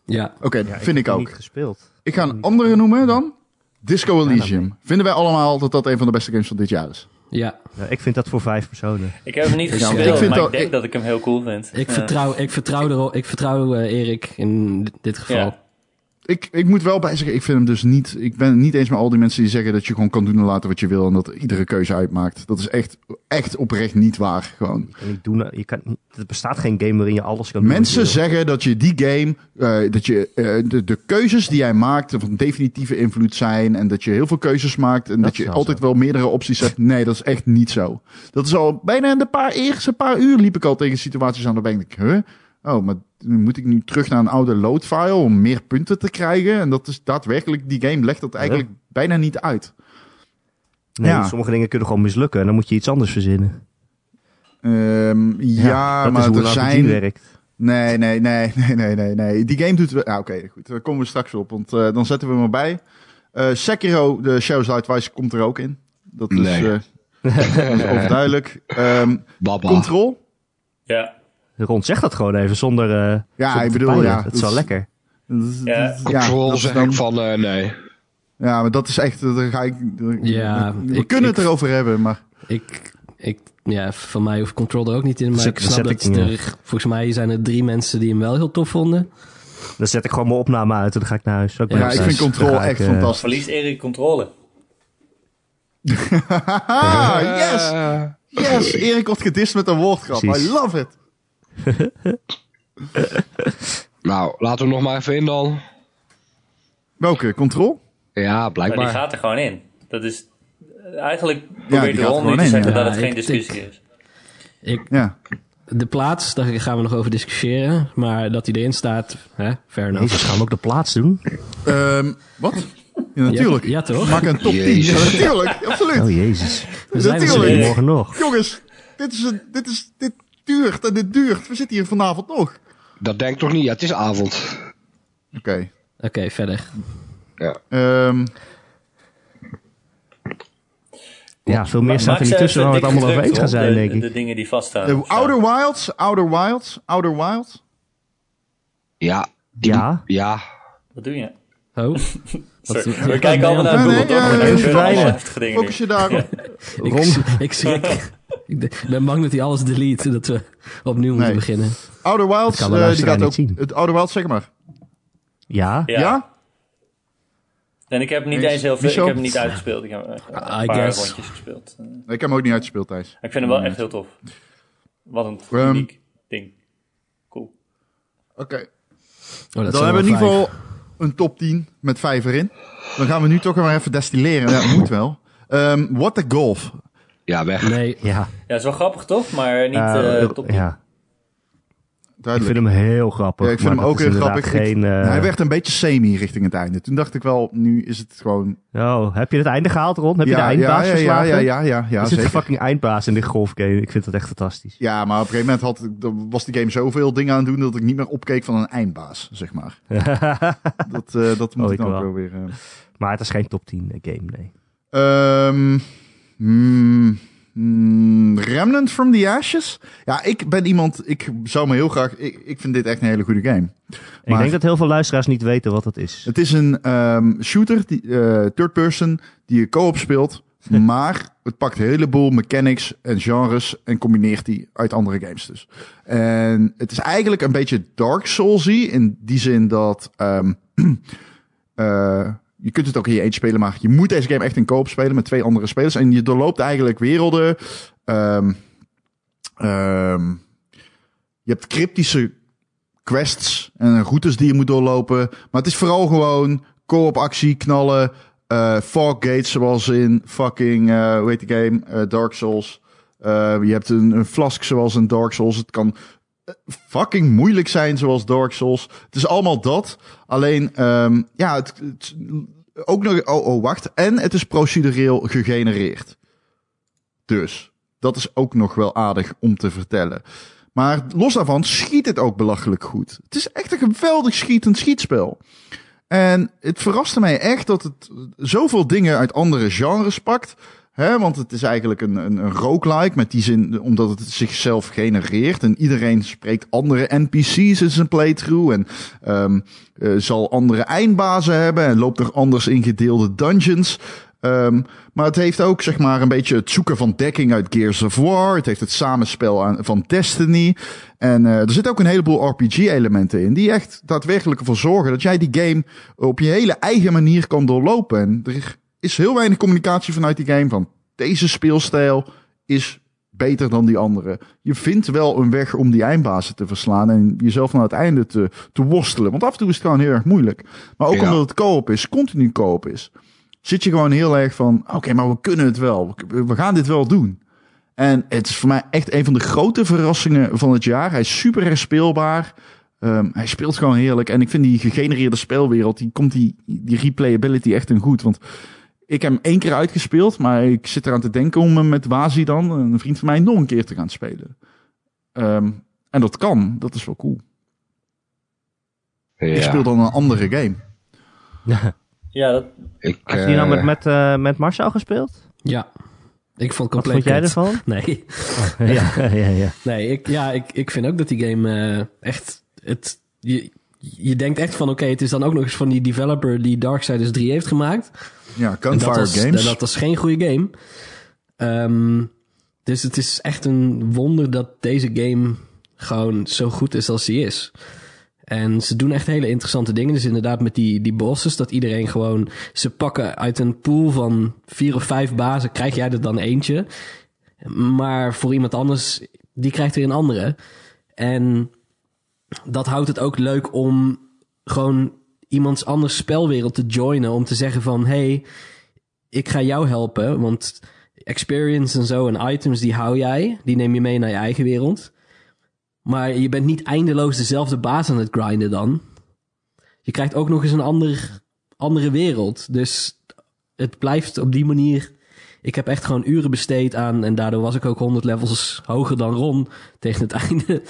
Speaker 2: Ja,
Speaker 1: Oké,
Speaker 3: ja,
Speaker 1: vind ik
Speaker 3: heb
Speaker 1: ook.
Speaker 3: niet gespeeld.
Speaker 1: Ik ga een andere noemen dan. Disco Elysium. Vinden wij allemaal dat dat een van de beste games van dit jaar is?
Speaker 2: ja.
Speaker 3: Ja, ik vind dat voor vijf personen.
Speaker 5: Ik heb hem niet
Speaker 2: Ik
Speaker 5: gespeeld,
Speaker 2: vind
Speaker 5: maar
Speaker 1: dat-
Speaker 5: ik denk
Speaker 1: ik-
Speaker 5: dat ik hem heel cool vind.
Speaker 2: Ik
Speaker 5: Ja.
Speaker 2: vertrouw, ik vertrouw, er, al- ik vertrouw eh, Erik in di- dit geval.
Speaker 5: Ja.
Speaker 1: Ik, ik moet wel bij zeggen, ik vind hem dus niet. Ik ben niet eens met al die mensen die zeggen dat je gewoon kan doen en laten wat je wil. En dat iedere keuze uitmaakt. Dat is echt, echt oprecht niet waar. Gewoon.
Speaker 3: Je kan niet doen, je kan, niet- er bestaat geen game waarin je alles kan doen.
Speaker 1: Mensen zeggen dat je die game, eh, dat je eh, de, de keuzes die jij maakt van definitieve invloed zijn. En dat je heel veel keuzes maakt. En dat,
Speaker 3: Dat is
Speaker 1: je
Speaker 3: wel
Speaker 1: altijd
Speaker 3: zo.
Speaker 1: wel meerdere opties hebt. Nee, dat is echt niet zo. Dat is al bijna in de paar, eerste paar uur liep ik al tegen situaties aan. Dan denk ik, huh? Oh, maar nu moet ik nu terug naar een oude load file om meer punten te krijgen. En dat is daadwerkelijk, die game legt dat eigenlijk bijna niet uit.
Speaker 3: Nee,
Speaker 1: Ja.
Speaker 3: sommige dingen kunnen gewoon mislukken en dan moet je iets anders verzinnen.
Speaker 1: Ehm, ja,
Speaker 3: dat is
Speaker 1: maar
Speaker 3: hoe
Speaker 1: er
Speaker 3: een RPG
Speaker 1: zijn...
Speaker 3: werkt.
Speaker 1: Nee, nee, nee, nee, nee, nee, nee. Die game doet... we- Ah, Oké, goed. Daar komen we straks op, want eh, dan zetten we hem erbij. Eh Sekiro, de Shadows Die Twice, komt er ook in. Dat is,
Speaker 4: Nee.
Speaker 1: eh, dat is overduidelijk. Ehm,
Speaker 4: Baba.
Speaker 1: Control?
Speaker 5: Ja.
Speaker 3: Ron zegt dat gewoon even zonder. eh,
Speaker 1: Ja,
Speaker 3: zonder
Speaker 1: ik
Speaker 3: te
Speaker 1: bedoel,
Speaker 3: peilen.
Speaker 1: ja,
Speaker 3: Het
Speaker 1: dat
Speaker 3: is wel
Speaker 1: is-
Speaker 3: lekker.
Speaker 1: Dat is-
Speaker 5: Ja.
Speaker 1: dat is-
Speaker 4: Control
Speaker 1: dat is
Speaker 4: zeg
Speaker 1: dan-
Speaker 4: ik van eh, nee.
Speaker 1: Ja, maar dat is echt... Daar ga ik,
Speaker 2: Ja,
Speaker 1: we
Speaker 2: ik-
Speaker 1: kunnen het
Speaker 2: ik-
Speaker 1: erover hebben, maar...
Speaker 2: Ik, ik, ja, van mij hoeft Control er ook niet in, maar
Speaker 3: Zet-
Speaker 2: ik snap
Speaker 3: zet ik
Speaker 2: dat
Speaker 3: niet
Speaker 2: er, volgens mij zijn er drie mensen die hem wel heel tof vonden.
Speaker 3: Dan zet ik gewoon mijn opname uit en dan ga ik naar huis. Zal ik
Speaker 2: Ja,
Speaker 3: maar
Speaker 1: Ja, ik
Speaker 3: thuis-
Speaker 1: vind Control
Speaker 3: dan ga ik,
Speaker 1: echt
Speaker 3: eh,
Speaker 1: fantastisch.
Speaker 5: Verliest Erik controle.
Speaker 1: Haha, Ah, yes!
Speaker 4: Eh,
Speaker 1: Yes! Erik wordt gedist met een woordgrap.
Speaker 3: Precies.
Speaker 1: I love it.
Speaker 4: nou, laten we nog maar even in dan.
Speaker 1: Welke? Control?
Speaker 4: Ja,
Speaker 5: Maar
Speaker 4: blijkbaar.
Speaker 5: die gaat er gewoon in. Dat is... eh, Eigenlijk
Speaker 1: die
Speaker 5: probeert
Speaker 1: gaat er
Speaker 5: Ron nu
Speaker 1: gewoon
Speaker 5: te
Speaker 1: in,
Speaker 5: zeggen
Speaker 1: ja.
Speaker 5: dat het
Speaker 2: Ja,
Speaker 5: geen
Speaker 2: ik-
Speaker 5: discussie is.
Speaker 2: Ik,
Speaker 1: Ja.
Speaker 2: de plaats, daar gaan we nog over discussiëren, maar dat hij erin staat, hè, fair enough.
Speaker 3: Jezus, gaan we ook de plaats doen?
Speaker 1: Ehm, wat? Ja, natuurlijk.
Speaker 2: Ja, toch?
Speaker 1: Maak een top 10. Ja,
Speaker 4: Jezus.
Speaker 1: natuurlijk, absoluut.
Speaker 3: Oh jezus.
Speaker 2: We zijn er
Speaker 1: Natuurlijk.
Speaker 2: weer.
Speaker 3: Morgen nog.
Speaker 1: Jongens, dit, is een, dit, is, dit duurt en dit duurt. We zitten hier vanavond nog. Oké.
Speaker 4: Dat denk ik toch niet. Ja, het is avond.
Speaker 2: Oké, verder.
Speaker 1: Ehm,
Speaker 3: Ja, veel meer
Speaker 5: Maar
Speaker 3: staat er
Speaker 5: maak
Speaker 3: niet
Speaker 5: ze
Speaker 3: tussen waar we
Speaker 5: even
Speaker 3: het allemaal
Speaker 5: dik
Speaker 3: over eens gaan
Speaker 5: gedrukt,
Speaker 3: zijn,
Speaker 5: Ron, de-
Speaker 3: denk ik.
Speaker 5: De dingen die vaststaan.
Speaker 1: eh, Outer Wilds, Outer Wilds, Outer Wilds.
Speaker 4: Ja. Die-
Speaker 3: Ja,
Speaker 4: Ja.
Speaker 5: Wat doe je?
Speaker 2: Oh,
Speaker 5: Sorry.
Speaker 2: wat-
Speaker 5: We
Speaker 2: ja,
Speaker 5: kijken allemaal naar
Speaker 1: nee,
Speaker 5: Google,
Speaker 1: nee,
Speaker 5: toch?
Speaker 1: ja,
Speaker 5: We
Speaker 1: ja,
Speaker 3: ja,
Speaker 5: kunnen allemaal
Speaker 3: verdwijnen.
Speaker 5: heftige dingen doen.
Speaker 1: Focus je daarop.
Speaker 2: ik, ik schrik. ik ben bang dat hij alles delete en dat we opnieuw moeten
Speaker 1: Nee.
Speaker 2: beginnen.
Speaker 1: Outer Wilds,
Speaker 3: Dat kan
Speaker 1: eh,
Speaker 3: de
Speaker 1: die
Speaker 3: luisteraar
Speaker 1: gaat
Speaker 3: niet
Speaker 1: ook.
Speaker 3: zien.
Speaker 1: Het Outer Wilds, zeg maar.
Speaker 3: ja.
Speaker 1: Ja?
Speaker 5: Ja. En ik heb niet
Speaker 1: Eens.
Speaker 5: eens heel veel... Ik
Speaker 1: Michel?
Speaker 5: heb hem niet uitgespeeld. Ik heb eh,
Speaker 2: I
Speaker 5: een paar
Speaker 2: guess.
Speaker 5: rondjes gespeeld. Eh,
Speaker 1: Nee, Ik heb hem ook niet uitgespeeld, Thijs.
Speaker 5: Ik vind hem wel echt heel tof. Wat een
Speaker 1: Ehm.
Speaker 5: uniek ding. Cool.
Speaker 1: Oké.
Speaker 2: Oh,
Speaker 1: Dan
Speaker 2: dat zijn
Speaker 1: hebben we in
Speaker 2: wel
Speaker 1: ieder
Speaker 2: vijf.
Speaker 1: geval een top 10 met vijf erin. Dan gaan we nu toch maar even destilleren. Ja, moet wel. Ehm, What the Golf.
Speaker 4: Ja, weg.
Speaker 2: Nee,
Speaker 3: Ja,
Speaker 5: Ja, is wel grappig toch? Maar eh, niet
Speaker 3: eh,
Speaker 5: eh, top tien.
Speaker 3: ja. ik
Speaker 1: Duidelijk.
Speaker 3: vind hem heel grappig.
Speaker 1: Ja, ik vind
Speaker 3: maar
Speaker 1: hem
Speaker 3: dat
Speaker 1: ook
Speaker 3: is
Speaker 1: heel
Speaker 3: inderdaad
Speaker 1: grappig. Ik-
Speaker 3: Geen, eh,
Speaker 1: Hij werd een beetje semi richting het einde. Toen dacht ik wel, nu is het gewoon...
Speaker 3: Oh, heb je het einde gehaald, Ron? Heb je de eindbaas
Speaker 1: ja, ja,
Speaker 3: verslagen?
Speaker 1: ja, ja, ja, ja,
Speaker 3: er zit
Speaker 1: zeker.
Speaker 3: een fucking eindbaas in dit golfgame. Ik vind dat echt fantastisch.
Speaker 1: Ja, maar op een gegeven moment had, ik- dan was die game zoveel dingen aan het doen... dat ik niet meer opkeek van een eindbaas, zeg maar. Dat, eh, dat moet
Speaker 3: Oh,
Speaker 1: ik
Speaker 3: ik
Speaker 1: dan ook
Speaker 3: wel.
Speaker 1: wel weer... eh.
Speaker 3: maar het is geen top 10 game, nee.
Speaker 1: Ehm, mm, mm, Remnant from the Ashes? Ja, ik ben iemand... Ik zou me heel graag... Ik, ik vind dit echt een hele goede game.
Speaker 3: Ik
Speaker 1: Maar-
Speaker 3: denk dat heel veel luisteraars niet weten wat dat is.
Speaker 1: Het is een ehm, shooter, die, eh, third person, die je co-op speelt. maar het pakt een heleboel mechanics en genres en combineert die uit andere games dus. En het is eigenlijk een beetje Dark Soulsy in die zin dat... ehm, eh, je kunt het ook in je eentje spelen, maar je moet deze game echt in co-op spelen met twee andere spelers. En je doorloopt eigenlijk werelden... ehm, ehm, je hebt cryptische quests en routes die je moet doorlopen. Maar het is vooral gewoon co-op actie, knallen, eh fog gates zoals in fucking, eh, hoe heet die game, Eh, Dark Souls. Eh, je hebt een, een flask zoals in Dark Souls. Het kan fucking moeilijk zijn zoals Dark Souls. Het is allemaal dat. Alleen, ehm, ja, het, het- ook nog... Oh, oh, wacht. En het is procedureel gegenereerd. Dus, dat is ook nog wel aardig om te vertellen. Maar los daarvan schiet het ook belachelijk goed. Het is echt een geweldig schietend schietspel. En het verraste mij echt dat het zoveel dingen uit andere genres pakt. Hè, want het is eigenlijk een, een, een roguelike met die zin, omdat het zichzelf genereert. En iedereen spreekt andere NPC's in zijn playthrough. En ehm, eh, zal andere eindbazen hebben en loopt er anders in gedeelde dungeons. Ehm, maar het heeft ook zeg maar een beetje het zoeken van dekking uit Gears of War. Het heeft het samenspel aan, van Destiny. En eh, er zitten ook een heleboel RPG-elementen in. Die echt daadwerkelijk ervoor zorgen dat jij die game op je hele eigen manier kan doorlopen. En er is heel weinig communicatie vanuit die game van deze speelstijl is beter dan die andere. Je vindt wel een weg om die eindbazen te verslaan en jezelf naar het einde te, te worstelen. Want af en toe is het gewoon heel erg moeilijk. Maar ook
Speaker 4: Ja.
Speaker 1: omdat het co-op is, continu co-op is, zit je gewoon heel erg van, oké, maar we kunnen het wel. We- We gaan dit wel doen. En het is voor mij echt een van de grote verrassingen van het jaar. Hij is super herspeelbaar. Ehm, hij speelt gewoon heerlijk. En ik vind die gegenereerde speelwereld, die komt die, die replayability echt in goed. Want ik heb hem één keer uitgespeeld, maar ik zit eraan te denken om hem met Wazi dan, een vriend van mij, nog een keer te gaan spelen. Ehm, en dat kan, dat is wel cool. Ik speel dan een andere game.
Speaker 5: Ja, dat,
Speaker 4: Ik,
Speaker 3: Had je die nou
Speaker 4: eh,
Speaker 3: met, met, eh, met Marcel gespeeld?
Speaker 2: Ja, ik vond
Speaker 3: Wat
Speaker 2: compleet
Speaker 3: vond jij
Speaker 2: kut.
Speaker 3: ervan?
Speaker 2: Nee,
Speaker 3: ja, ja, ja.
Speaker 2: nee ik, ja, ik, ik vind ook dat die game eh, echt... Het, je, je denkt echt van, oké, het is dan ook nog eens van die developer die Darksiders 3 heeft gemaakt.
Speaker 1: Ja,
Speaker 2: En dat
Speaker 1: Gunfire
Speaker 2: was,
Speaker 1: Games.
Speaker 2: en Dat was geen goede game. Ehm, dus het is echt een wonder dat deze game gewoon zo goed is als die is. En ze doen echt hele interessante dingen. Dus inderdaad met die, die bosses, dat iedereen gewoon... Ze pakken uit een pool van vier of vijf bazen, krijg jij er dan eentje. Maar voor iemand anders, die krijgt weer een andere. En dat houdt het ook leuk om gewoon iemands anders spelwereld te joinen. Om te zeggen van, hey, ik ga jou helpen. Want experience en zo en items, die hou jij. Die neem je mee naar je eigen wereld. Maar je bent niet eindeloos dezelfde baas aan het grinden dan. Je krijgt ook nog eens een ander, andere wereld. Dus het blijft op die manier... Ik heb echt gewoon uren besteed aan... en daardoor was ik ook 100 levels hoger dan Ron tegen het einde...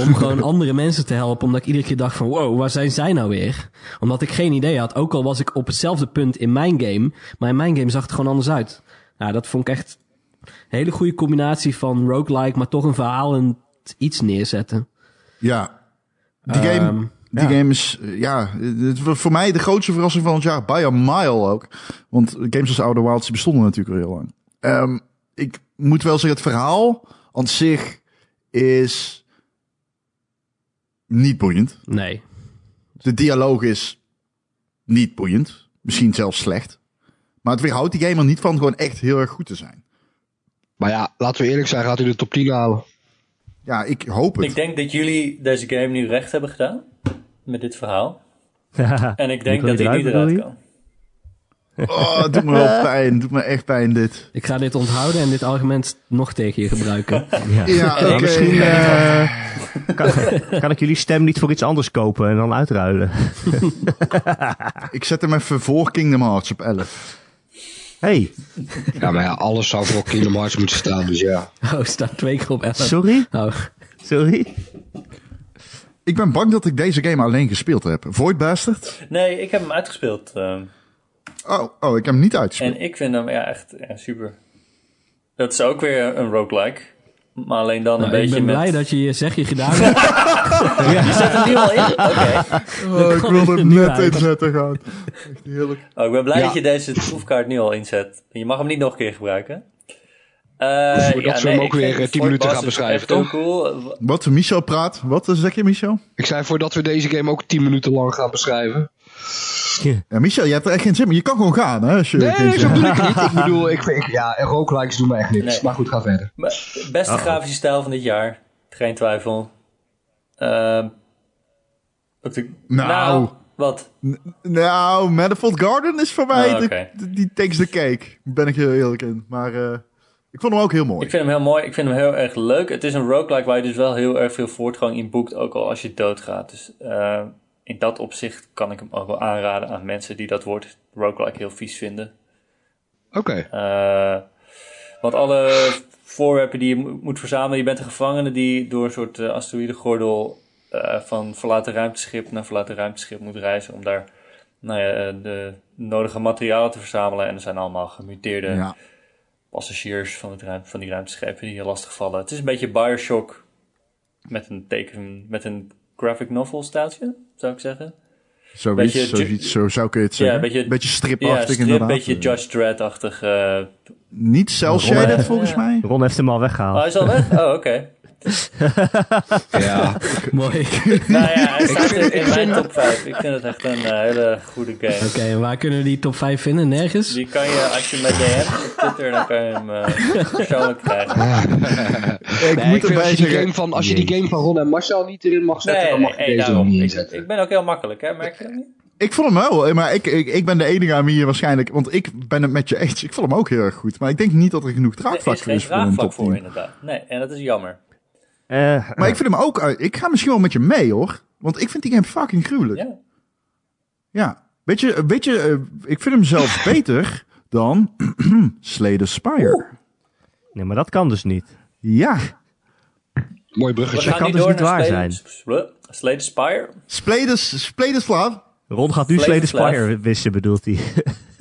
Speaker 2: om gewoon andere mensen te helpen. Omdat ik iedere keer dacht van... wow, waar zijn zij nou weer? Omdat ik geen idee had. Ook al was ik op hetzelfde punt in mijn game... maar in mijn game zag het gewoon anders uit. Nou, dat vond ik echt... een hele goede combinatie van roguelike... maar toch een verhaal en iets neerzetten.
Speaker 1: Ja. Die
Speaker 2: Ehm,
Speaker 1: game, die game is, eh, ja, het was voor mij de grootste verrassing van het jaar. By a mile ook. Want games als Outer Wilds die bestonden natuurlijk al heel lang. Ehm, ik moet wel zeggen, het verhaal aan zich is niet boeiend.
Speaker 2: Nee.
Speaker 1: De dialoog is niet boeiend. Misschien zelfs slecht. Maar het weerhoudt die game er niet van gewoon echt heel erg goed te zijn.
Speaker 4: Maar ja, laten we eerlijk zijn, gaat hij de top 10 halen?
Speaker 1: Ja, ik hoop het.
Speaker 5: ik denk dat jullie deze game nu recht hebben gedaan. Met dit verhaal. En ik denk
Speaker 3: Nico,
Speaker 5: dat
Speaker 3: die
Speaker 5: hij
Speaker 3: eruit
Speaker 5: niet eruit
Speaker 3: bedoel
Speaker 5: kan.
Speaker 1: Oh, het doet me wel pijn. Het doet me echt pijn dit.
Speaker 2: Ik ga dit onthouden en dit argument nog tegen je gebruiken.
Speaker 1: Ja, oké.
Speaker 3: Ja, misschien eh, kan, kan ik jullie stem niet voor iets anders kopen en dan uitruilen.
Speaker 1: Ik zet hem even voor Kingdom Hearts op 11.
Speaker 3: Hey,
Speaker 4: Ja, maar ja, alles zou voor Kingdom Hearts moeten staan, dus ja.
Speaker 2: Oh, staat twee keer op 11.
Speaker 3: sorry,
Speaker 2: Oh,
Speaker 3: sorry.
Speaker 1: Ik ben bang dat ik deze game alleen gespeeld heb. Void Bastard?
Speaker 5: Nee, ik heb hem uitgespeeld. ehm,
Speaker 1: Oh, oh ik heb hem niet uitgespeeld.
Speaker 5: en ik vind hem ja, echt ja, super. Dat is ook weer een roguelike. Maar alleen dan een
Speaker 2: nou, ik
Speaker 5: beetje
Speaker 2: ben
Speaker 5: met...
Speaker 2: blij dat je je zegje gedaan hebt.
Speaker 5: Je zet hem nu al in? Oké.
Speaker 1: Oh, ik
Speaker 2: kan
Speaker 1: wilde hem
Speaker 2: nu
Speaker 1: net
Speaker 2: uit.
Speaker 1: inzetten gaan. Echt heerlijk.
Speaker 5: Oh, ik ben blij
Speaker 4: Ja.
Speaker 5: dat je deze proefkaart nu al inzet. Je mag hem niet nog een keer gebruiken. Eh,
Speaker 4: Hoeven we dat zo Dus hem
Speaker 5: ik
Speaker 4: ook weer,
Speaker 5: vind
Speaker 4: eh, 10
Speaker 5: Fort
Speaker 4: minuten
Speaker 5: Boss
Speaker 4: gaan
Speaker 5: is
Speaker 4: beschrijven,
Speaker 5: echt heel
Speaker 4: toch?
Speaker 5: Cool.
Speaker 1: Wat Michel praat. Wat eh, zeg je, Michel?
Speaker 4: Ik zei voordat we deze game ook 10 minuten lang gaan beschrijven.
Speaker 1: Ja, Michel, je hebt er echt geen zin meer. Je kan gewoon gaan, hè? Als je geen
Speaker 4: Nee,
Speaker 1: zin
Speaker 4: zo
Speaker 1: hebt.
Speaker 4: bedoel ik niet. Ik bedoel, ik vind, ja, en roguelikes doen mij echt niks.
Speaker 5: Nee.
Speaker 4: Maar goed, ga verder.
Speaker 5: Maar Beste
Speaker 4: Ah.
Speaker 5: grafische stijl van dit jaar. Geen twijfel. Ehm, wat ik-
Speaker 1: Nou.
Speaker 5: Wat?
Speaker 1: Nou, Manifold Garden is voor mij...
Speaker 5: Ah,
Speaker 1: de-
Speaker 5: oké.
Speaker 1: de- die takes the cake. Ben ik heel eerlijk in. Maar eh, Ik vond hem ook heel mooi.
Speaker 5: Ik vind hem heel mooi. Ik vind hem heel erg leuk. Het is een roguelike waar je dus wel heel erg veel voortgang in boekt, ook al als je doodgaat. Dus eh, in dat opzicht kan ik hem ook wel aanraden aan mensen die dat woord roguelike heel vies vinden.
Speaker 4: Oké.
Speaker 5: Eh, want alle voorwerpen die je mo- moet verzamelen, je bent een gevangene die door een soort eh, asteroïdengordel eh, van verlaten ruimteschip naar verlaten ruimteschip moet reizen om daar nou ja, eh, de nodige materialen te verzamelen. En er zijn allemaal gemuteerde
Speaker 1: Ja.
Speaker 5: passagiers van, het ruim, van die ruimteschepen die je lastig vallen. Het is een beetje Bioshock met een teken, met een graphic novel staaltje, zou ik zeggen.
Speaker 1: Zoiets,
Speaker 5: beetje
Speaker 1: zoiets, zo zou kun je het
Speaker 5: Ja,
Speaker 1: zeggen.
Speaker 5: beetje-
Speaker 1: beetje, stripachtig
Speaker 5: Ja, strip, een
Speaker 1: inderdaad. eh.
Speaker 5: beetje Judge Dredd-achtig. eh,
Speaker 1: Niet cel-shaded
Speaker 3: Rollen.
Speaker 1: volgens mij.
Speaker 3: Ron heeft hem al
Speaker 5: Oh, hij
Speaker 3: weggehaald.
Speaker 5: is al weg? Oh, oké.
Speaker 4: Ja.
Speaker 2: Mooi. Oké,
Speaker 5: Nou ja, hij staat
Speaker 4: vind-
Speaker 5: in mijn top 5. Ik vind het echt een eh, hele goede game.
Speaker 2: en waar kunnen we die top 5 vinden? Nergens?
Speaker 5: Die kan je, als je met DM op Twitter, dan kan je hem eh, persoonlijk krijgen.
Speaker 1: Ik
Speaker 4: Nee, ik
Speaker 1: moet
Speaker 4: vind als
Speaker 1: erbij
Speaker 4: je, die
Speaker 1: zeggen,
Speaker 4: game van, als je die game van Ron en Marcel niet erin mag zetten,
Speaker 5: Nee,
Speaker 4: dan
Speaker 5: nee,
Speaker 4: mag je
Speaker 5: nee,
Speaker 4: deze er
Speaker 5: daarom.
Speaker 4: niet in
Speaker 5: Ik,
Speaker 4: zetten.
Speaker 5: ik ben ook heel makkelijk, hè? Merk je dat niet?
Speaker 1: ik vond hem wel, eh, maar ik, ik, ik ben de enige aan wie je waarschijnlijk... Want ik ben het met je eens, ik vond hem ook heel erg goed. Maar ik denk niet dat er genoeg
Speaker 5: Er
Speaker 1: draagvlak
Speaker 5: is
Speaker 1: voor
Speaker 5: geen
Speaker 1: is voor een
Speaker 5: draagvlak
Speaker 1: top
Speaker 5: voor,
Speaker 1: 10.
Speaker 5: inderdaad. Nee, en dat is jammer.
Speaker 3: Eh,
Speaker 1: Maar ik vind hem ook... eh, Ik ga misschien wel met je mee, hoor. Want ik vind die game fucking gruwelijk.
Speaker 5: Ja.
Speaker 1: Ja. Weet je, weet je eh, ik vind hem zelfs beter dan Slay the Spire.
Speaker 3: nee, maar dat kan dus niet.
Speaker 1: Ja.
Speaker 5: We
Speaker 4: Mooi bruggetje.
Speaker 5: gaan
Speaker 3: kan
Speaker 5: nu
Speaker 3: dus
Speaker 5: door
Speaker 3: niet
Speaker 5: naar
Speaker 3: waar
Speaker 5: Slay- Slay- Slay the Spire.
Speaker 1: Slay the, Slay the Slav.
Speaker 3: Ron gaat nu
Speaker 5: Flavor
Speaker 3: Slay the Spire wissen, bedoelt hij.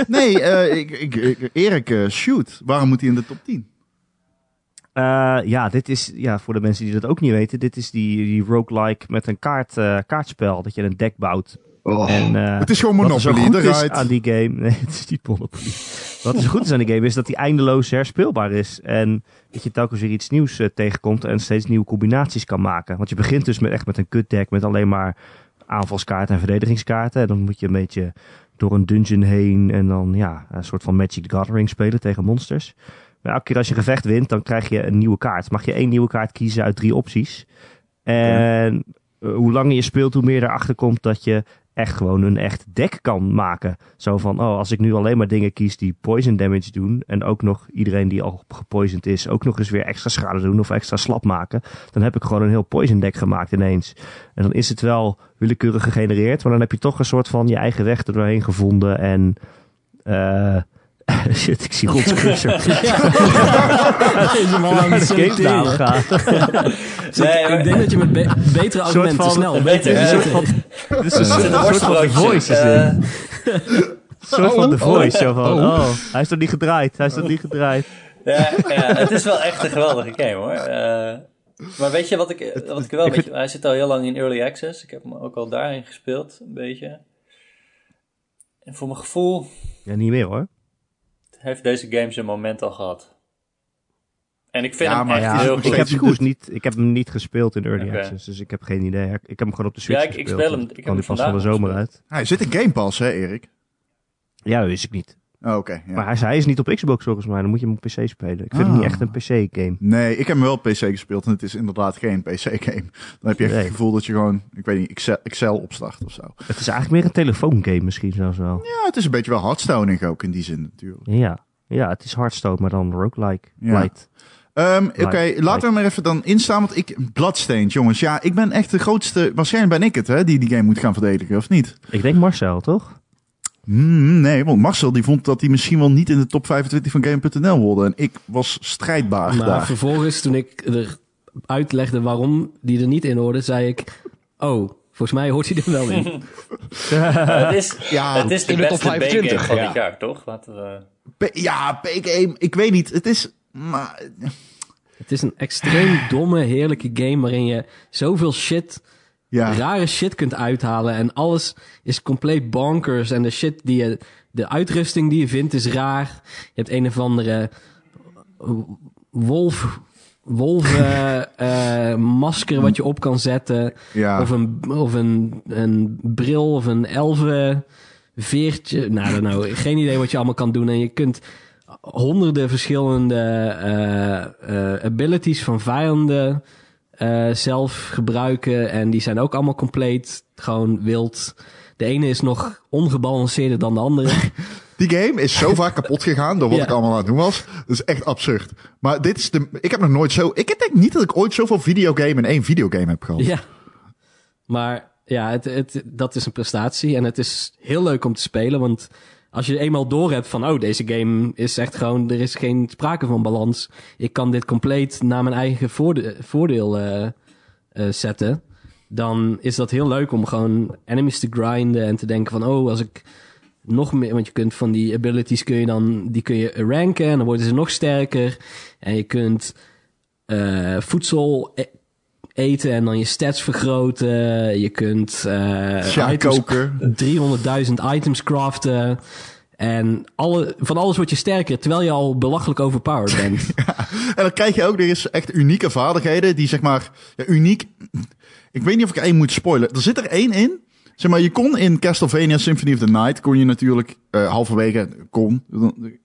Speaker 1: Nee, eh, ik, ik, ik- Erik, eh, shoot. Waarom moet hij in de top 10?
Speaker 3: Eh, ja, dit is, ja, voor de mensen die dat ook niet weten, dit is die, die roguelike met een kaart, eh, kaartspel, dat je een deck bouwt.
Speaker 4: Oh.
Speaker 3: En, eh,
Speaker 1: Het is gewoon
Speaker 3: wat er zo
Speaker 1: Monopoly,
Speaker 3: goed is
Speaker 1: eruit.
Speaker 3: aan die game, nee, het is niet Monopoly. Wat er zo goed is aan die game is dat die eindeloos herspeelbaar is. En dat je telkens weer iets nieuws eh, tegenkomt en steeds nieuwe combinaties kan maken. Want je begint dus met, echt met een kut deck met alleen maar aanvalskaarten en verdedigingskaarten. En dan moet je een beetje door een dungeon heen en dan ja, een soort van Magic the Gathering spelen tegen monsters. Maar elke keer als je een gevecht wint, dan krijg je een nieuwe kaart. Mag je één nieuwe kaart kiezen uit drie opties. En eh, hoe langer je speelt, hoe meer erachter komt dat je echt gewoon een echt deck kan maken. Zo van, oh, als ik nu alleen maar dingen kies die poison damage doen... en ook nog iedereen die al gepoisoned is... ook nog eens weer extra schade doen of extra slap maken... dan heb ik gewoon een heel poison deck gemaakt ineens. En dan is het wel willekeurig gegenereerd... maar dan heb je toch een soort van je eigen weg er doorheen gevonden en... eh, Shit, ik zie Gods cursor.
Speaker 2: Deze man
Speaker 3: naar de
Speaker 2: Nou, is zo
Speaker 3: GameStop
Speaker 2: tering.
Speaker 3: gaan.
Speaker 2: Dus
Speaker 5: Nee,
Speaker 2: ik,
Speaker 5: maar-
Speaker 2: ik denk dat je met be- betere argumenten
Speaker 3: van-
Speaker 2: snel...
Speaker 5: Een beetje,
Speaker 2: beter-
Speaker 5: een soort
Speaker 3: Dit is een soort soort van
Speaker 5: Een
Speaker 3: The
Speaker 5: worstbroodje.
Speaker 3: Voice. is dit.
Speaker 5: Eh,
Speaker 3: Een soort van The Voice. Zo van,
Speaker 4: Oh.
Speaker 3: oh, hij is nog niet gedraaid. Hij is nog niet gedraaid.
Speaker 5: Ja, ja, het is wel echt een geweldige game hoor. Eh, maar weet je wat ik, eh, wat ik wel. weet je, hij zit al heel lang in early access. Ik heb hem ook al daarin gespeeld, een beetje. En voor mijn gevoel
Speaker 3: Ja, niet meer hoor.
Speaker 5: heeft deze game zijn moment al gehad. En ik vind
Speaker 1: Ja,
Speaker 5: hem
Speaker 1: maar
Speaker 5: echt
Speaker 1: ja,
Speaker 5: heel
Speaker 1: ik
Speaker 5: goed.
Speaker 3: Ik
Speaker 1: steeds
Speaker 3: heb, hem
Speaker 1: goed.
Speaker 3: dus niet, ik heb hem niet gespeeld in Early
Speaker 5: Oh, Oké.
Speaker 3: Access, dus ik heb geen idee. Ik heb hem gewoon op de Switch
Speaker 5: Ja, ik- ik
Speaker 3: gespeeld,
Speaker 5: speel hem-
Speaker 3: want
Speaker 5: ik heb
Speaker 3: kwam
Speaker 5: hem
Speaker 3: die pas van de
Speaker 5: vandaag
Speaker 3: zomer uit.
Speaker 1: Hij zit in Game Pass, hè, Erik?
Speaker 3: Ja, dat wist ik niet.
Speaker 1: Oh, Oké. ja.
Speaker 3: Maar hij, is- hij is niet op Xbox volgens mij, dan moet je hem op PC spelen. Ik vind hem
Speaker 1: Ah.
Speaker 3: niet echt een PC-game.
Speaker 1: Nee, ik heb hem wel op PC gespeeld en het is inderdaad geen PC-game. Dan heb je echt
Speaker 3: Nee.
Speaker 1: het gevoel dat je gewoon, ik weet niet, Excel, Excel opstart of zo.
Speaker 3: Het is eigenlijk meer een telefoongame misschien zelfs wel.
Speaker 1: Ja, het is een beetje wel hardstone ook in die zin natuurlijk.
Speaker 3: Ja, ja het is Hearthstone, maar dan roguelike.
Speaker 1: Ja.
Speaker 3: Light.
Speaker 1: Ehm, Oké,
Speaker 3: Right.
Speaker 1: laten we maar even dan instaan, want ik, Bloodstained, jongens. Ja, ik ben echt de grootste, waarschijnlijk ben ik het, hè, die die game moet gaan verdedigen, of niet?
Speaker 3: Ik denk Marcel, toch?
Speaker 1: Hmm, nee, want Marcel die vond dat hij misschien wel niet in de top 25 van Game.nl hoorde. En ik was strijdbaar
Speaker 2: Maar
Speaker 1: daar.
Speaker 2: vervolgens, toen ik er uitlegde waarom die er niet in hoorde, zei ik... Oh, volgens mij hoort hij er wel in.
Speaker 5: Maar het is,
Speaker 1: Ja,
Speaker 5: het is de
Speaker 4: in de top
Speaker 5: beste B-game
Speaker 4: 25,
Speaker 5: van
Speaker 4: ja.
Speaker 5: dit jaar, toch? eh, Laten we,
Speaker 1: P- ja, PK, ik weet niet. Het is. Maar,
Speaker 2: Het is een extreem domme, heerlijke game waarin je zoveel shit,
Speaker 1: ja.
Speaker 2: rare shit kunt uithalen. En alles is compleet bonkers. En de shit die je, de uitrusting die je vindt is raar. Je hebt een of andere wolf, wolven eh, masker wat je op kan zetten.
Speaker 1: ja.
Speaker 2: Of, een, of een, een bril of een elfen veertje. Nou, I don't know. geen idee wat je allemaal kan doen. En je kunt honderden verschillende eh, eh, abilities van vijanden eh, zelf gebruiken. En die zijn ook allemaal compleet gewoon wild. De ene is nog ongebalanceerder dan de andere.
Speaker 1: Die game is zo vaak kapot gegaan door wat
Speaker 2: Ja.
Speaker 1: ik allemaal aan het doen was. Dat is echt absurd. Maar dit is de. Ik heb nog nooit zo. Ik denk niet dat ik ooit zoveel videogame in één videogame heb gehad.
Speaker 2: Ja. Maar ja, het, het, dat is een prestatie. En het is heel leuk om te spelen. Want als je eenmaal door hebt van, oh, deze game is echt gewoon, er is geen sprake van balans. Ik kan dit compleet naar mijn eigen voorde- voordeel eh, eh, zetten. Dan is dat heel leuk om gewoon enemies te grinden en te denken van, oh, als ik nog meer, want je kunt van die abilities kun je dan, die kun je ranken en dan worden ze nog sterker. En je kunt eh, voedsel e- eten en dan je stats vergroten. Je kunt eh,
Speaker 1: Tja,
Speaker 2: items-
Speaker 1: koken.
Speaker 2: 300.000 items craften. En alle, van alles word je sterker, terwijl je al belachelijk overpowered bent.
Speaker 1: En dan krijg je ook, er is echt unieke vaardigheden die zeg maar, ja, uniek. Ik weet niet of ik er één moet spoilen. Er zit er één in. Zeg maar, je kon in Castlevania Symphony of the Night, kon je natuurlijk eh, halverwege, kon,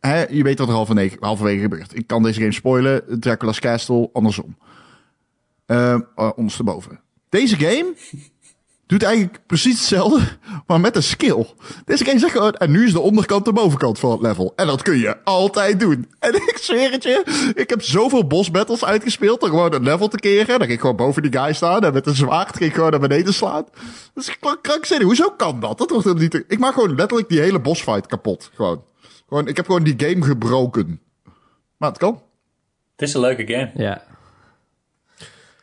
Speaker 1: hè, je weet wat er halverwege, halverwege gebeurt. Ik kan deze game spoilen, Dracula's Castle, andersom. Eh, eh, ondersteboven. Deze game doet eigenlijk precies hetzelfde, maar met een skill. Deze game zegt gewoon, en nu is de onderkant de bovenkant van het level. En dat kun je altijd doen. En ik zweer het je, ik heb zoveel boss battles uitgespeeld door gewoon een level te keren. Dan ging ik gewoon boven die guy staan en met een zwaard ging ik gewoon naar beneden slaan. Dat is krank- krankzinnig. Hoezo kan dat? Dat wordt helemaal niet... Ik maak gewoon letterlijk die hele boss fight kapot. Gewoon. gewoon ik heb gewoon die game gebroken. Maar het kan.
Speaker 5: Het is een leuke game.
Speaker 2: ja.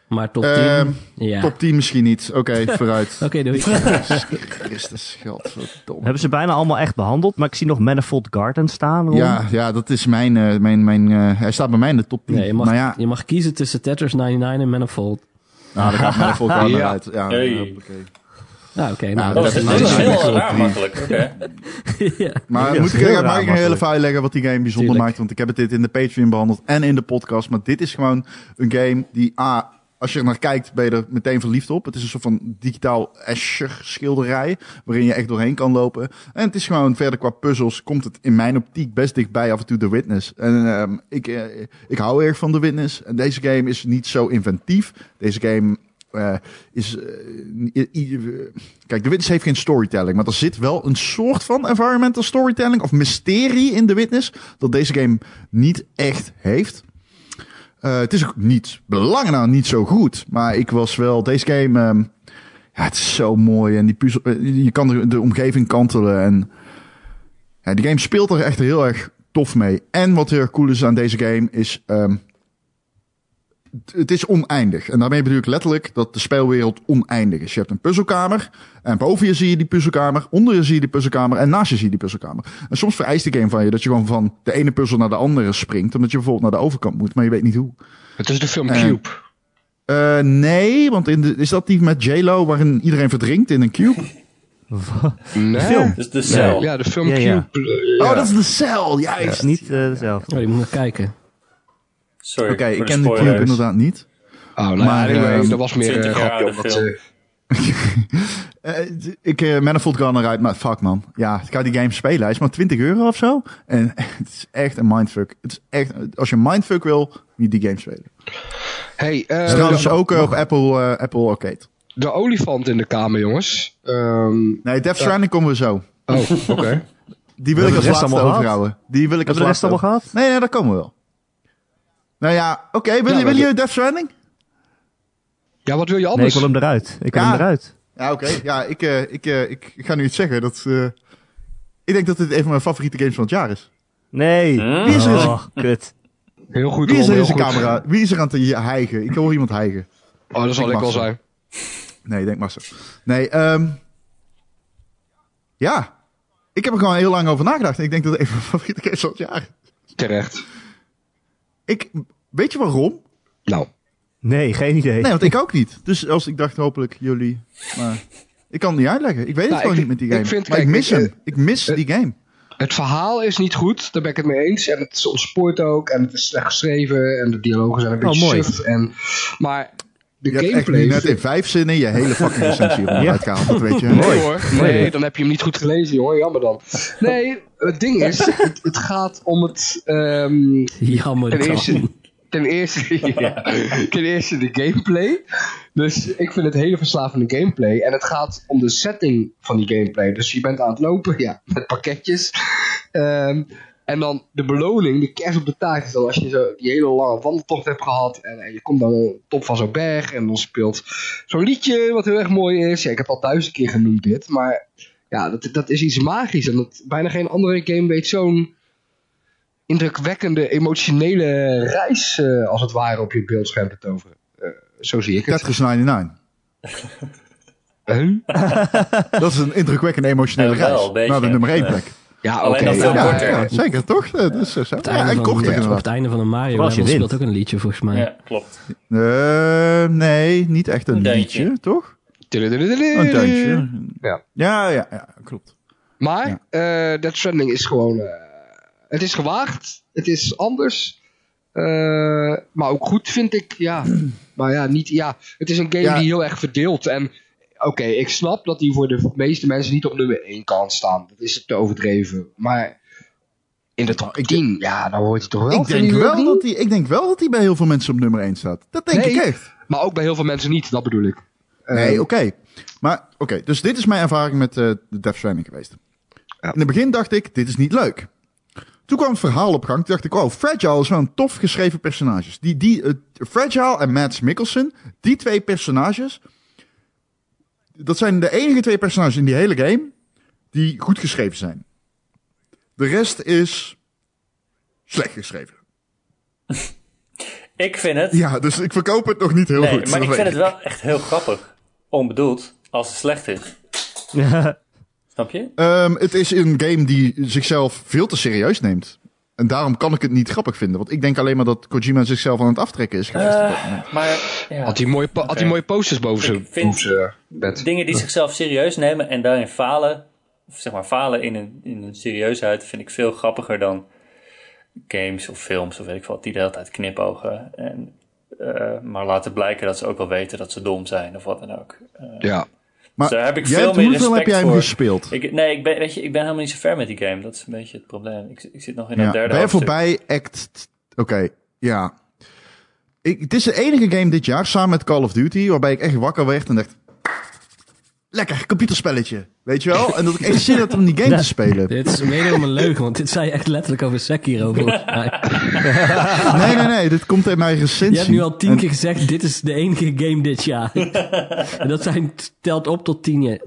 Speaker 2: Maar top 10.
Speaker 1: Ehm,
Speaker 2: ja.
Speaker 1: Top 10 misschien niet. Oké, vooruit.
Speaker 2: Oké, doei.
Speaker 1: Christus, godverdomme.
Speaker 3: Hebben ze bijna allemaal echt behandeld, maar ik zie nog Manifold Garden staan. Ron.
Speaker 1: Ja, ja, dat is mijn. eh, mijn, mijn eh, hij staat bij mij in de top 10.
Speaker 2: Nee, je, mag,
Speaker 1: maar ja,
Speaker 2: je mag kiezen tussen Tetris 99 en Manifold.
Speaker 1: nou, daar gaat mij volgens mij
Speaker 4: Ja.
Speaker 1: uit. Ja,
Speaker 5: Hey.
Speaker 1: hoppakee.
Speaker 2: Nou, oké. nou,
Speaker 1: dat
Speaker 5: Oh,
Speaker 2: dat
Speaker 5: dit
Speaker 2: is
Speaker 5: is,
Speaker 1: is-
Speaker 2: nice.
Speaker 1: dit is-
Speaker 5: heel
Speaker 1: makkelijk.
Speaker 5: raar makkelijk. Oké.
Speaker 1: Ah. Maar
Speaker 3: Ja,
Speaker 1: moet ik,
Speaker 3: dat is heel
Speaker 1: er- mag ik een
Speaker 3: raar,
Speaker 1: hele file leggen wat die game bijzonder
Speaker 2: Tuurlijk.
Speaker 1: maakt? Want ik heb het dit in de Patreon behandeld en in de podcast. Maar dit is gewoon een game die A, als je er naar kijkt, ben je er meteen verliefd op. Het is een soort van digitaal Escher schilderij, waarin je echt doorheen kan lopen. En het is gewoon verder qua puzzels, komt het in mijn optiek best dichtbij af en toe The Witness. En ehm, ik, eh, ik hou erg van The Witness. En deze game is niet zo inventief. Deze game eh, is... eh, i- i- Kijk, The Witness heeft geen storytelling, maar er zit wel een soort van environmental storytelling of mysterie in The Witness dat deze game niet echt heeft. Eh, het is ook niet, belangen nou niet zo goed, maar ik was wel, deze game, ehm, ja, het is zo mooi en die puzzel, eh, je kan de, de omgeving kantelen en ja, die game speelt er echt heel erg tof mee. En wat heel erg cool is aan deze game is, ehm, het- het is oneindig. En daarmee bedoel ik letterlijk dat de speelwereld oneindig is. Je hebt een puzzelkamer en boven je zie je die puzzelkamer, onder je zie je die puzzelkamer en naast je zie je die puzzelkamer. En soms vereist de game van je dat je gewoon van de ene puzzel naar de andere springt, omdat je bijvoorbeeld naar de overkant moet, maar je weet niet hoe.
Speaker 4: Het is de film
Speaker 1: Eh.
Speaker 4: Cube.
Speaker 1: Eh, nee, want in de, is dat die met J-Lo waarin iedereen verdrinkt in een cube?
Speaker 4: Nee.
Speaker 3: Film.
Speaker 5: Dus de cel.
Speaker 4: Ja, de film
Speaker 3: Ja, ja.
Speaker 4: Cube. eh, ja.
Speaker 1: Oh, dat is de cel,
Speaker 3: Dat
Speaker 1: juist.
Speaker 3: is niet eh, dezelfde.
Speaker 2: Oh, je moet nog kijken.
Speaker 5: Sorry.
Speaker 1: Oké,
Speaker 5: voor
Speaker 1: ik
Speaker 5: de
Speaker 1: ken de cube
Speaker 5: spoilers.
Speaker 1: inderdaad niet.
Speaker 4: Oh, nou,
Speaker 1: Maar,
Speaker 4: maar, anyway,
Speaker 1: ehm,
Speaker 4: dat was meer
Speaker 5: 20
Speaker 4: een
Speaker 5: jaar
Speaker 4: grapje.
Speaker 5: oude
Speaker 4: Omdat,
Speaker 5: film.
Speaker 4: eh,
Speaker 1: Eh, d- ik eh Manifold Gun eruit, maar fuck man. Ja, ik ga die game spelen. Hij is maar 20 euro of zo. En het is echt een mindfuck. Het is echt, als je mindfuck wil, moet je die game
Speaker 3: Eh,
Speaker 1: spelen.
Speaker 4: hey, eh,
Speaker 1: is trouwens
Speaker 4: de,
Speaker 1: ook eh, op Apple, eh, Apple Arcade.
Speaker 4: de olifant in de kamer, jongens. Ehm,
Speaker 1: Nee, Death Stranding komen we zo.
Speaker 4: oh, oké.
Speaker 1: Die wil ik
Speaker 3: Hebben
Speaker 1: als
Speaker 3: we de rest
Speaker 1: laatste
Speaker 3: allemaal
Speaker 1: overhouden. Die wil ik als
Speaker 3: Hebben we de rest
Speaker 1: laatste
Speaker 3: allemaal gehad?
Speaker 1: over- Nee, nee, daar komen we wel. Nou ja, oké. wil,
Speaker 4: maar
Speaker 1: willen
Speaker 4: de-
Speaker 1: jullie Death Stranding?
Speaker 4: Ja, wat wil je
Speaker 3: Nee, ik
Speaker 4: anders?
Speaker 3: wil hem eruit. Ik wil
Speaker 1: Ja.
Speaker 3: hem eruit.
Speaker 1: Ja, oké. Ja, ik, eh, ik, eh, ik, ik ga nu iets zeggen. Dat, eh, ik denk dat dit een van mijn favoriete games van het jaar is.
Speaker 3: Nee.
Speaker 5: Hm?
Speaker 1: Wie is er in zijn-
Speaker 3: Oh, kut.
Speaker 4: Heel goed,
Speaker 1: Wie is
Speaker 4: Ron,
Speaker 1: er in
Speaker 4: heel
Speaker 1: zijn
Speaker 4: goed.
Speaker 1: camera? Wie is er aan het hijgen? Ik hoor iemand hijgen.
Speaker 4: Oh, dat zal
Speaker 1: Ik
Speaker 4: ik,
Speaker 1: mag
Speaker 4: wel
Speaker 1: zo.
Speaker 4: zijn.
Speaker 1: Nee, denk maar zo. Nee, ehm ja. Ik heb er gewoon heel lang over nagedacht. En ik denk dat het een van mijn favoriete games van het jaar is.
Speaker 4: Terecht.
Speaker 1: Ik, weet je waarom?
Speaker 4: Nou,
Speaker 3: Nee, geen idee.
Speaker 1: Nee, want ik ook niet. Dus als ik dacht, hopelijk jullie. Maar ik kan het niet uitleggen. Ik weet het
Speaker 4: Nou,
Speaker 1: gewoon
Speaker 4: ik-
Speaker 1: niet met die
Speaker 4: ik
Speaker 1: game.
Speaker 4: vind-
Speaker 1: maar ik
Speaker 4: kijk,
Speaker 1: mis
Speaker 4: ik,
Speaker 1: hem. ik mis
Speaker 4: eh,
Speaker 1: die game.
Speaker 4: het verhaal is niet goed, daar ben ik het mee eens. En het ontspoort ook, en het is slecht geschreven, en de dialogen zijn een
Speaker 3: Oh,
Speaker 4: beetje
Speaker 3: mooi.
Speaker 4: suf. En, maar de
Speaker 1: Je hebt echt
Speaker 4: gameplay...
Speaker 1: nu net in vijf zinnen je hele fucking recensie eronder
Speaker 3: Ja.
Speaker 1: uitgehaald. Dat weet je.
Speaker 4: Nee hoor, nee, dan heb je hem niet goed gelezen, jongen. Jammer dan. Nee, het ding is, het, het gaat om het... ehm,
Speaker 2: Jammer
Speaker 4: ten
Speaker 2: dan.
Speaker 4: eerste, Ten eerste, ja. ten eerste de gameplay. Dus ik vind het hele verslavende gameplay. En het gaat om de setting van die gameplay. Dus je bent aan het lopen, ja, met pakketjes. Ehm, en dan de beloning, de kerst op de taart is dan als je zo die hele lange wandeltocht hebt gehad. En, en je komt dan op top van zo'n berg. En dan speelt zo'n liedje wat heel erg mooi is. Ja, ik heb al duizend keer genoemd dit. Maar ja, dat, dat is iets magisch. En dat, bijna geen andere game weet zo'n indrukwekkende emotionele reis eh, als het ware op je beeldscherm te toveren. Eh, zo zie ik het.
Speaker 1: Tetris 99.
Speaker 4: Huh?
Speaker 1: Dat is een indrukwekkende emotionele
Speaker 5: Ja, wel,
Speaker 1: reis.
Speaker 5: een beetje.
Speaker 1: Naar de nummer 1
Speaker 5: Ja.
Speaker 1: plek.
Speaker 4: Ja,
Speaker 5: Alleen
Speaker 4: oké.
Speaker 5: dat veel
Speaker 1: Ja,
Speaker 5: korter.
Speaker 1: ja, zeker toch? Eh, Dat is zo.
Speaker 2: het
Speaker 1: Ja,
Speaker 2: einde
Speaker 1: en
Speaker 2: van-
Speaker 1: korter
Speaker 2: ja, op
Speaker 1: inderdaad.
Speaker 2: het einde van een Mario
Speaker 3: Vooral als je
Speaker 2: level
Speaker 3: wint.
Speaker 2: speelt ook een liedje volgens mij.
Speaker 5: Ja, klopt.
Speaker 1: Eh, nee, niet echt een
Speaker 5: Een deuntje.
Speaker 1: liedje, toch? Een
Speaker 4: Een
Speaker 1: tuintje.
Speaker 4: Eh, Ja.
Speaker 1: Ja, ja, ja, klopt.
Speaker 4: Maar eh Death Stranding is gewoon... eh, het is gewaagd. Het is anders. Eh, maar ook goed, vind ik. Ja. Maar ja, niet, ja, het is een game
Speaker 1: Ja.
Speaker 4: die heel erg verdeelt. En oké, ik snap dat die voor de meeste mensen niet op nummer 1 kan staan. Dat is te overdreven. Maar in de top 10, ja, dan hoort hij toch wel.
Speaker 1: Ik
Speaker 4: Vinden
Speaker 1: denk,
Speaker 4: jullie ook
Speaker 1: wel
Speaker 4: niet?
Speaker 1: dat die, ik denk wel dat die bij heel veel mensen op nummer 1 staat. Dat denk
Speaker 4: Nee.
Speaker 1: ik echt.
Speaker 4: Maar ook bij heel veel mensen niet, dat bedoel ik. Eh,
Speaker 1: Nee, oké. Maar oké, dus dit is mijn ervaring met eh de Death Stranding geweest.
Speaker 4: Ja.
Speaker 1: In het begin dacht ik, dit is niet leuk. Toen kwam het verhaal op gang. Toen dacht ik, oh, Fragile is wel een tof geschreven personages. Die, die, eh, Fragile en Mads Mikkelsen, die twee personages... Dat zijn de enige twee personages in die hele game die goed geschreven zijn. De rest is slecht geschreven.
Speaker 5: Ik vind het...
Speaker 1: Ja, dus ik verkoop het nog niet heel
Speaker 5: nee,
Speaker 1: goed.
Speaker 5: maar
Speaker 1: dat
Speaker 5: ik
Speaker 1: weet
Speaker 5: vind het wel echt heel grappig. Onbedoeld, als het slecht is. Snap je?
Speaker 1: Ehm, het is een game die zichzelf veel te serieus neemt. En daarom kan ik het niet grappig vinden. Want ik denk alleen maar dat Kojima zichzelf aan het aftrekken is geweest. op dat moment.
Speaker 5: Eh, maar ja,
Speaker 4: Had hij mooie, po- had hij mooie posters boven
Speaker 5: Ik
Speaker 4: zijn
Speaker 5: vind-
Speaker 4: boven zijn bed.
Speaker 5: dingen die zichzelf serieus nemen en daarin falen... Of zeg maar falen in een, in een serieusheid vind ik veel grappiger dan games of films of weet ik wat. Die de hele tijd knipogen. En, eh, maar laten blijken dat ze ook wel weten dat ze dom zijn of wat dan ook.
Speaker 4: Ja.
Speaker 1: Maar
Speaker 5: Daar heb ik
Speaker 1: jij
Speaker 5: veel
Speaker 1: hebt-
Speaker 5: meer
Speaker 1: hoeveel heb
Speaker 5: respect
Speaker 1: jij hem
Speaker 5: voor.
Speaker 1: gespeeld?
Speaker 5: Ik, nee, ik ben, weet je, ik ben helemaal niet zo ver met die game. Dat is een beetje het probleem. Ik, ik zit nog in
Speaker 1: Ja.
Speaker 5: dat derde
Speaker 1: Ben je
Speaker 5: hoofdstuk.
Speaker 1: voorbij act... t- Oké, ja. Ik, het is de enige game dit jaar, samen met Call of Duty, waarbij ik echt wakker werd en dacht... Lekker, computerspelletje. Weet je wel? En dat ik echt zin had om die game te spelen.
Speaker 2: Dit is mede om een leugen, want dit zei je echt letterlijk over Sekiro. volgens mij.
Speaker 1: Nee, nee, nee. Dit komt in mijn
Speaker 2: Je
Speaker 1: recensie.
Speaker 2: hebt nu al tien
Speaker 1: En-
Speaker 2: keer gezegd, dit is de enige game dit jaar. en dat zijn, telt op tot tien, jaar-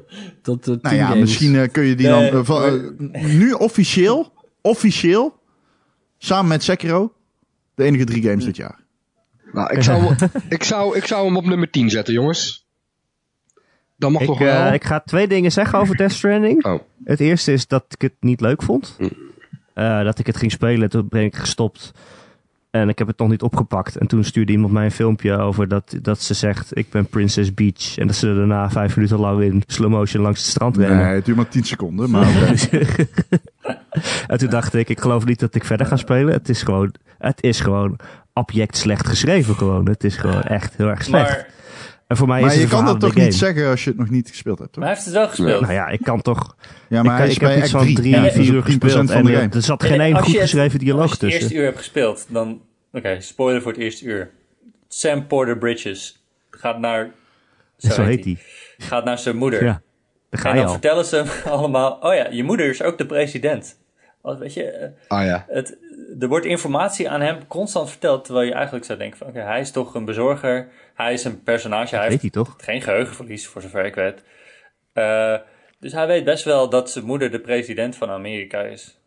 Speaker 2: tot, eh, tien
Speaker 1: Nou ja,
Speaker 2: games.
Speaker 1: misschien eh, kun je die dan...
Speaker 5: Nee,
Speaker 1: eh, van, eh, nu officieel, officieel, samen met Sekiro, de enige drie games dit jaar.
Speaker 4: Nou, ik zou, ik, zou, ik zou hem op nummer 10 zetten, jongens. Dan mag
Speaker 3: Ik,
Speaker 4: toch wel.
Speaker 3: eh, ik ga twee dingen zeggen over Death Stranding.
Speaker 4: Oh.
Speaker 3: Het eerste is dat ik het niet leuk vond.
Speaker 1: Hm.
Speaker 3: Eh, dat ik het ging spelen, toen ben ik gestopt. En ik heb het nog niet opgepakt. En toen stuurde iemand mij een filmpje over dat, dat ze zegt... ik ben Princess Beach. En dat ze daarna vijf minuten lang in slow motion langs het strand rennen.
Speaker 1: het duurt maar 10 seconden, maar oké.
Speaker 3: en toen dacht ik, ik geloof niet dat ik verder ga spelen. Het is gewoon, het is gewoon abject slecht geschreven. Gewoon. Het is gewoon echt heel erg slecht.
Speaker 5: Maar,
Speaker 3: en voor mij
Speaker 1: maar
Speaker 3: is
Speaker 1: je
Speaker 3: het
Speaker 1: kan dat
Speaker 3: dat
Speaker 1: toch niet zeggen als je het nog niet gespeeld hebt,
Speaker 5: maar
Speaker 1: toch?
Speaker 5: hij heeft het wel gespeeld.
Speaker 3: Nou ja, ik kan toch...
Speaker 1: Ja,
Speaker 3: ik, kan- ik heb iets van drie,
Speaker 1: Ja, dat is
Speaker 3: vier uur
Speaker 1: op 10% van
Speaker 3: gespeeld en eh, dus-
Speaker 1: de
Speaker 3: er,
Speaker 1: game.
Speaker 3: er zat
Speaker 5: Nee,
Speaker 3: geen
Speaker 5: nee,
Speaker 3: één
Speaker 5: als
Speaker 3: goed
Speaker 5: je het-
Speaker 3: geschreven
Speaker 5: Als
Speaker 3: dialoog
Speaker 5: je het
Speaker 3: tussen.
Speaker 5: eerste uur hebt gespeeld, dan... Oké, spoiler voor het eerste uur. Sam Porter Bridges gaat naar... Zo,
Speaker 3: Zo heet hij.
Speaker 5: hij. Gaat naar zijn moeder.
Speaker 3: Ja, daar ga
Speaker 5: en
Speaker 3: je
Speaker 5: dan
Speaker 3: al.
Speaker 5: vertellen ze hem allemaal... Oh ja, je moeder is ook de president. Want weet je, eh,
Speaker 4: Ah ja.
Speaker 5: het, er wordt informatie aan hem constant verteld... terwijl je eigenlijk zou denken van... Oké, hij is toch een bezorger. Hij is een personage. Hij
Speaker 3: Weet
Speaker 5: heeft
Speaker 3: hij toch?
Speaker 5: geen geheugenverlies, voor zover ik weet. Eh, dus hij weet best wel dat zijn moeder de president van Amerika is.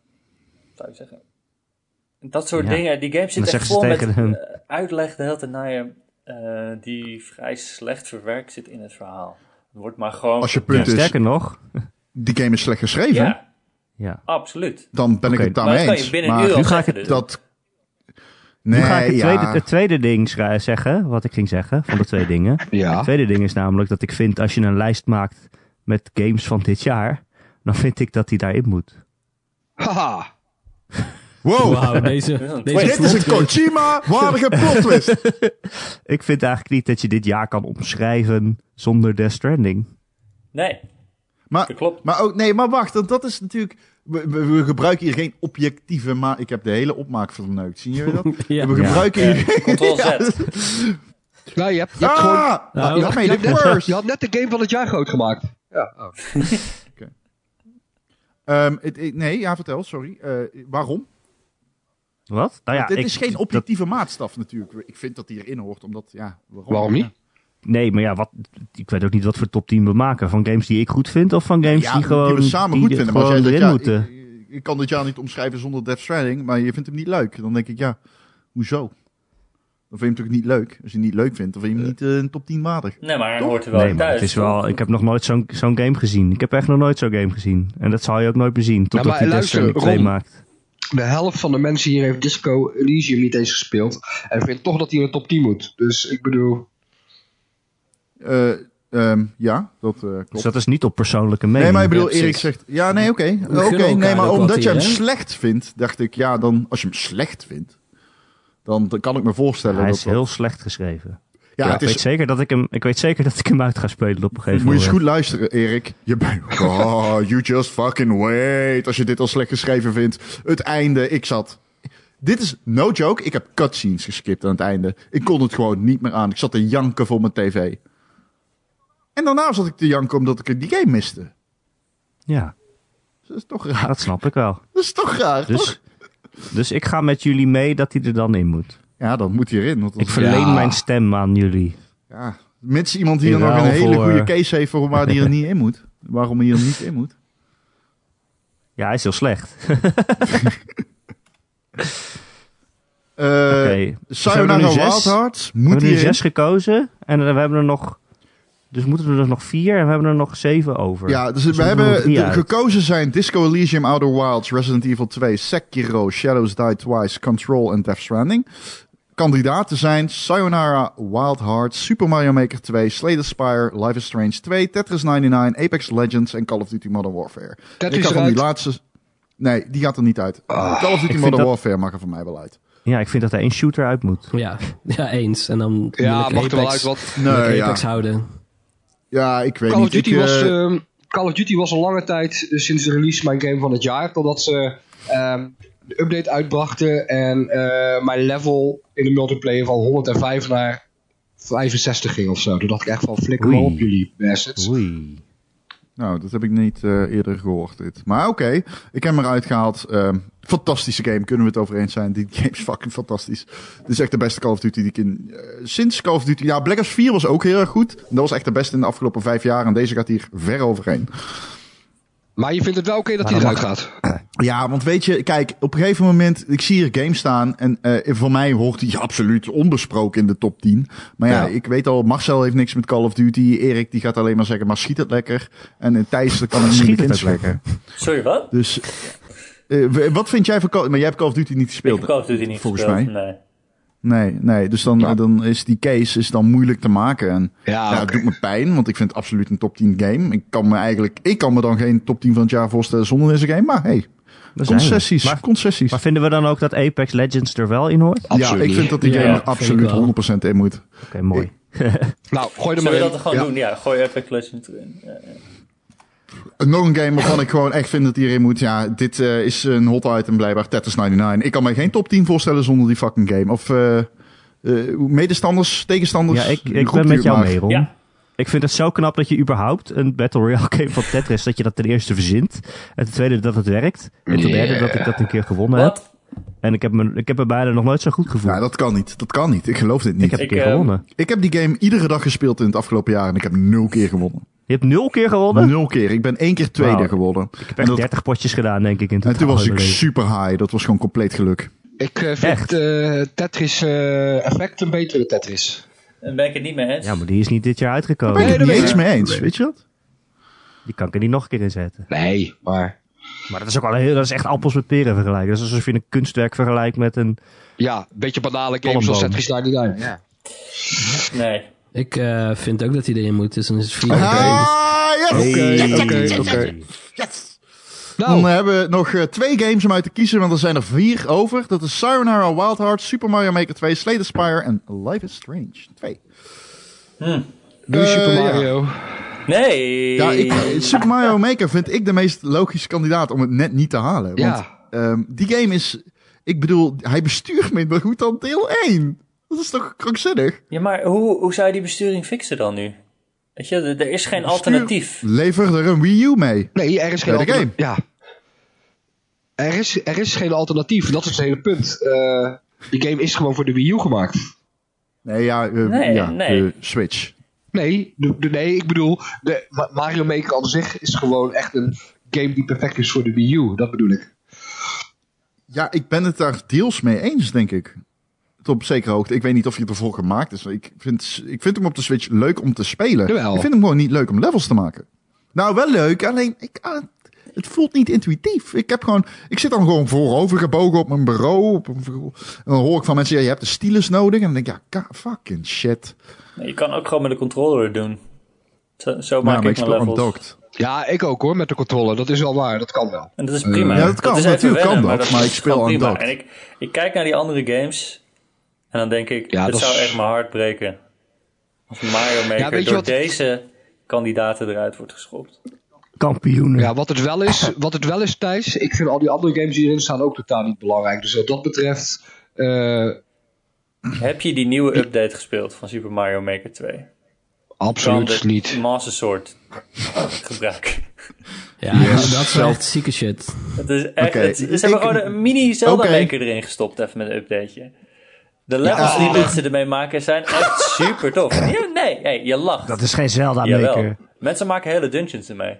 Speaker 5: Zou ik zeggen. Dat soort
Speaker 3: Ja.
Speaker 5: dingen. Die game
Speaker 3: Dan
Speaker 5: zit echt
Speaker 3: zeggen ze
Speaker 5: vol met
Speaker 3: tegen hem.
Speaker 5: eh, uitleg de hele tijd naar je... eh, die vrij slecht verwerkt zit in het verhaal. Het wordt maar gewoon...
Speaker 1: Als je punt is,
Speaker 3: Sterker nog,
Speaker 1: die game is slecht geschreven,
Speaker 5: Ja,
Speaker 3: ja.
Speaker 5: absoluut.
Speaker 1: dan ben
Speaker 3: Oké.
Speaker 1: ik het
Speaker 5: Maar dat
Speaker 1: daarmee
Speaker 5: kan je
Speaker 1: eens.
Speaker 5: binnen een
Speaker 1: Maar
Speaker 5: uur al
Speaker 3: nu ga ik
Speaker 5: zeggen,
Speaker 3: het
Speaker 5: dus.
Speaker 1: dat... Nee,
Speaker 3: nu ga ik het
Speaker 1: ja.
Speaker 3: tweede, het tweede ding schra- zeggen, wat ik ging zeggen, van de twee dingen. Het
Speaker 4: Ja.
Speaker 3: tweede ding is namelijk dat ik vind, als je een lijst maakt met games van dit jaar, dan vind ik dat die daarin moet.
Speaker 4: Haha.
Speaker 1: Wow,
Speaker 2: Wauw, deze,
Speaker 5: een
Speaker 2: deze
Speaker 1: eh, oh. dit is een
Speaker 2: plot-
Speaker 1: Kojima-waardige plot twist.
Speaker 3: Ik vind eigenlijk niet dat je dit jaar kan omschrijven zonder Death Stranding.
Speaker 5: Nee,
Speaker 1: Maar,
Speaker 5: dat klopt.
Speaker 1: Maar ook, nee, maar wacht, want dat is natuurlijk. We, we- we gebruiken hier geen objectieve maar Ik heb de hele opmaak verneukt. Zien jullie dat?
Speaker 2: Ja.
Speaker 1: We
Speaker 3: Ja.
Speaker 1: gebruiken
Speaker 5: Ja.
Speaker 1: hier...
Speaker 5: Ctrl Z.
Speaker 4: Nou, je hebt, je hebt gewoon...
Speaker 1: Ah!
Speaker 2: Nou,
Speaker 1: Dat meen
Speaker 4: je,
Speaker 1: ik
Speaker 4: hebt net,
Speaker 1: worse.
Speaker 4: je had net de game van het jaar groot gemaakt. Ja. Oh.
Speaker 1: Ehm, het- het- nee, ja, vertel, sorry. Eh, waarom?
Speaker 3: Wat? Nou ja,
Speaker 1: Dit
Speaker 3: ik-
Speaker 1: is geen
Speaker 3: dat-
Speaker 1: objectieve maatstaf natuurlijk. Ik vind dat die erin hoort, omdat, ja...
Speaker 4: Waarom niet?
Speaker 1: Ja.
Speaker 3: nee, maar ja, wat, ik weet ook niet wat voor top 10 we maken. Van games die ik goed vind of van games
Speaker 1: Ja,
Speaker 3: die gewoon
Speaker 1: we samen
Speaker 3: die
Speaker 1: goed
Speaker 3: er
Speaker 1: vinden. Maar als
Speaker 3: gewoon
Speaker 1: jij
Speaker 3: erin
Speaker 1: zegt, ja,
Speaker 3: moeten.
Speaker 1: ik- ik, ik kan dit jaar niet omschrijven zonder Death Stranding, maar je vindt hem niet leuk. Dan denk ik, ja, hoezo? Dan vind je hem natuurlijk niet leuk. Als je hem niet leuk vindt, dan vind je hem niet eh, een top 10 waardig.
Speaker 5: Nee, maar hij
Speaker 1: Toch?
Speaker 5: hoort er wel
Speaker 3: Nee, maar
Speaker 5: thuis.
Speaker 3: het is wel, ik heb nog nooit zo'n zo'n game gezien. Ik heb echt nog nooit zo'n game gezien. En dat zal je ook nooit meer zien, totdat
Speaker 4: maar
Speaker 3: hij Death
Speaker 4: luister,
Speaker 3: Stranding 2
Speaker 4: Ron.
Speaker 3: maakt.
Speaker 4: De helft van de mensen hier heeft Disco Elysium niet eens gespeeld. En vindt toch dat hij in de top 10 moet. Dus ik bedoel...
Speaker 1: Eh, ehm, ja, dat eh,
Speaker 3: Dus
Speaker 1: klopt.
Speaker 3: dat is niet op persoonlijke mening.
Speaker 1: Nee, maar ik bedoel,
Speaker 2: Ja,
Speaker 1: Erik
Speaker 2: precies.
Speaker 1: zegt... Ja, nee, oké.
Speaker 2: gunnen
Speaker 1: Oké, nee,
Speaker 2: elkaar
Speaker 1: maar
Speaker 2: ook wat
Speaker 1: omdat je hem
Speaker 2: hier, hè?
Speaker 1: slecht vindt, dacht ik... Ja, dan als je hem slecht vindt, dan, dan kan ik me voorstellen...
Speaker 3: Hij
Speaker 1: dat
Speaker 3: is
Speaker 1: dat-
Speaker 3: heel slecht geschreven.
Speaker 1: ja,
Speaker 3: Ja,
Speaker 1: het
Speaker 3: ik,
Speaker 1: is
Speaker 3: weet zeker dat ik, hem, ik weet zeker dat ik hem uit ga spelen op een gegeven
Speaker 1: Moet je
Speaker 3: moment.
Speaker 1: eens goed luisteren, Erik. Je bent... Oh, you just fucking wait. Als je dit al slecht geschreven vindt. Het einde, ik zat... Dit is no joke. Ik heb cutscenes geskipt aan het einde. Ik kon het gewoon niet meer aan. Ik zat te janken voor mijn tv. En daarna zat ik te janken omdat ik die game miste.
Speaker 3: Ja,
Speaker 1: Dus dat is toch raar.
Speaker 3: dat snap ik wel.
Speaker 1: Dat is toch raar, toch?
Speaker 3: Dus, dus ik ga met jullie mee dat hij er dan in moet.
Speaker 1: Ja, dan moet hij erin. Want
Speaker 3: Ik
Speaker 1: dat,
Speaker 3: verleen
Speaker 4: Ja.
Speaker 3: mijn stem aan jullie.
Speaker 1: ja, mits iemand hier nog
Speaker 3: Jawel,
Speaker 1: een hele
Speaker 3: voor- eh,
Speaker 1: goede case heeft voor waar hij er niet in moet. Waarom hij er niet in moet.
Speaker 3: Ja, hij is heel slecht.
Speaker 1: Eh
Speaker 3: Oké.
Speaker 1: Sayonara
Speaker 3: Dus hebben we nu
Speaker 1: Wild
Speaker 3: zes?
Speaker 1: Hearts.
Speaker 3: We
Speaker 1: Moet
Speaker 3: hebben
Speaker 1: hij
Speaker 3: nu
Speaker 1: erin?
Speaker 3: zes gekozen en eh, we hebben er nog... Dus moeten we er nog vier en we hebben er nog zeven over.
Speaker 1: Ja, dus
Speaker 3: Dus
Speaker 1: we
Speaker 3: dan doen we
Speaker 1: hebben
Speaker 3: drie
Speaker 1: de-
Speaker 3: uit.
Speaker 1: gekozen zijn Disco Elysium, Outer Wilds, Resident Evil 2, Sekiro, Shadows Die Twice, Control en Death Stranding. Kandidaten zijn Sayonara, Wild Hearts, Super Mario Maker 2, Slay the Spire, Life is Strange 2, Tetris 99, Apex Legends en Call of Duty Modern Warfare.
Speaker 4: Tetris
Speaker 1: Ik ga van
Speaker 4: eruit. Ah,
Speaker 1: die laatste... Nee, die gaat er niet uit. Call of Duty
Speaker 3: vind
Speaker 1: Modern
Speaker 3: dat-
Speaker 1: Warfare mag er van mij wel uit.
Speaker 3: Ja, ik vind dat er één shooter uit moet.
Speaker 2: Ja, ja eens. En dan wil
Speaker 4: Ja,
Speaker 2: ik
Speaker 4: mag er wel uit,
Speaker 2: Apex-
Speaker 4: want
Speaker 2: wil ik
Speaker 1: Nee, ja.
Speaker 2: Apex houden.
Speaker 1: ja, ik weet
Speaker 4: Call of,
Speaker 1: niet. Ik,
Speaker 4: Duty was,
Speaker 1: eh,
Speaker 4: ehm, Call of Duty was een lange tijd eh, sinds de release mijn game van het jaar. Totdat ze ehm, de update uitbrachten en eh, mijn level in de multiplayer van 105 naar 65 ging of zo. Toen dacht ik echt van flikker maar
Speaker 3: Oei.
Speaker 4: op jullie bastards.
Speaker 3: Oei.
Speaker 1: Nou, dat heb ik niet eh, eerder gehoord. Dit. Maar oké, ik heb hem eruit gehaald. Ehm, fantastische game, kunnen we het over eens zijn. Die game is fucking fantastisch. Dit is echt de beste Call of Duty die ik in... eh, sinds Call of Duty... Ja, Black Ops 4 was ook heel erg goed. En dat was echt de beste in de afgelopen vijf jaar. En deze gaat hier ver overheen.
Speaker 4: Maar je vindt het wel oké dat hij
Speaker 3: Maar
Speaker 4: eruit
Speaker 3: dan
Speaker 4: gaat.
Speaker 1: Ja, want weet je, kijk, op een gegeven moment... Ik zie hier games staan. En eh, voor mij hoort die absoluut onbesproken in de top 10. Maar ja,
Speaker 3: Ja.
Speaker 1: ik weet al, Marcel heeft niks met Call of Duty. Erik, die gaat alleen maar zeggen, maar schiet het lekker. En eh, Thijs, dat kan het
Speaker 3: Schiet
Speaker 1: niet
Speaker 3: het ook
Speaker 1: lekker.
Speaker 5: Sorry, wat?
Speaker 1: Dus eh, w- wat vind jij van Call Maar jij hebt Call of Duty niet
Speaker 5: Ik
Speaker 1: gespeeld.
Speaker 5: heb Call of Duty niet
Speaker 1: volgens
Speaker 5: gespeeld.
Speaker 1: mij.
Speaker 5: Nee.
Speaker 1: Nee, nee. Dus dan,
Speaker 4: Ja.
Speaker 1: dan is die case is dan moeilijk te maken. En
Speaker 4: Ja,
Speaker 1: ja, het
Speaker 4: oké.
Speaker 1: doet me pijn, want ik vind het absoluut een top 10 game. Ik kan me eigenlijk, ik kan me dan geen top 10 van het jaar voorstellen zonder deze game. Maar hey,
Speaker 3: Daar zijn we.
Speaker 1: concessies,
Speaker 3: Maar,
Speaker 1: concessies.
Speaker 3: maar vinden we dan ook dat Apex Legends er wel in hoort? Oké,
Speaker 1: ja, ik vind dat die
Speaker 2: Ja,
Speaker 1: game
Speaker 2: ja,
Speaker 1: er
Speaker 2: vind ik wel.
Speaker 1: absoluut 100% in moet.
Speaker 3: mooi.
Speaker 4: Nou, gooi er maar
Speaker 5: Zullen we
Speaker 4: in.
Speaker 5: dat gewoon
Speaker 4: Ja.
Speaker 5: doen? Ja, gooi Epic Legends erin. Ja, ja.
Speaker 1: Nog een game waarvan ik gewoon echt vind dat die erin moet. Ja, dit eh, is een hot item blijkbaar, Tetris 99. Ik kan mij geen top 10 voorstellen zonder die fucking game. Of eh, eh, medestanders, tegenstanders.
Speaker 3: Ja, ik, ik
Speaker 1: roept
Speaker 3: ben
Speaker 1: u
Speaker 3: met
Speaker 1: het
Speaker 3: jou
Speaker 1: maar.
Speaker 3: mee, Ron.
Speaker 5: Ja.
Speaker 3: Ik vind het zo knap dat je überhaupt een Battle Royale game van Tetris, dat je dat ten eerste verzint. En ten tweede dat het werkt. En ten derde dat ik dat een keer gewonnen heb.
Speaker 5: Wat?
Speaker 3: En ik heb, me, ik heb er bijna nog nooit zo goed gevoeld.
Speaker 1: Ja, dat kan niet. Dat kan niet. Ik geloof dit niet.
Speaker 3: ik heb een
Speaker 5: Ik,
Speaker 3: keer
Speaker 5: ehm,
Speaker 3: gewonnen.
Speaker 1: Ik heb die game iedere dag gespeeld in het afgelopen jaar en ik heb nul keer gewonnen.
Speaker 3: Je hebt nul keer gewonnen?
Speaker 1: Nul keer. Ik ben één keer tweede
Speaker 3: Wauw.
Speaker 1: geworden.
Speaker 3: Ik heb
Speaker 1: En,
Speaker 3: echt
Speaker 1: dat-
Speaker 3: 30 potjes gedaan, denk ik. In
Speaker 1: en toen was ik
Speaker 3: totaal.
Speaker 1: super high. Dat was gewoon compleet geluk.
Speaker 4: Ik eh,
Speaker 3: Echt?
Speaker 4: vind eh, Tetris eh, Effect een betere Tetris.
Speaker 5: Dan ben ik het niet mee eens.
Speaker 3: Ja, maar die is niet dit jaar
Speaker 1: Daar ben
Speaker 3: uitgekomen.
Speaker 1: ik het
Speaker 4: Nee, dat
Speaker 1: niet
Speaker 4: weet
Speaker 1: eens
Speaker 4: ik.
Speaker 1: mee eens. Weet je dat?
Speaker 3: Die kan ik er niet nog een keer in zetten.
Speaker 4: Nee, maar...
Speaker 3: Maar dat is ook al heel, dat is echt appels met peren vergelijken. Dat is alsof je een kunstwerk vergelijkt met een.
Speaker 4: Ja, een beetje banale games
Speaker 3: Palmboom.
Speaker 4: zoals Tetris 99. Ja.
Speaker 5: Nee.
Speaker 2: Ik eh, vind ook dat hij erin moet. Dus dan is het vier.
Speaker 1: Ah, yes!
Speaker 4: Oké,
Speaker 1: Yes,
Speaker 4: oké,
Speaker 1: yes, yes,
Speaker 4: oké.
Speaker 1: yes.
Speaker 4: Nou,
Speaker 1: Dan hebben we nog eh, twee games om uit te kiezen, want er zijn er vier over. Dat is Sayonara Wild Heart, Super Mario Maker 2, Slay the Spire en Life is Strange 2.
Speaker 5: Hm.
Speaker 4: doe
Speaker 1: eh,
Speaker 4: Super
Speaker 1: ja.
Speaker 4: Mario.
Speaker 5: Nee.
Speaker 1: Ja, ik, eh, Super Mario Maker vind ik de meest logische kandidaat om het net niet te halen. Want
Speaker 4: Ja,
Speaker 1: ehm, die game is... Ik bedoel, hij bestuurt minder goed dan deel 1. Dat is toch krankzinnig?
Speaker 5: Ja, maar hoe, hoe zou je die besturing fixen dan nu? Weet je, er er is geen alternatief.
Speaker 1: Lever er een Wii U mee.
Speaker 4: nee, er is geen
Speaker 1: Bij de
Speaker 4: alternatief. Ja. Er is, er is geen alternatief, dat is het hele punt. Eh, die game is gewoon voor de Wii U gemaakt.
Speaker 1: Nee, ja, eh,
Speaker 5: Nee,
Speaker 1: ja
Speaker 5: nee.
Speaker 1: de Switch.
Speaker 4: Nee, de, de- nee, ik bedoel, de, Ma- Mario Maker aan zich is gewoon echt een game die perfect is voor de Wii U. Dat bedoel ik.
Speaker 1: Ja, ik ben het daar deels mee eens, denk ik. Tot op zekere hoogte. Ik weet niet of hij ervoor gemaakt is. Ik vind, ik vind hem op de Switch leuk om te spelen.
Speaker 4: Jawel.
Speaker 1: Ik vind hem gewoon niet leuk om levels te maken. Nou, wel leuk, alleen ik, ah, het voelt niet intuïtief. Ik, heb gewoon, ik zit dan gewoon voorover gebogen op mijn bureau. Op een, en dan hoor ik van mensen, ja, je hebt de stylus nodig. En dan denk ik, ja, ka- fucking shit.
Speaker 5: Nee, Je kan ook gewoon met de controller doen. Zo, zo
Speaker 1: Nou, Maar,
Speaker 5: maak
Speaker 1: maar ik
Speaker 5: ik mijn
Speaker 1: speel
Speaker 5: levels.
Speaker 1: undocked.
Speaker 4: Ja, ik ook hoor, met de controle. Dat is wel waar, dat kan wel.
Speaker 5: En dat is prima.
Speaker 1: Eh, ja, dat kan,
Speaker 5: is even
Speaker 1: natuurlijk kan
Speaker 5: wennen,
Speaker 1: dat, maar
Speaker 5: is
Speaker 1: ik speel
Speaker 5: gewoon prima.
Speaker 1: undocked.
Speaker 5: En ik, ik kijk naar die andere games en dan denk ik,
Speaker 4: Ja,
Speaker 5: dit
Speaker 4: dat
Speaker 5: zou
Speaker 4: is-
Speaker 5: echt mijn hart breken. Als Mario Maker
Speaker 4: Ja, weet je
Speaker 5: door
Speaker 4: wat-
Speaker 5: deze kandidaten eruit wordt geschopt.
Speaker 3: Kampioenen.
Speaker 4: Ja, wat het wel is, wat het wel is Thijs, ik vind al die andere games die erin staan ook totaal niet belangrijk. Dus wat dat betreft, eh,
Speaker 5: Heb je die nieuwe update gespeeld van Super Mario Maker 2?
Speaker 4: absoluut
Speaker 5: dit
Speaker 4: niet.
Speaker 5: Master Sword gebruiken.
Speaker 2: Ja, dat is wel echt zieke shit.
Speaker 5: Het is echt,
Speaker 1: Oké,
Speaker 5: het- ze
Speaker 1: ik-
Speaker 5: hebben gewoon een mini Zelda
Speaker 1: Oké.
Speaker 5: Maker erin gestopt even met een updateje. De levels die mensen ermee maken zijn echt super tof. Ja, nee, hey, je lacht.
Speaker 3: Dat is geen Zelda
Speaker 5: Jawel.
Speaker 3: maker.
Speaker 5: Mensen maken hele dungeons ermee.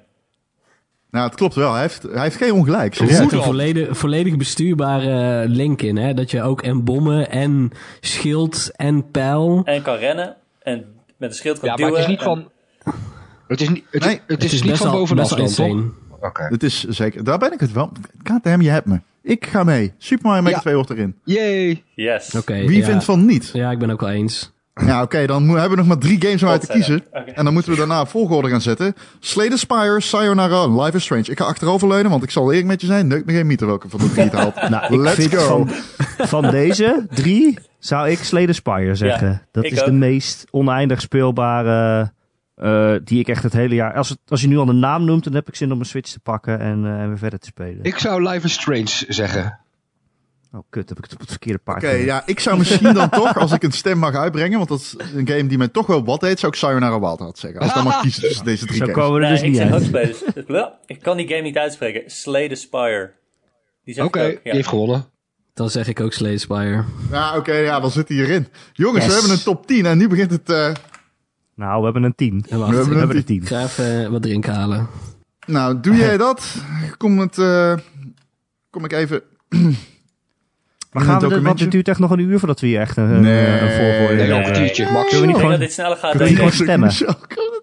Speaker 1: Nou, het klopt wel. Hij heeft, hij heeft geen ongelijk.
Speaker 2: Er
Speaker 1: serieus.
Speaker 2: zit een volledig, volledig bestuurbare eh, link in. Hè? Dat je ook en bommen en schild en pijl...
Speaker 5: En kan rennen. En met een schild kan
Speaker 4: Ja, maar
Speaker 5: duwen.
Speaker 4: het is niet
Speaker 5: en-
Speaker 4: van. Het is, niet- het,
Speaker 1: Nee,
Speaker 4: het, is, niet van
Speaker 2: wel-
Speaker 4: bovenaf
Speaker 2: best wel
Speaker 4: dan, toch?
Speaker 2: insane.
Speaker 4: Oké.
Speaker 1: Het is zeker. Daar ben ik het wel. KTM, je hebt me. Ik ga mee. Super Mario Maker
Speaker 4: Ja.
Speaker 1: 2 hoort erin.
Speaker 4: Yay!
Speaker 5: Yes.
Speaker 2: Oké,
Speaker 1: Wie
Speaker 2: ja.
Speaker 1: vindt van niet?
Speaker 2: Ja, ik ben ook wel eens.
Speaker 1: Ja, oké, dan mo- hebben we nog maar drie games om uit te
Speaker 5: Godzijdank.
Speaker 1: kiezen.
Speaker 5: Oké.
Speaker 1: En dan moeten we daarna op volgorde gaan zetten. Slay the Spire, Sayonara en Life is Strange. Ik ga achteroverleunen, want ik zal eerlijk met je zijn. Neukt me geen meter welke van de drie het haalt.
Speaker 3: Nou, ik
Speaker 1: Let's
Speaker 3: vind
Speaker 1: go.
Speaker 3: Van, van deze drie zou ik Slay the Spire zeggen. dat
Speaker 5: ik
Speaker 3: is de
Speaker 5: ook.
Speaker 3: meest oneindig speelbare eh, die ik echt het hele jaar... Als, het, als je nu al de naam noemt, dan heb ik zin om mijn Switch te pakken en, eh, en weer verder te spelen.
Speaker 4: Ik zou Life is Strange zeggen.
Speaker 3: Oh, kut, heb ik het op het verkeerde paard.
Speaker 1: Oké,
Speaker 3: gezet.
Speaker 1: ja, ik zou misschien dan toch, als ik een stem mag uitbrengen, want dat is een game die mij toch wel wat heet, zou ik Sayonara Wild Heart zeggen. Als ik dan mag kiezen tussen deze drie
Speaker 3: Zo
Speaker 1: games.
Speaker 3: komen we er
Speaker 5: Nee,
Speaker 3: dus
Speaker 5: ik
Speaker 3: niet
Speaker 5: zeg ook
Speaker 3: uit.
Speaker 5: spelers. ik kan die game niet uitspreken. Slay the Spire. Die zeg
Speaker 4: Oké,
Speaker 5: ik ook, ja.
Speaker 4: die heeft gewonnen.
Speaker 2: Dan zeg ik ook Slay the Spire.
Speaker 1: Ja, oké, ja, dan zit hij hierin. Jongens, we
Speaker 3: Yes.
Speaker 1: hebben een top 10 en nu begint het... eh,
Speaker 3: Nou, we hebben een team.
Speaker 2: En
Speaker 1: We
Speaker 2: wacht,
Speaker 1: hebben
Speaker 2: ik
Speaker 1: een
Speaker 3: een team.
Speaker 2: ga even eh, wat drinken halen.
Speaker 1: Nou, doe jij dat? Kom, het, eh, kom ik even.
Speaker 3: Maar
Speaker 1: In
Speaker 3: gaan
Speaker 1: een
Speaker 3: we dit, want
Speaker 1: documentje?
Speaker 3: het duurt echt nog een uur voordat we hier echt een,
Speaker 1: Nee.
Speaker 3: een volgorde
Speaker 4: Nee,
Speaker 5: Nee.
Speaker 4: een kwartiertje, max.
Speaker 1: Kunnen
Speaker 5: Ik
Speaker 3: niet
Speaker 5: denk
Speaker 3: gewoon-
Speaker 5: dat dit sneller gaat
Speaker 3: Kunnen
Speaker 5: dan
Speaker 3: we
Speaker 5: je
Speaker 3: niet
Speaker 5: denkt.
Speaker 3: gewoon stemmen?
Speaker 1: Kunnen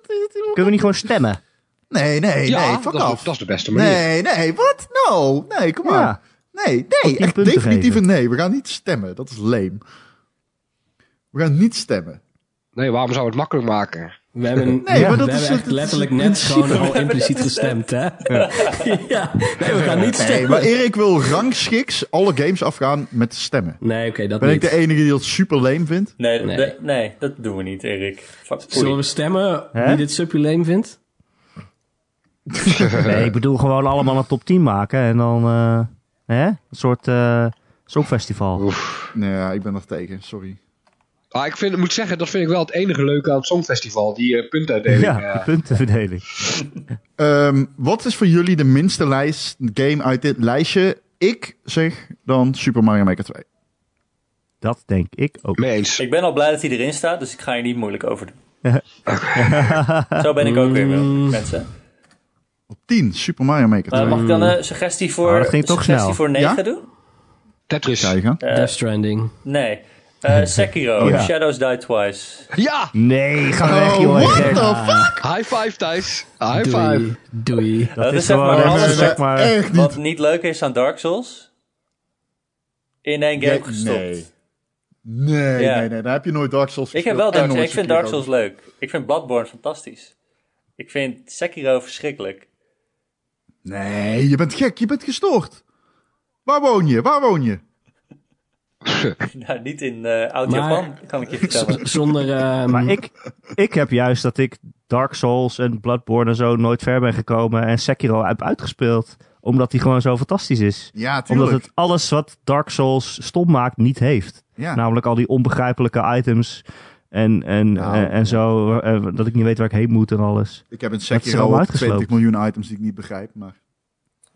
Speaker 3: Kunnen we niet gewoon stemmen?
Speaker 1: Nee, nee,
Speaker 4: ja,
Speaker 1: nee, fuck
Speaker 4: dat, is de-
Speaker 1: af.
Speaker 4: dat is de beste manier.
Speaker 1: Nee, nee, wat? No, nee, kom maar.
Speaker 3: Ja.
Speaker 1: Nee, nee,
Speaker 3: tien
Speaker 1: echt
Speaker 3: punten
Speaker 1: definitief
Speaker 3: geven.
Speaker 1: een nee. We gaan niet stemmen, dat is lame. We gaan niet stemmen.
Speaker 4: Nee, waarom zou het makkelijk maken?
Speaker 2: We hebben,
Speaker 1: Nee,
Speaker 2: ja,
Speaker 1: maar dat
Speaker 2: we
Speaker 1: is
Speaker 2: hebben
Speaker 1: het-
Speaker 2: echt
Speaker 1: het is
Speaker 2: letterlijk
Speaker 1: het
Speaker 2: net
Speaker 1: principe.
Speaker 2: gewoon al impliciet gestemd, hè? Ja. Nee, we gaan niet
Speaker 1: Nee,
Speaker 2: stemmen.
Speaker 1: maar Erik wil rangschiks alle games afgaan met stemmen.
Speaker 2: Nee, oké, dat
Speaker 1: Ben ik
Speaker 2: niet.
Speaker 1: de enige die dat super lame vindt?
Speaker 5: Nee,
Speaker 2: Nee.
Speaker 5: de- nee, dat doen we niet, Erik. Fuck,
Speaker 2: Zullen
Speaker 5: poelie.
Speaker 2: we stemmen
Speaker 3: Hè?
Speaker 2: wie dit subje lame vindt?
Speaker 3: Nee, ik bedoel gewoon allemaal een top 10 maken en dan eh, hè? een soort eh songfestival.
Speaker 1: Nee, ja, ik ben er tegen, sorry.
Speaker 4: Ah, ik vind, moet zeggen, dat vind ik wel het enige leuke aan het Songfestival. Die eh, puntuitdeling.
Speaker 3: Ja,
Speaker 4: eh.
Speaker 3: die puntenverdeling.
Speaker 1: Ehm, wat is voor jullie de minste lijst, game uit dit lijstje? Ik zeg dan Super Mario Maker 2.
Speaker 3: Dat denk ik ook.
Speaker 4: Mee eens.
Speaker 5: Ik ben al blij dat hij erin staat, dus ik ga je niet moeilijk over doen. Zo ben ik ook weer, mensen.
Speaker 1: 10, Super Mario Maker
Speaker 4: Eh,
Speaker 1: 2.
Speaker 5: Maar mag ik dan een suggestie voor,
Speaker 3: Oh, dat ging toch
Speaker 5: suggestie
Speaker 3: snel.
Speaker 5: voor 9
Speaker 1: Ja?
Speaker 5: doen?
Speaker 4: Tetris.
Speaker 1: Zou je gaan?
Speaker 5: Eh,
Speaker 2: Death Stranding.
Speaker 5: nee. Eh, Sekiro,
Speaker 3: Ja.
Speaker 5: Shadows Die Twice.
Speaker 4: Ja!
Speaker 3: Nee, ga weg
Speaker 1: Oh,
Speaker 3: joh.
Speaker 1: what
Speaker 3: Gert.
Speaker 1: the fuck?
Speaker 4: High five, Thijs. High five.
Speaker 2: Doei. Doei.
Speaker 5: Eh, Dat is
Speaker 3: is
Speaker 5: zeg
Speaker 3: gewoon
Speaker 5: maar
Speaker 3: even
Speaker 5: alles
Speaker 3: zeg
Speaker 5: wat,
Speaker 3: maar-
Speaker 1: Echt niet.
Speaker 5: wat niet leuk is aan Dark Souls. In één game
Speaker 1: Nee,
Speaker 5: gestopt.
Speaker 1: nee. Nee,
Speaker 5: Ja.
Speaker 1: nee, nee. Daar heb je nooit Dark Souls
Speaker 5: Ik heb wel
Speaker 1: gespeeld
Speaker 5: Dark
Speaker 1: en
Speaker 5: Souls.
Speaker 1: nooit
Speaker 5: Ik vind Dark
Speaker 1: Sekiro
Speaker 5: Souls leuk. Ik vind Bloodborne fantastisch. Ik vind Sekiro verschrikkelijk.
Speaker 1: gespeeld. Nee, je bent gek. Je bent gestoord. Waar woon je? Waar woon je?
Speaker 5: nou, niet in eh
Speaker 2: Maar-
Speaker 5: Oud-Japan, kan ik je vertellen.
Speaker 2: Z- Zonder... ehm,
Speaker 3: Maar ik, ik heb juist dat ik Dark Souls en Bloodborne en zo nooit ver ben gekomen en Sekiro heb uitgespeeld. Omdat die gewoon zo fantastisch is.
Speaker 1: Ja, tuurlijk.
Speaker 3: Omdat het alles wat Dark Souls stom maakt niet heeft.
Speaker 1: ja.
Speaker 3: Namelijk al die onbegrijpelijke items en, en,
Speaker 2: Nou,
Speaker 3: en, en
Speaker 2: ja.
Speaker 3: zo. eh, dat ik niet weet waar ik heen moet en alles.
Speaker 1: ik heb een
Speaker 3: is er al
Speaker 1: Sekiro op
Speaker 3: uitgesloopt.
Speaker 1: 20 miljoen items die ik niet begrijp. Maar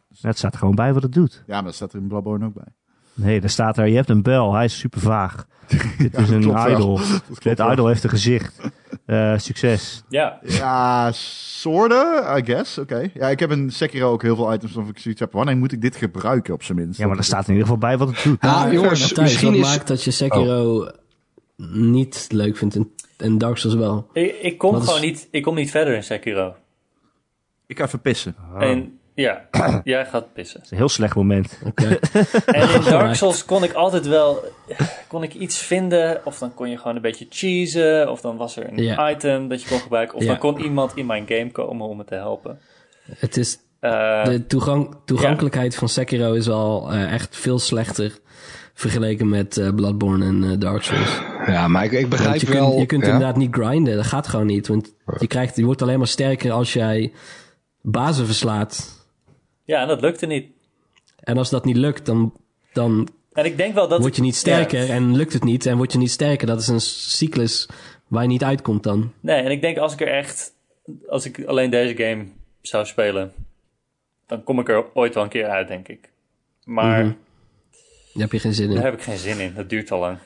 Speaker 3: Nou, Het staat gewoon bij wat het doet.
Speaker 1: ja, maar dat staat er in Bloodborne ook bij.
Speaker 3: Nee, daar staat er, je hebt een bel, hij is super vaag. Dit is een
Speaker 1: klopt wel.
Speaker 3: idol.
Speaker 1: Dat
Speaker 3: Dit
Speaker 1: klopt wel.
Speaker 3: idol heeft een gezicht. Eh, succes.
Speaker 5: Ja,
Speaker 1: Ja, soorten, I guess. Oké. Ja, ik heb in Sekiro ook heel veel items waarvan ik zoiets heb. Wanneer moet ik dit gebruiken op zijn minst?
Speaker 3: Ja, maar daar staat in ieder geval bij wat het doet.
Speaker 5: Nou.
Speaker 4: Ja, jongens,
Speaker 2: Matthijs,
Speaker 4: misschien
Speaker 2: wat
Speaker 4: is...
Speaker 2: maakt dat je Sekiro niet leuk vindt en, en Dark Souls wel?
Speaker 5: ik, ik kom
Speaker 2: Wat is-
Speaker 5: gewoon niet, ik kom niet verder in Sekiro.
Speaker 1: Ik ga even pissen.
Speaker 2: Ah.
Speaker 5: En ja, jij gaat pissen.
Speaker 3: Het is een heel slecht moment.
Speaker 2: Oké.
Speaker 5: En in Dark Souls kon ik altijd wel kon ik iets vinden. Of dan kon je gewoon een beetje cheesen. Of dan was er een
Speaker 2: Ja.
Speaker 5: item dat je kon gebruiken. Of
Speaker 2: Ja.
Speaker 5: dan kon iemand in mijn game komen om me te helpen.
Speaker 2: het is,
Speaker 5: Eh,
Speaker 2: de toegang, toegankelijkheid van Sekiro is al eh, echt veel slechter vergeleken met eh, Bloodborne en eh, Dark Souls.
Speaker 4: Ja, maar ik, ik
Speaker 2: Want
Speaker 4: begrijp
Speaker 2: je
Speaker 4: wel...
Speaker 2: kunt, je kunt
Speaker 4: ja.
Speaker 2: inderdaad niet grinden, dat gaat gewoon niet. Want je, krijgt, je wordt alleen maar sterker als jij bazen verslaat.
Speaker 5: ja, en dat lukte niet.
Speaker 2: En als dat niet lukt, dan, dan
Speaker 5: En ik denk wel dat...
Speaker 2: word je niet sterker
Speaker 5: Ja.
Speaker 2: en lukt het niet. En word je niet sterker, dat is een cyclus waar je niet uitkomt dan.
Speaker 5: nee, en ik denk als ik er echt... Als ik alleen deze game zou spelen... Dan kom ik er ooit wel een keer uit, denk ik. Maar
Speaker 2: Mhm. Daar heb je geen zin in.
Speaker 5: daar heb ik geen zin in. Dat duurt al lang.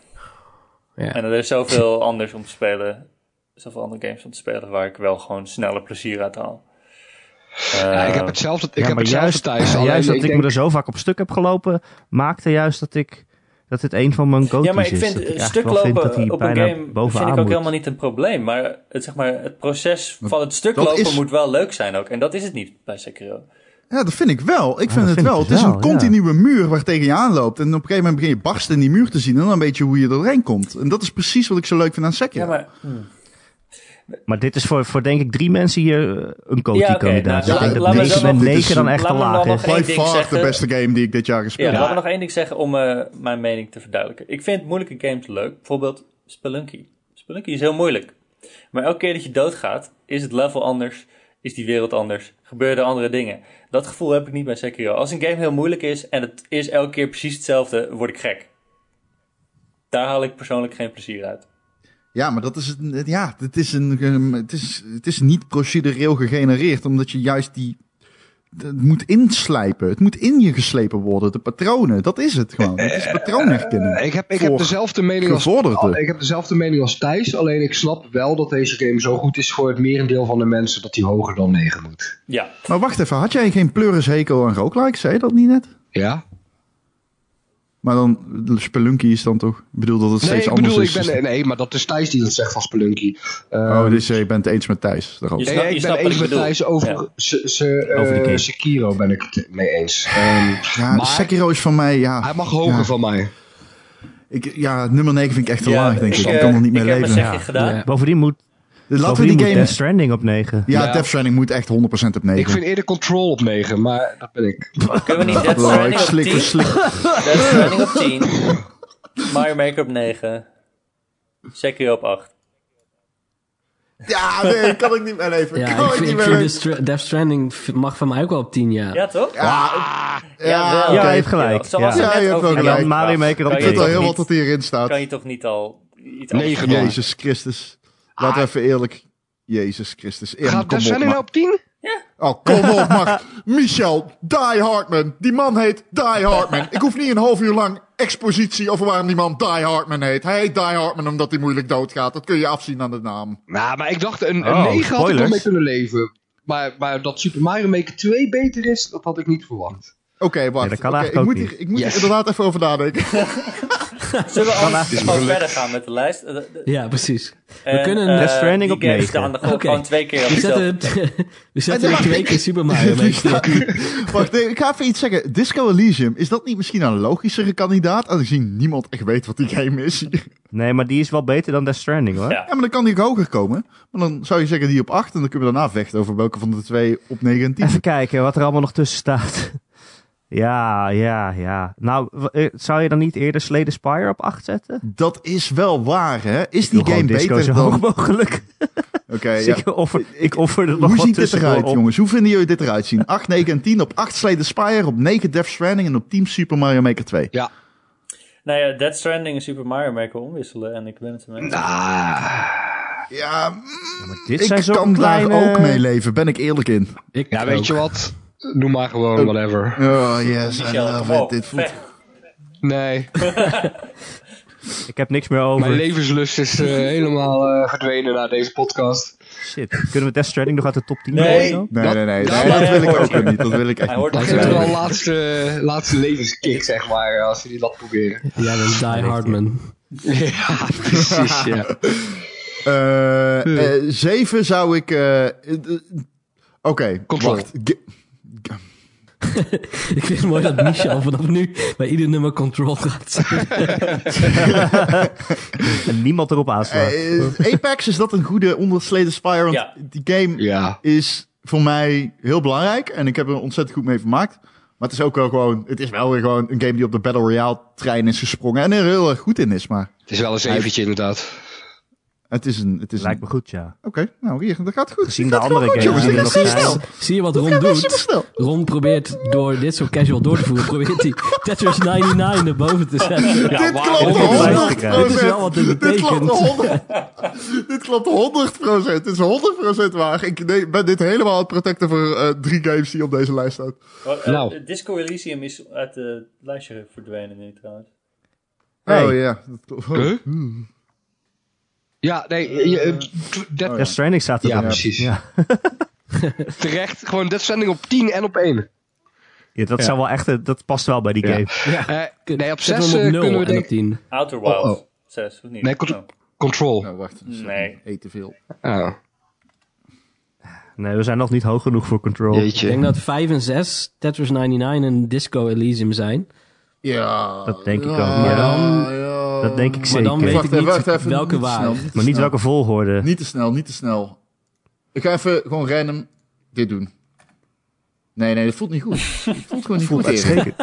Speaker 2: Ja.
Speaker 5: En er is zoveel anders om te spelen. Zoveel andere games om te spelen waar ik wel gewoon sneller plezier uit haal.
Speaker 4: Ja, ik
Speaker 5: Eh,
Speaker 4: heb hetzelfde, ik
Speaker 3: Ja,
Speaker 4: heb
Speaker 3: maar
Speaker 4: hetzelfde
Speaker 3: juist,
Speaker 4: Thijs. Alleen
Speaker 3: juist dat ik,
Speaker 4: ik denk,
Speaker 3: me er zo vaak op stuk heb gelopen, maakte juist dat ik dat dit een van mijn go
Speaker 5: Ja, maar ik
Speaker 3: is.
Speaker 5: vind
Speaker 3: Dat
Speaker 5: eh,
Speaker 3: echt
Speaker 5: stuk
Speaker 3: wel vind dat hij
Speaker 5: lopen op een
Speaker 3: bijna
Speaker 5: game vind
Speaker 3: bovenaan
Speaker 5: ik ook
Speaker 3: moet.
Speaker 5: helemaal niet een probleem. Maar het, zeg maar, het proces van het stuk
Speaker 1: dat
Speaker 5: lopen
Speaker 1: is-
Speaker 5: moet wel leuk zijn ook. En dat is het niet bij Sekiro.
Speaker 1: Ja, dat vind ik wel. Ik vind
Speaker 3: dat
Speaker 1: het
Speaker 3: vind
Speaker 1: wel.
Speaker 3: ik
Speaker 1: Het is
Speaker 3: wel,
Speaker 1: een continue muur waar tegen je aanloopt. En op een gegeven moment begin je barsten in die muur te zien. En dan weet je hoe je er doorheen komt. En dat is precies wat ik zo leuk vind aan Sekiro.
Speaker 5: Ja, maar
Speaker 3: Maar dit is voor, voor denk ik drie mensen hier eh, een
Speaker 5: Ja, oké,
Speaker 3: Coty-kandidaat.
Speaker 5: nou,
Speaker 3: ik denk
Speaker 1: la- laat
Speaker 3: dat
Speaker 1: me
Speaker 3: negen
Speaker 1: zo-
Speaker 3: en
Speaker 1: dit is-
Speaker 3: negen dan echt
Speaker 5: laat
Speaker 3: te
Speaker 5: me
Speaker 3: laag
Speaker 5: dan
Speaker 3: is.
Speaker 5: nog
Speaker 1: By
Speaker 5: één ding
Speaker 1: far
Speaker 5: zeggen.
Speaker 1: de beste game die ik dit jaar
Speaker 5: ja,
Speaker 1: gespeeld heb.
Speaker 5: laat me nog één ding zeggen om eh, mijn mening te verduidelijken. Ik vind moeilijke games leuk. Bijvoorbeeld Spelunky. Spelunky is heel moeilijk. Maar elke keer dat je doodgaat, is het level anders. Is die wereld anders? Gebeuren er andere dingen? Dat gevoel heb ik niet bij Sekiro. Als een game heel moeilijk is en het is elke keer precies hetzelfde, word ik gek. Daar haal ik persoonlijk geen plezier uit.
Speaker 1: Ja, maar dat is het. Ja, het is, een, ehm, het, is, het is niet procedureel gegenereerd, omdat je juist die. Het moet inslijpen. Het moet in je geslepen worden. De patronen, dat is het gewoon. Het is patroonherkenning.
Speaker 4: ik heb, ik heb
Speaker 1: voor
Speaker 4: dezelfde mening als...
Speaker 1: gevorderde.
Speaker 4: al- Ik heb dezelfde mening als Thijs, alleen ik snap wel dat deze game zo goed is voor het merendeel van de mensen dat hij hoger dan 9 moet.
Speaker 5: Ja,
Speaker 1: Maar wacht even, had jij geen pleurishekel aan roguelike? Zei je dat niet net?
Speaker 4: Ja?
Speaker 1: Maar dan, Spelunky is dan toch? Ik bedoel dat het
Speaker 4: Nee,
Speaker 1: steeds
Speaker 4: ik
Speaker 1: anders
Speaker 4: bedoel, ik
Speaker 1: is. Dus-
Speaker 4: ben, nee, maar dat is Thijs die dat zegt van Spelunky. Eh,
Speaker 1: Oh, dus je bent het eens met Thijs daarover.
Speaker 5: Je
Speaker 4: nee,
Speaker 5: snapt- je
Speaker 4: ik
Speaker 5: snapt
Speaker 4: ben
Speaker 5: wat ik
Speaker 4: eens met
Speaker 5: bedoel.
Speaker 4: Thijs over,
Speaker 5: Ja.
Speaker 4: se- se- eh,
Speaker 3: Over de game.
Speaker 4: Sekiro ben ik het mee eens. Ehm,
Speaker 1: Ja,
Speaker 4: maar-
Speaker 1: Sekiro is van mij, ja.
Speaker 4: hij mag hoger
Speaker 1: Ja.
Speaker 4: van mij.
Speaker 1: Ik, ja, nummer 9 vind ik echt te
Speaker 5: Ja,
Speaker 1: laag, denk ik.
Speaker 5: ik,
Speaker 1: Ik,
Speaker 5: eh,
Speaker 1: kan er niet mee
Speaker 5: ik heb
Speaker 1: leven.
Speaker 5: mijn zegje gedaan.
Speaker 2: Ja.
Speaker 3: Bovendien moet,
Speaker 1: Dus Laten we
Speaker 3: bovendien
Speaker 1: die
Speaker 3: moet
Speaker 1: game...
Speaker 3: Death Stranding op negen.
Speaker 1: Ja,
Speaker 4: Ja.
Speaker 1: Death Stranding moet echt 100% op 9.
Speaker 4: Ik vind eerder Control op 9, maar dat ben ik.
Speaker 5: Kunnen we niet Death
Speaker 1: Oh, ik
Speaker 5: Stranding op
Speaker 1: slik, ik
Speaker 5: 10?
Speaker 1: slik.
Speaker 5: Death Stranding op 10. Mario Maker op 9. Sekiro op 8.
Speaker 1: Ja, nee, kan ik niet meer leven.
Speaker 2: Ja,
Speaker 1: kan ik,
Speaker 2: ik vind,
Speaker 1: niet
Speaker 2: ik
Speaker 1: meer
Speaker 2: vind de
Speaker 1: leven.
Speaker 2: Stra- Death Stranding v- mag van mij ook wel op 10 jaar.
Speaker 5: Ja, toch?
Speaker 1: Ja,
Speaker 5: wel.
Speaker 1: oké.
Speaker 3: Ja, je hebt gelijk.
Speaker 5: Zoals
Speaker 1: Ja.
Speaker 5: we net
Speaker 1: Ja, je hebt
Speaker 5: over
Speaker 1: wel
Speaker 5: die
Speaker 1: gelijk.
Speaker 5: game
Speaker 3: Mario
Speaker 5: praten.
Speaker 3: Maker op
Speaker 5: Kan
Speaker 1: Ik
Speaker 5: je
Speaker 1: vind het
Speaker 5: toch
Speaker 1: al heel
Speaker 5: niet-
Speaker 1: wat dat hierin
Speaker 5: Kan
Speaker 1: staat.
Speaker 5: je toch niet al iets
Speaker 4: Negen.
Speaker 5: anders doen?
Speaker 1: Jezus Christus. Laten we even eerlijk... Jezus Christus. Ehm,
Speaker 4: Ah. Gaat
Speaker 1: kom
Speaker 4: Death
Speaker 1: op,
Speaker 4: Stranding nou
Speaker 1: man.
Speaker 4: op 10?
Speaker 1: Oh, kom op, man. Michel, Die Hartman. Die man heet Die Hartman. Ik hoef niet een half uur lang expositie over waarom die man Die Hartman heet. Hij heet Die Hartman omdat hij moeilijk doodgaat. Dat kun je afzien aan de naam.
Speaker 4: Nou, maar ik dacht een, een
Speaker 3: Oh,
Speaker 4: 9 had ik wel
Speaker 3: spoilers.
Speaker 4: mee kunnen leven. Maar, maar dat Super Mario Maker 2 beter is, dat had ik niet verwacht.
Speaker 1: Oké, wacht.
Speaker 3: Ja, dat kan
Speaker 1: Oké,
Speaker 3: eigenlijk
Speaker 1: ik
Speaker 3: ook
Speaker 1: moet, hier, ik moet
Speaker 4: Yes.
Speaker 1: hier inderdaad even over nadenken.
Speaker 5: Zullen we anders
Speaker 4: is
Speaker 5: gewoon
Speaker 4: gelukt.
Speaker 5: verder gaan met de lijst? Eh, de- de-
Speaker 2: Ja, precies.
Speaker 5: en,
Speaker 2: kunnen
Speaker 5: eh,
Speaker 3: Death Stranding op
Speaker 5: Die games
Speaker 3: negen.
Speaker 5: staan er gewoon,
Speaker 2: Oké.
Speaker 5: gewoon twee keer op
Speaker 2: We
Speaker 5: hetzelfde.
Speaker 2: zetten, we zetten
Speaker 1: En
Speaker 2: er
Speaker 1: dan-
Speaker 2: twee keer Super Mario
Speaker 1: Die
Speaker 2: Maker.
Speaker 1: staat- Wacht, nee, ik ga even iets zeggen. Disco Elysium, is dat niet misschien een logischere kandidaat? Aangezien niemand echt weet wat die game is. Ja,
Speaker 3: Nee, maar die is wel beter dan Death Stranding hoor.
Speaker 5: Ja.
Speaker 1: maar dan kan die ook hoger komen. Maar dan zou je zeggen die op 8 en dan kunnen we daarna vechten over welke van de twee op 9 en 10.
Speaker 3: Even kijken wat er allemaal nog tussen staat. Ja, ja, ja. Nou, w- eh, zou je dan niet eerder Slay the Spire op 8 zetten?
Speaker 1: Dat is wel waar, hè? Is die
Speaker 3: Doe
Speaker 1: game
Speaker 3: gewoon disco
Speaker 1: beter
Speaker 3: zo
Speaker 1: dan...
Speaker 3: hoog mogelijk.
Speaker 1: Oké,
Speaker 3: Dus
Speaker 1: ja.
Speaker 3: ik, offer, ik offer er nog
Speaker 1: Hoe
Speaker 3: wat
Speaker 1: ziet dit
Speaker 3: tussendoor
Speaker 1: eruit,
Speaker 3: op.
Speaker 1: jongens? Hoe vinden jullie dit eruit zien? 8, 9 en 10 op 8 Slay the Spire, op 9 Death Stranding en op 10 Super Mario Maker 2.
Speaker 4: Ja.
Speaker 5: Nou ja, Dead Stranding en Super Mario Maker omwisselen en ik ben het ermee.
Speaker 1: Nou,
Speaker 5: eens.
Speaker 1: Ja, mm,
Speaker 3: Dit zijn
Speaker 1: ik
Speaker 3: zo'n
Speaker 1: kan
Speaker 3: kleine...
Speaker 1: daar ook mee leven, ben ik eerlijk in.
Speaker 2: Ik
Speaker 4: Ja, weet
Speaker 2: ook.
Speaker 4: je wat? Noem maar gewoon whatever.
Speaker 1: Oh yes, I
Speaker 5: Michel,
Speaker 1: love
Speaker 5: kom
Speaker 1: it.
Speaker 5: op,
Speaker 1: Dit voelt...
Speaker 5: vecht.
Speaker 4: Nee,
Speaker 3: Ik heb niks meer over.
Speaker 4: mijn levenslust is eh, helemaal eh, verdwenen na deze podcast.
Speaker 3: Shit. Kunnen we Death Stranding nog uit de top 10
Speaker 5: Nee.
Speaker 3: gooien dan?
Speaker 1: Nee,
Speaker 4: Dat-
Speaker 1: nee, nee,
Speaker 4: dat-
Speaker 1: nee, dat wil ik ook
Speaker 5: Hij hoort
Speaker 1: weer niet. Dat wil ik echt
Speaker 5: Hij
Speaker 1: niet.
Speaker 5: hoort
Speaker 4: Dat
Speaker 5: ons
Speaker 4: is
Speaker 5: wel.
Speaker 4: wel een laatste, eh, laatste levenskick, zeg maar, als jullie dat proberen.
Speaker 2: Jij bent Die Hardman.
Speaker 4: Ja, precies, ja.
Speaker 1: Eh, eh, zeven zou ik. eh, eh, Oké,
Speaker 4: Control.
Speaker 1: wacht. Ge-
Speaker 2: Ik vind het mooi dat Michel vanaf nu bij ieder nummer control gaat.
Speaker 3: En niemand erop aanslaat.
Speaker 1: eh, Apex, is dat een goede onder Slay the Spire? Want
Speaker 5: Ja.
Speaker 1: die game
Speaker 4: Ja,
Speaker 1: is voor mij heel belangrijk. En ik heb er ontzettend goed mee vermaakt. Maar het is ook wel gewoon. Het is wel weer gewoon een game die op de Battle Royale trein is gesprongen. En er heel erg goed in is. Maar
Speaker 4: het is wel eens eventje inderdaad.
Speaker 1: het is een. Het is
Speaker 3: Lijkt
Speaker 1: een-
Speaker 3: me goed, ja.
Speaker 1: Oké, nou hier, dat gaat goed.
Speaker 3: Gezien
Speaker 1: Dat
Speaker 3: de
Speaker 1: gaat wel
Speaker 3: andere
Speaker 1: goed,
Speaker 3: games
Speaker 1: jongens.
Speaker 3: die
Speaker 1: Dit
Speaker 3: er
Speaker 1: gaat
Speaker 3: nog
Speaker 1: super
Speaker 3: zijn.
Speaker 1: snel.
Speaker 2: dus Zie je wat Ron
Speaker 1: Dit gaat super
Speaker 2: doet?
Speaker 1: snel.
Speaker 2: Ron probeert door dit zo casual door te voeren, probeert hij Tetris 99 erboven te zetten.
Speaker 1: dit
Speaker 4: waar-
Speaker 1: klopt
Speaker 3: Om het lijst te
Speaker 1: 100
Speaker 3: krijgen.
Speaker 2: Dit is wel wat dit
Speaker 1: Dit klopt
Speaker 2: betekent.
Speaker 1: 100 Dit klopt 100 Het is 100 waar. Ik nee, ben dit helemaal aan het protecten voor eh, drie games die op deze lijst staan.
Speaker 5: Oh, eh,
Speaker 4: Nou.
Speaker 5: Disco Elysium is uit het lijstje verdwenen nu trouwens.
Speaker 3: Hey.
Speaker 1: Oh ja. dat klopt.
Speaker 4: Huh? Hmm. Ja, nee, je- eh, dat-
Speaker 1: Oh,
Speaker 3: Death Stranding staat er
Speaker 4: Ja,
Speaker 3: dan.
Speaker 4: precies.
Speaker 3: Ja.
Speaker 4: terecht. Gewoon Death Stranding op 10 en op 1.
Speaker 3: Ja, dat, Zou wel echt, eh, dat past wel bij die
Speaker 1: Ja.
Speaker 3: game.
Speaker 4: Eh nee, op
Speaker 2: Zet
Speaker 4: 6
Speaker 2: hem op
Speaker 4: kunnen
Speaker 2: 0
Speaker 4: we
Speaker 2: en op
Speaker 4: denk
Speaker 2: 10.
Speaker 5: Outer Wilds.
Speaker 4: Oh,
Speaker 5: 6, of niet?
Speaker 4: Nee, cont-
Speaker 5: Oh.
Speaker 4: Control.
Speaker 1: Nou, wacht.
Speaker 5: Nee.
Speaker 1: Eet te veel.
Speaker 4: Ah,
Speaker 3: Nee, we zijn nog niet hoog genoeg voor Control.
Speaker 2: Ik denk
Speaker 4: jeetje.
Speaker 2: dat 5 en 6 Tetris 99 en Disco Elysium zijn.
Speaker 1: Ja.
Speaker 3: Dat denk ik
Speaker 1: ja,
Speaker 3: ook. Maar dan-
Speaker 1: ja.
Speaker 3: Dat denk ik
Speaker 2: Maar
Speaker 3: zeker.
Speaker 2: dan weet
Speaker 1: Wacht
Speaker 2: ik
Speaker 1: even,
Speaker 2: niet
Speaker 1: wacht even,
Speaker 2: welke
Speaker 1: niet te
Speaker 2: waar.
Speaker 1: snel, niet te
Speaker 3: Maar niet
Speaker 1: snel.
Speaker 3: welke volgorde.
Speaker 1: Niet te snel, niet te snel. Ik ga even gewoon random dit doen. Nee, nee, dat voelt niet goed. Het voelt gewoon niet goed. Erik.
Speaker 3: Uitstekend.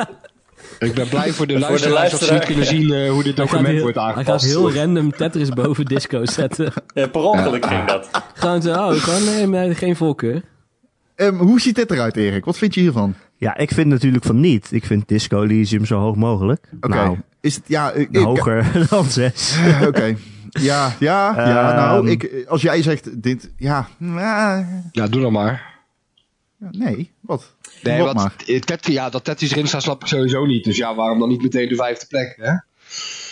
Speaker 4: Ik ben blij voor de
Speaker 5: Voor de
Speaker 4: luisteraars dat ze niet
Speaker 5: luisteraar.
Speaker 4: kunnen zien eh, hoe dit
Speaker 2: Hij gaat,
Speaker 4: document
Speaker 2: heel,
Speaker 4: wordt
Speaker 2: hij gaat
Speaker 4: aangepast.
Speaker 2: heel random Tetris boven Disco zetten.
Speaker 5: Eh, per ongeluk ging dat.
Speaker 2: Gewoon zo, oh, gewoon nee, maar geen voorkeur.
Speaker 1: Ehm, hoe ziet dit eruit, Erik? Wat vind je hiervan?
Speaker 3: Ja, ik vind natuurlijk van niet. Ik vind Disco Elysium zo hoog mogelijk.
Speaker 1: Oké.
Speaker 3: Nou,
Speaker 1: Is het, ja, ik, ik-
Speaker 3: hoger dan 6.
Speaker 1: Eh, Oké. Ja, ja, ja.
Speaker 3: Ehm.
Speaker 1: nou, ik, als jij zegt dit, ja, nou,
Speaker 4: Ja, doe dan maar.
Speaker 1: nee, wat?
Speaker 4: Nee,
Speaker 1: Wat
Speaker 4: wat,
Speaker 1: maar.
Speaker 4: eh, Tet- ja, dat Tetris erin staat snap ik sowieso niet. Dus ja, waarom dan niet meteen de vijfde plek? Hè?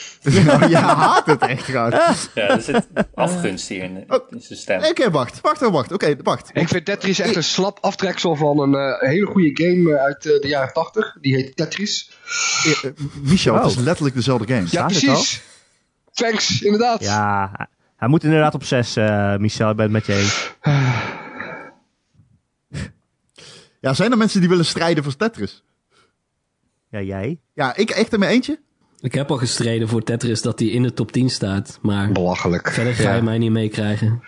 Speaker 1: Nou, je haat het echt graag.
Speaker 5: Ja, er zit afgunst hier in, de-
Speaker 1: Oh.
Speaker 5: in zijn stem.
Speaker 1: Oké, wacht, wacht, oh, wacht. Oké, wacht.
Speaker 4: Ik vind Tetris echt een slap aftreksel van een eh, hele goede game eh, uit eh, de jaren 80. Die heet Tetris.
Speaker 1: Eh, eh, Michel, het is
Speaker 3: Oh.
Speaker 1: letterlijk dezelfde game.
Speaker 4: Ja,
Speaker 3: Staat het
Speaker 4: precies. Thanks, inderdaad.
Speaker 3: Ja, hij- hij moet inderdaad op 6, eh, Michel. Ik ben het met je eens.
Speaker 1: Ja, zijn er mensen die willen strijden voor Tetris?
Speaker 3: Ja, jij?
Speaker 1: Ja, ik echt in mijn eentje?
Speaker 2: Ik heb al gestreden voor Tetris dat hij in de top 10 staat. Maar
Speaker 4: Belachelijk.
Speaker 2: verder ga
Speaker 4: Ja.
Speaker 2: je mij niet meekrijgen.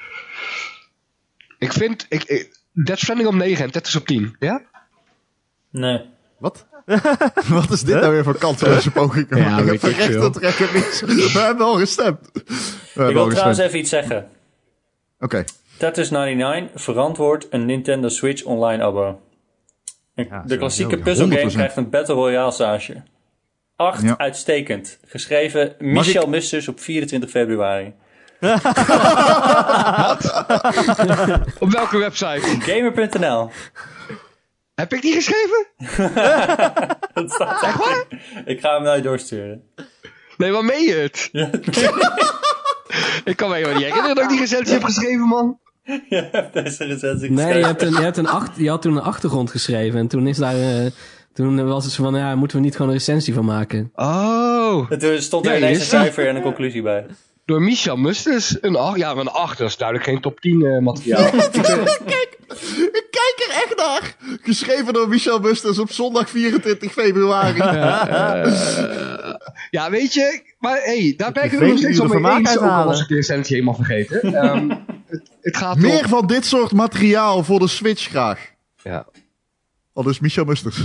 Speaker 4: Ik vind ik, ik, Death Stranding op 9 en Tetris op 10. Ja?
Speaker 5: Nee.
Speaker 1: Wat? Wat is dit nou weer voor kansloze poging?
Speaker 4: Ja,
Speaker 1: ik heb
Speaker 4: weet ik
Speaker 1: terecht
Speaker 4: veel.
Speaker 1: dat trekker niks. We hebben al gestemd. We hebben
Speaker 5: Ik
Speaker 1: al
Speaker 5: wil trouwens
Speaker 1: gestemd.
Speaker 5: even iets zeggen.
Speaker 1: Oké.
Speaker 5: Tetris99 verantwoord een Nintendo Switch online abo. Een- de
Speaker 3: zo,
Speaker 5: klassieke
Speaker 3: heel,
Speaker 5: puzzelgame
Speaker 1: 100%.
Speaker 5: krijgt een Battle Royale sausje. 8
Speaker 1: Ja.
Speaker 5: uitstekend. Geschreven Michel Musters op 24 februari.
Speaker 4: Op welke website?
Speaker 5: Gamer.nl.
Speaker 4: Heb ik die geschreven?
Speaker 5: Dat staat echt in. Ik ga hem nou doorsturen.
Speaker 4: Nee, waar meen je het? ik kan me helemaal niet herinneren dat ik die recensie heb geschreven, man.
Speaker 5: Je hebt deze recensie
Speaker 2: Nee, je,
Speaker 5: geschreven.
Speaker 2: hebt een, je, hebt een acht, je had toen een achtergrond geschreven. En toen, is daar, eh, toen was het zo van, ja, moeten we niet gewoon een recensie van maken?
Speaker 4: Oh.
Speaker 5: En Toen stond er
Speaker 4: Ja,
Speaker 5: ineens
Speaker 4: je
Speaker 5: een
Speaker 4: ziet-
Speaker 5: cijfer en een conclusie bij.
Speaker 4: Door Michel Musters. Een 8. Ja, maar een 8. Dat is duidelijk geen top 10 eh, materiaal.
Speaker 1: Kijk, ik kijk er echt naar. Geschreven door Michel Busters op zondag 24 februari.
Speaker 4: ja, weet je. Maar hey, daar ben ik
Speaker 3: Je
Speaker 4: het nog
Speaker 3: weet
Speaker 4: steeds
Speaker 3: hoe
Speaker 4: al
Speaker 3: je er
Speaker 4: mee
Speaker 3: vermaak
Speaker 4: eens.
Speaker 3: uit
Speaker 4: Ook al
Speaker 3: halen.
Speaker 4: was ik de recensie helemaal vergeten. Ehm, het, het gaat
Speaker 1: Meer
Speaker 4: om-
Speaker 1: van dit soort materiaal voor de Switch graag.
Speaker 4: Ja.
Speaker 1: Al dus Michel Musters.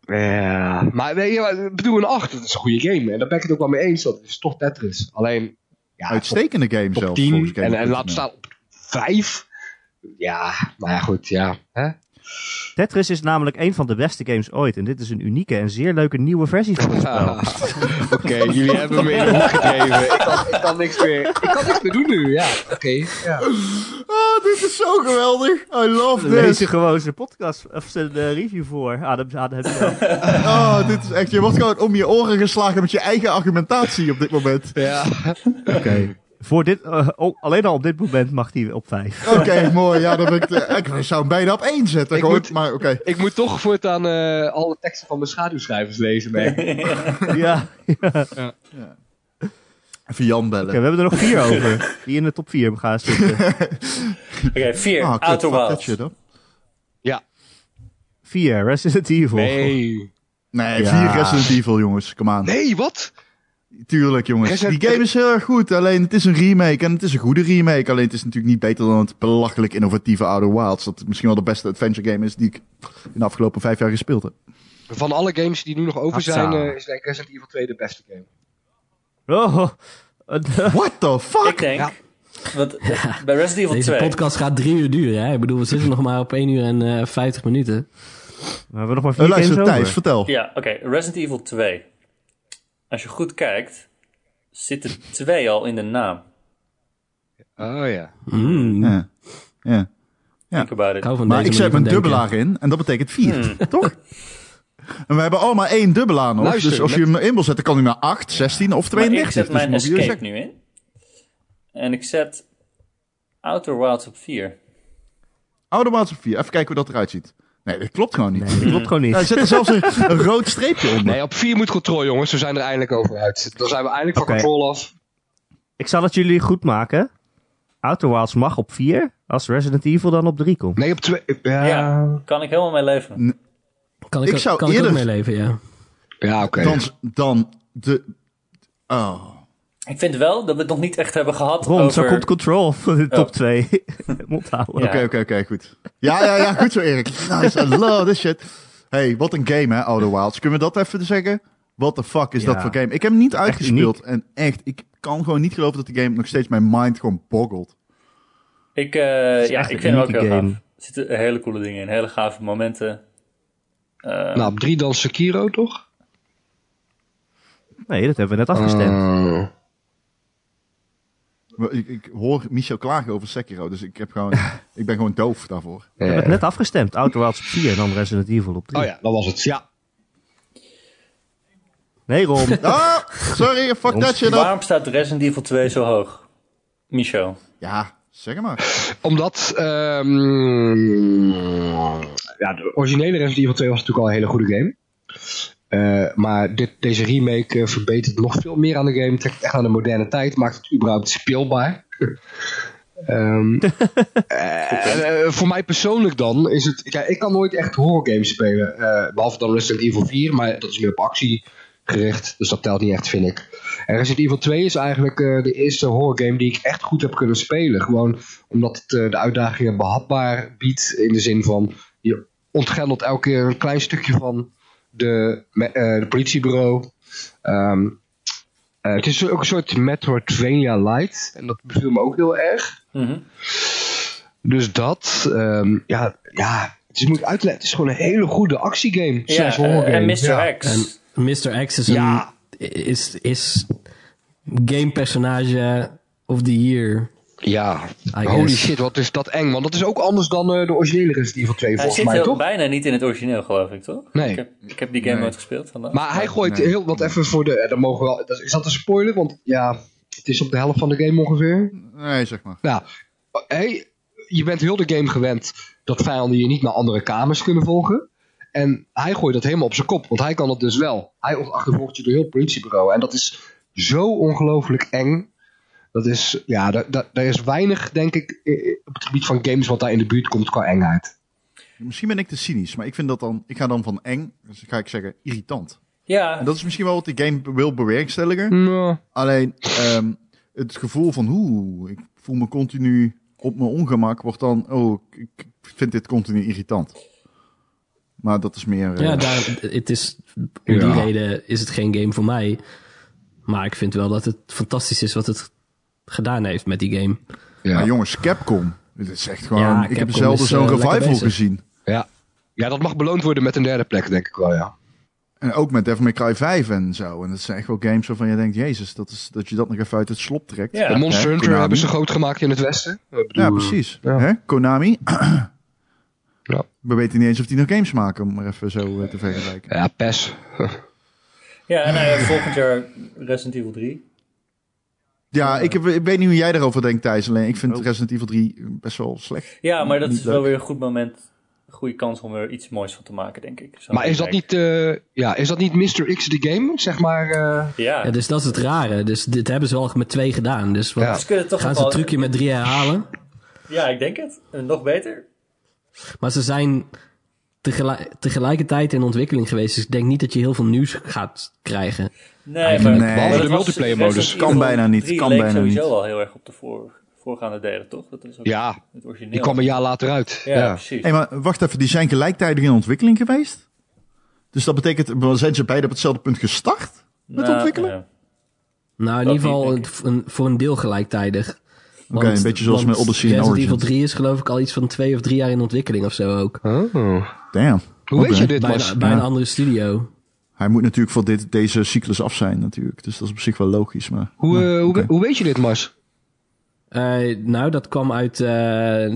Speaker 4: Ja. Maar weet je, wat, ik bedoel, een 8. Dat is een goede game. En daar ben ik het ook wel mee eens. Dat is toch Tetris. Alleen... Ja,
Speaker 1: Uitstekende game
Speaker 4: top
Speaker 1: zelfs.
Speaker 4: 10.
Speaker 1: volgens
Speaker 4: En, en
Speaker 1: Game.nl.
Speaker 4: laat staan op vijf. Ja, maar ja, goed, ja. Hè?
Speaker 3: Tetris is namelijk een van de beste games ooit. En dit is een unieke en zeer leuke nieuwe versie van het spel.
Speaker 4: Oké, jullie hebben me in de hoek gedreven. Ik kan, ik kan niks meer. Ik kan niks meer doen nu, ja. Oké.
Speaker 1: Ah, dit is zo geweldig. I love
Speaker 3: Lees
Speaker 1: this.
Speaker 3: er gewoon zijn podcast of zijn eh, review voor. Ah, dat, ah, dat heb je wel.
Speaker 1: Ah, dit is echt, je wordt gewoon om je oren geslagen met je eigen argumentatie op dit moment.
Speaker 4: Ja.
Speaker 3: Voor dit, eh, oh, alleen al op dit moment mag hij op vijf.
Speaker 1: Oké, mooi. Ja, dan ben ik, eh, ik zou hem bijna op één zetten.
Speaker 4: Ik
Speaker 1: gewoon,
Speaker 4: moet-
Speaker 1: Maar oké.
Speaker 4: Ik moet toch voortaan eh alle teksten van mijn schaduwschrijvers lezen, merk ik.
Speaker 3: ja.
Speaker 1: Even Jan bellen.
Speaker 3: Oké, we hebben er nog vier over. Die in de top vier gaan zitten.
Speaker 5: Oké, vier.
Speaker 1: Ah, kut,
Speaker 5: Outer
Speaker 1: fuck that
Speaker 5: Wilds.
Speaker 1: shit, hoor.
Speaker 3: Vier, Resident Evil.
Speaker 4: Nee.
Speaker 1: Nee,
Speaker 3: Ja.
Speaker 1: vier Resident Evil, jongens. Come on.
Speaker 4: Nee, wat?
Speaker 1: Tuurlijk, jongens.
Speaker 4: Resident-
Speaker 1: Die game is heel erg goed. Alleen, het is een remake. En het is een goede remake. Alleen, het is natuurlijk niet beter dan het belachelijk innovatieve Outer Wilds. Dat misschien wel de beste adventure game is die ik in de afgelopen vijf jaar gespeeld heb.
Speaker 4: Van alle games die nu nog over
Speaker 3: Hatsa.
Speaker 4: zijn, eh, is denk ik Resident Evil 2 de beste game.
Speaker 3: Oh, eh,
Speaker 1: What the
Speaker 5: Ik
Speaker 1: fuck?
Speaker 5: denk,
Speaker 4: Ja.
Speaker 5: want bij Resident Evil
Speaker 2: Deze
Speaker 5: 2...
Speaker 2: podcast gaat drie uur duren, hè? Ik bedoel, we zitten nog maar op 1 uur en eh 50 minuten.
Speaker 3: we hebben nog maar
Speaker 1: Eh,
Speaker 3: vier games
Speaker 1: luister,
Speaker 3: over.
Speaker 1: Thijs, vertel.
Speaker 5: Ja, oké. Resident Evil 2. Als je goed kijkt, zit er twee al in de naam.
Speaker 4: Oh ja.
Speaker 2: Mm,
Speaker 1: Ja. Ja.
Speaker 5: Think about
Speaker 2: Ik
Speaker 5: it.
Speaker 2: hou van
Speaker 1: Maar
Speaker 2: deze
Speaker 1: ik zet
Speaker 2: manier
Speaker 1: mijn
Speaker 2: van denken.
Speaker 1: dubbelaar in en dat betekent vier,
Speaker 5: Hmm.
Speaker 1: toch? En we hebben allemaal één dubbelaar nog.
Speaker 4: Luister,
Speaker 1: dus als je
Speaker 4: met-
Speaker 1: hem in wil zetten, kan hij naar 8, 16 of
Speaker 5: Maar
Speaker 1: 32.
Speaker 5: ik zet
Speaker 1: Dus
Speaker 5: mijn
Speaker 1: moet je
Speaker 5: escape
Speaker 1: zeggen.
Speaker 5: nu in. En ik zet Outer Wilds op 4.
Speaker 1: Oude Wilds op 4. Even kijken hoe dat eruit ziet. Nee, dat klopt gewoon niet.
Speaker 3: Dat klopt gewoon niet.
Speaker 1: Hij zet er zelfs een, een rood streepje onder.
Speaker 4: Nee, op 4 moet controle, jongens. We zijn er eindelijk over uit. Dan zijn we eindelijk van
Speaker 3: Oké.
Speaker 4: control af.
Speaker 3: Ik zal het jullie goed maken. Outer Wilds mag op 4, als Resident Evil dan op 3 komt.
Speaker 4: Nee, op 2. Ja,
Speaker 5: Ja, kan ik helemaal mee leven.
Speaker 2: Kan ik,
Speaker 1: Ik
Speaker 2: ook-
Speaker 1: zou
Speaker 2: kan ik
Speaker 1: eerder-
Speaker 2: ook mee leven, ja.
Speaker 4: ja oké.
Speaker 1: Dan, dan de... Oh.
Speaker 5: Ik vind wel dat we het nog niet echt hebben gehad
Speaker 3: Ron,
Speaker 5: over...
Speaker 3: zo komt Control van de top
Speaker 5: Oh.
Speaker 3: 2. Mond houden.
Speaker 5: Ja.
Speaker 1: Oké, oké, oké, goed. Ja, ja, ja, goed zo, Erik. Nice, I love this shit. Hey, wat een game, hè, Outer Wilds. Kunnen we dat even zeggen? What the fuck is
Speaker 3: Ja.
Speaker 1: dat voor game? Ik heb hem niet uitgespeeld.
Speaker 3: uniek.
Speaker 1: en echt, ik kan gewoon niet geloven dat de game nog steeds mijn mind gewoon boggelt.
Speaker 5: Ik, eh,
Speaker 3: is
Speaker 5: ja,
Speaker 3: echt
Speaker 5: ik
Speaker 3: een
Speaker 5: vind hem ook heel
Speaker 3: unieke
Speaker 5: gaaf.
Speaker 3: game.
Speaker 5: Er zitten hele coole dingen in. Hele gave momenten. Eh,
Speaker 4: Nou, op 3 dan Sekiro, toch?
Speaker 3: Nee, dat hebben we net afgestemd.
Speaker 4: Eh,
Speaker 1: Maar Ik, ik hoor Michel klagen over Sekiro, dus ik, heb gewoon, ik ben gewoon doof daarvoor.
Speaker 3: We hebben
Speaker 4: ja.
Speaker 3: het net afgestemd. Outer Wilds op 4 en dan Resident Evil op 3.
Speaker 4: Oh ja, dat was het. Ja.
Speaker 3: Nee, Ron.
Speaker 1: Ah, sorry, fuck dat shit up.
Speaker 5: waarom staat Resident Evil 2 zo hoog? Michel.
Speaker 1: Ja, zeg maar.
Speaker 4: Omdat, ehm, ja, de originele Resident Evil 2 was natuurlijk al een hele goede game. Eh, maar dit, deze remake eh, verbetert nog veel meer aan de game. Trekt echt aan de moderne tijd. Maakt het überhaupt speelbaar. Ehm, eh, eh, voor mij persoonlijk dan is het... Kijk, ik kan nooit echt horrorgames spelen. eh, behalve dan Resident Evil 4. Maar dat is meer op actie gericht. Dus dat telt niet echt, vind ik. En Resident Evil 2 is eigenlijk eh, de eerste horrorgame die ik echt goed heb kunnen spelen. Gewoon omdat het eh, de uitdagingen behapbaar biedt. In de zin van, je ontgrendelt elke keer een klein stukje van de, me- eh, de politiebureau. Ehm, eh, het is ook een soort Metroidvania light. En dat beviel me ook heel erg.
Speaker 5: Mhm.
Speaker 4: Dus dat, ehm, ja, ja, het is, moet ik uitleggen. Het is gewoon een hele goede actiegame. slash
Speaker 5: eh,
Speaker 4: horrorgame.
Speaker 5: en Mr.
Speaker 4: Ja.
Speaker 5: X.
Speaker 2: En Mr. X is een...
Speaker 4: Ja.
Speaker 2: Is, is gamepersonage of the year.
Speaker 4: Ja,
Speaker 2: I
Speaker 4: holy
Speaker 2: guess.
Speaker 4: shit, wat is dat eng. Want dat is ook anders dan eh, de originele Resident Evil 2
Speaker 5: Hij
Speaker 4: volgens
Speaker 5: zit
Speaker 4: mij,
Speaker 5: heel-
Speaker 4: toch?
Speaker 5: bijna niet in het origineel, geloof ik, toch?
Speaker 4: Nee.
Speaker 5: Ik heb, ik heb die game nooit gespeeld vandaag.
Speaker 4: Maar hij gooit
Speaker 1: nee.
Speaker 4: heel wat even voor de... eh, Dan mogen we wel, dat- is dat een spoiler? Want ja, het is op de helft van de game ongeveer.
Speaker 1: Nee, zeg maar.
Speaker 4: Nou, hey, je bent heel de game gewend dat vijanden je niet naar andere kamers kunnen volgen. En hij gooit dat helemaal op zijn kop, want hij kan dat dus wel. Hij achtervolgt je door heel het politiebureau. En dat is zo ongelooflijk eng. Dat is, ja, daar, daar, daar is weinig, denk ik, eh, op het gebied van games wat daar in de buurt komt qua engheid.
Speaker 1: Misschien ben ik te cynisch, maar ik vind dat dan... Ik ga dan van eng, dus dan ga ik zeggen irritant.
Speaker 5: ja,
Speaker 1: En dat is misschien wel wat de game wil
Speaker 3: Hmm.
Speaker 1: bewerkstelligen.
Speaker 4: Nou,
Speaker 1: Alleen ehm, het gevoel van hoe ik voel me continu op mijn ongemak wordt dan oh ik- ik vind dit continu irritant. Maar dat is meer. eh,
Speaker 2: Ja, daar, het is, om die
Speaker 4: Ja.
Speaker 2: reden is het geen game voor mij. Maar ik vind wel dat het fantastisch is wat het gedaan heeft met die game.
Speaker 1: Maar
Speaker 4: ja.
Speaker 1: jongens, Capcom, Dit is echt gewoon,
Speaker 2: Ja,
Speaker 1: ik heb
Speaker 2: Capcom
Speaker 1: zelden
Speaker 2: is,
Speaker 1: zo'n
Speaker 2: eh, lekker
Speaker 1: revival
Speaker 2: bezig.
Speaker 1: gezien.
Speaker 4: Ja. ja, dat mag beloond worden met een derde plek, denk ik wel, ja.
Speaker 1: En ook met Devil May Cry 5 en zo. En dat zijn echt wel games waarvan je denkt, jezus, dat, is, dat je dat nog even uit het slop trekt.
Speaker 5: Ja.
Speaker 4: de Monster
Speaker 1: Hè,
Speaker 4: Hunter
Speaker 1: Konami.
Speaker 4: hebben ze groot gemaakt in het Westen. Ik bedoel,
Speaker 1: Ja, precies.
Speaker 4: Ja.
Speaker 1: Hè? Konami.
Speaker 4: Ja.
Speaker 1: We weten niet eens of die nog games maken, om maar even zo eh, te vergelijken.
Speaker 4: Ja, PES.
Speaker 5: Ja, en nou ja, volgend jaar Resident Evil 3.
Speaker 1: Ja,
Speaker 4: Eh,
Speaker 1: ik, heb, ik weet niet hoe jij daarover denkt, Thijs. Alleen ik vind
Speaker 3: Oh.
Speaker 1: Resident Evil 3 best wel slecht.
Speaker 5: Ja, maar dat
Speaker 1: Niet
Speaker 5: is wel
Speaker 1: leuk.
Speaker 5: weer een goed moment. Goede kans om er iets moois van te maken, denk ik. Zo
Speaker 4: Maar is dat,
Speaker 5: kijk.
Speaker 4: niet, eh, ja, is dat niet Mr. X de game? Zeg maar. eh,
Speaker 5: Ja,
Speaker 2: Ja, dus dat is het rare. Dus dit hebben ze wel met twee gedaan. Dus wat,
Speaker 4: Ja.
Speaker 5: ze kunnen toch
Speaker 2: gaan
Speaker 5: nog
Speaker 2: ze het
Speaker 5: wel-
Speaker 2: trucje met drie herhalen?
Speaker 5: Ja, ik denk het. En nog beter.
Speaker 2: Maar ze zijn tegelijk, tegelijkertijd in ontwikkeling geweest. Dus ik denk niet dat je heel veel nieuws gaat krijgen.
Speaker 5: Nee, maar
Speaker 1: Nee.
Speaker 5: maar
Speaker 1: Behalve
Speaker 5: dat
Speaker 4: de
Speaker 5: was-
Speaker 4: multiplayer
Speaker 5: Resident
Speaker 4: modus.
Speaker 5: Evil
Speaker 1: Kan bijna niet,
Speaker 5: 3
Speaker 1: kan
Speaker 5: leek
Speaker 1: bijna
Speaker 5: sowieso
Speaker 1: niet.
Speaker 5: al heel erg op de voor, voorgaande delen, toch? Dat is ook
Speaker 4: ja,
Speaker 5: het origineel.
Speaker 4: die kwam een jaar later uit.
Speaker 5: ja,
Speaker 4: Ja.
Speaker 5: precies.
Speaker 1: Hé, maar wacht even. Die zijn gelijktijdig in ontwikkeling geweest? Dus dat betekent, maar zijn ze beide op hetzelfde punt gestart? Met
Speaker 5: Nou,
Speaker 1: ontwikkelen?
Speaker 5: ja.
Speaker 2: Nou, in
Speaker 5: Dat
Speaker 2: ieder geval
Speaker 5: niet, denk
Speaker 2: een- een- voor een deel gelijktijdig. Want-
Speaker 1: een beetje zoals
Speaker 2: want
Speaker 1: met Odyssey en
Speaker 2: Resident Evil
Speaker 1: Origins.
Speaker 2: 3 is geloof ik al iets van twee of drie jaar in ontwikkeling of zo ook.
Speaker 4: Oh.
Speaker 1: Damn.
Speaker 4: Hoe weet
Speaker 1: Oké.
Speaker 4: je dit,
Speaker 2: Bij,
Speaker 4: Mas?
Speaker 2: een- bij
Speaker 1: ja.
Speaker 2: een andere studio.
Speaker 1: Hij moet natuurlijk voor dit, deze cyclus af zijn natuurlijk. Dus dat is op zich wel logisch. Maar, Nou,
Speaker 4: Hoe, eh, hoe,
Speaker 1: oké.
Speaker 4: hoe weet je dit, Mas?
Speaker 2: Eh, nou, dat kwam uit eh,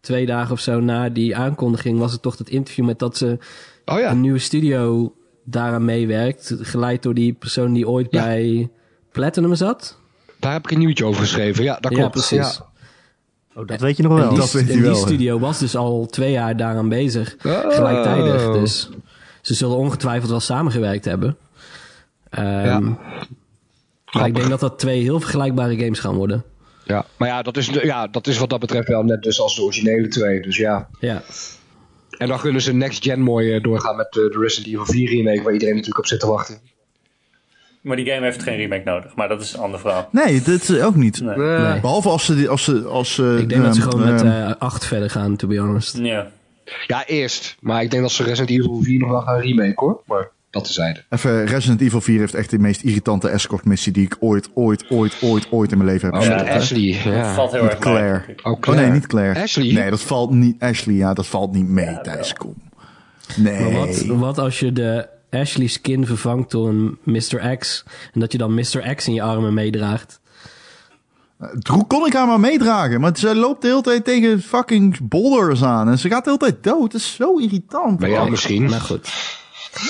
Speaker 2: twee dagen of zo na die aankondiging. Was het toch dat interview met dat ze
Speaker 4: Oh ja.
Speaker 2: een nieuwe studio daaraan meewerkt. Geleid door die persoon die ooit
Speaker 4: Ja.
Speaker 2: bij Platinum zat.
Speaker 1: Oh,
Speaker 4: Daar heb ik een nieuwtje over geschreven. Ja, dat
Speaker 2: Ja,
Speaker 4: klopt.
Speaker 2: precies.
Speaker 4: Ja.
Speaker 3: Oh, dat weet je nog wel.
Speaker 2: en die,
Speaker 1: dat weet hij
Speaker 2: en
Speaker 1: wel,
Speaker 2: die
Speaker 1: hè.
Speaker 2: studio was dus al twee jaar daaraan bezig.
Speaker 4: Oh.
Speaker 2: Gelijktijdig. Dus ze zullen ongetwijfeld wel samengewerkt hebben. Ehm, maar ik
Speaker 4: Grappig.
Speaker 2: denk dat dat twee heel vergelijkbare games gaan worden.
Speaker 4: Ja. Maar ja dat, is, ja, dat is wat dat betreft wel net dus als de originele twee. Dus ja.
Speaker 2: Ja,
Speaker 4: En dan kunnen ze next gen mooi eh, doorgaan met eh, de Resident Evil 4 remake, waar iedereen natuurlijk op zit te wachten.
Speaker 5: Maar die game heeft geen remake nodig, maar dat is een ander verhaal.
Speaker 1: Nee, dit eh, ook niet.
Speaker 5: Nee.
Speaker 4: Eh,
Speaker 2: nee.
Speaker 1: Behalve als ze... die- Als ze als, ze,
Speaker 2: Ik denk dat ze
Speaker 1: ehm,
Speaker 2: gewoon met
Speaker 1: ehm,
Speaker 2: eh, acht verder gaan, to be honest.
Speaker 5: Ja.
Speaker 4: Ja, eerst. Maar ik denk dat ze Resident Evil 4 nog wel gaan remake hoor. Maar dat tezijde.
Speaker 1: Even, Resident Evil 4 heeft echt de meest irritante escortmissie die ik ooit, ooit, ooit, ooit, ooit in mijn leven heb
Speaker 4: Oh,
Speaker 1: gezien.
Speaker 4: met Ashley. Ja.
Speaker 5: Dat valt heel
Speaker 1: Met
Speaker 5: erg
Speaker 1: Claire.
Speaker 5: mee.
Speaker 4: Oh,
Speaker 1: Oh
Speaker 4: Claire.
Speaker 1: nee, niet Claire.
Speaker 4: Ashley?
Speaker 1: Nee, dat valt niet. Ashley, ja, dat valt niet mee,
Speaker 5: Ja,
Speaker 1: Thijs, kom.
Speaker 2: Maar
Speaker 1: Nee.
Speaker 2: wat, wat als je de Ashley skin vervangt door een Mr. X en dat je dan Mr. X in je armen meedraagt?
Speaker 1: Hoe kon ik haar maar meedragen? Maar ze loopt de hele tijd tegen fucking boulders aan. En ze gaat de hele tijd dood. Dat is zo irritant.
Speaker 4: Maar ja, dus-
Speaker 1: Oh,
Speaker 4: misschien.
Speaker 2: Maar goed,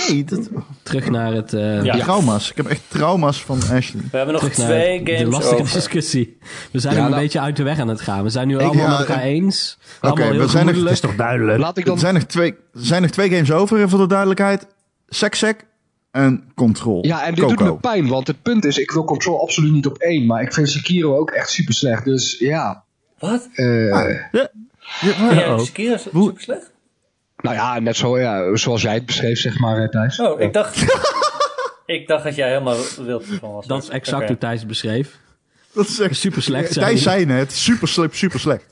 Speaker 1: nee, dat,
Speaker 2: terug naar het... eh,
Speaker 5: Ja.
Speaker 1: trauma's. Ik heb echt trauma's van Ashley.
Speaker 5: We hebben nog
Speaker 2: Terug naar
Speaker 5: twee
Speaker 2: de
Speaker 5: games
Speaker 2: lastige
Speaker 5: over.
Speaker 2: discussie. We zijn
Speaker 4: Ja,
Speaker 2: hem een
Speaker 4: nou-
Speaker 2: beetje uit de weg aan het gaan. We zijn nu allemaal
Speaker 1: ja,
Speaker 2: met elkaar eens. Allemaal
Speaker 1: we
Speaker 2: heel
Speaker 1: zijn er-
Speaker 2: gemoedelijk.
Speaker 3: Dat is toch duidelijk?
Speaker 4: Laat ik
Speaker 1: Er
Speaker 4: dan.
Speaker 1: zijn nog twee, er zijn nog twee games over, en voor de duidelijkheid. Sexsec en Control.
Speaker 4: Ja, en dit
Speaker 1: Coco.
Speaker 4: doet me pijn, want het punt is, ik wil Control absoluut niet op één, maar ik vind Sekiro ook echt super slecht. Dus ja,
Speaker 5: Wat?
Speaker 4: eh,
Speaker 1: Ah.
Speaker 5: Ben jij
Speaker 3: Uh-oh.
Speaker 5: Sekiro zo- zo slecht?
Speaker 4: nou ja, net zo, ja, zoals jij het beschreef, zeg maar, eh, Thijs.
Speaker 5: Oh, ik dacht... Ik dacht dat jij helemaal wild van was.
Speaker 2: Dat is exact
Speaker 5: Oké.
Speaker 2: hoe Thijs het beschreef.
Speaker 1: Dat is echt
Speaker 2: Super slecht zijn.
Speaker 1: Thijs zei het. Super slecht, super slecht.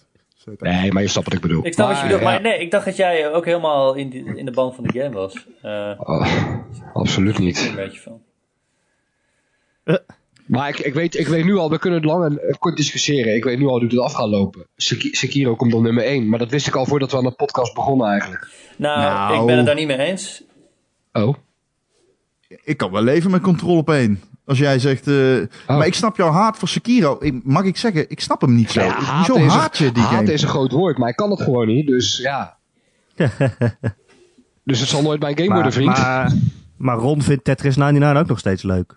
Speaker 4: Nee, maar je snapt wat ik bedoel.
Speaker 5: Ik snap wat je bedoelt,
Speaker 4: ja.
Speaker 5: maar nee, ik dacht dat jij ook helemaal in, die- in de band van de game was. Eh
Speaker 4: Oh, absoluut
Speaker 5: een
Speaker 4: niet.
Speaker 5: beetje van.
Speaker 4: Maar ik, ik, weet, ik weet nu al, we kunnen het lang en eh, kort discussiëren. Ik weet nu al hoe dit af gaat lopen. Sek- Sekiro komt op nummer één, maar dat wist ik al voordat we aan de podcast begonnen eigenlijk.
Speaker 5: Nou,
Speaker 1: Nou.
Speaker 5: ik ben het daar niet mee eens.
Speaker 4: Oh,
Speaker 1: Ik kan wel leven met controle op één. Als jij zegt, eh,
Speaker 3: Oh.
Speaker 1: maar ik snap jouw haat voor Sekiro. Ik, mag ik zeggen, ik snap hem niet zo.
Speaker 4: Nou ja,
Speaker 1: Hoezo
Speaker 4: is een-
Speaker 1: haat je die
Speaker 4: haat
Speaker 1: game?
Speaker 4: is een groot woord, maar ik kan het gewoon niet, dus ja. dus het zal nooit mijn game worden, vriend.
Speaker 3: maar, maar Ron vindt Tetris 99 ook nog steeds leuk.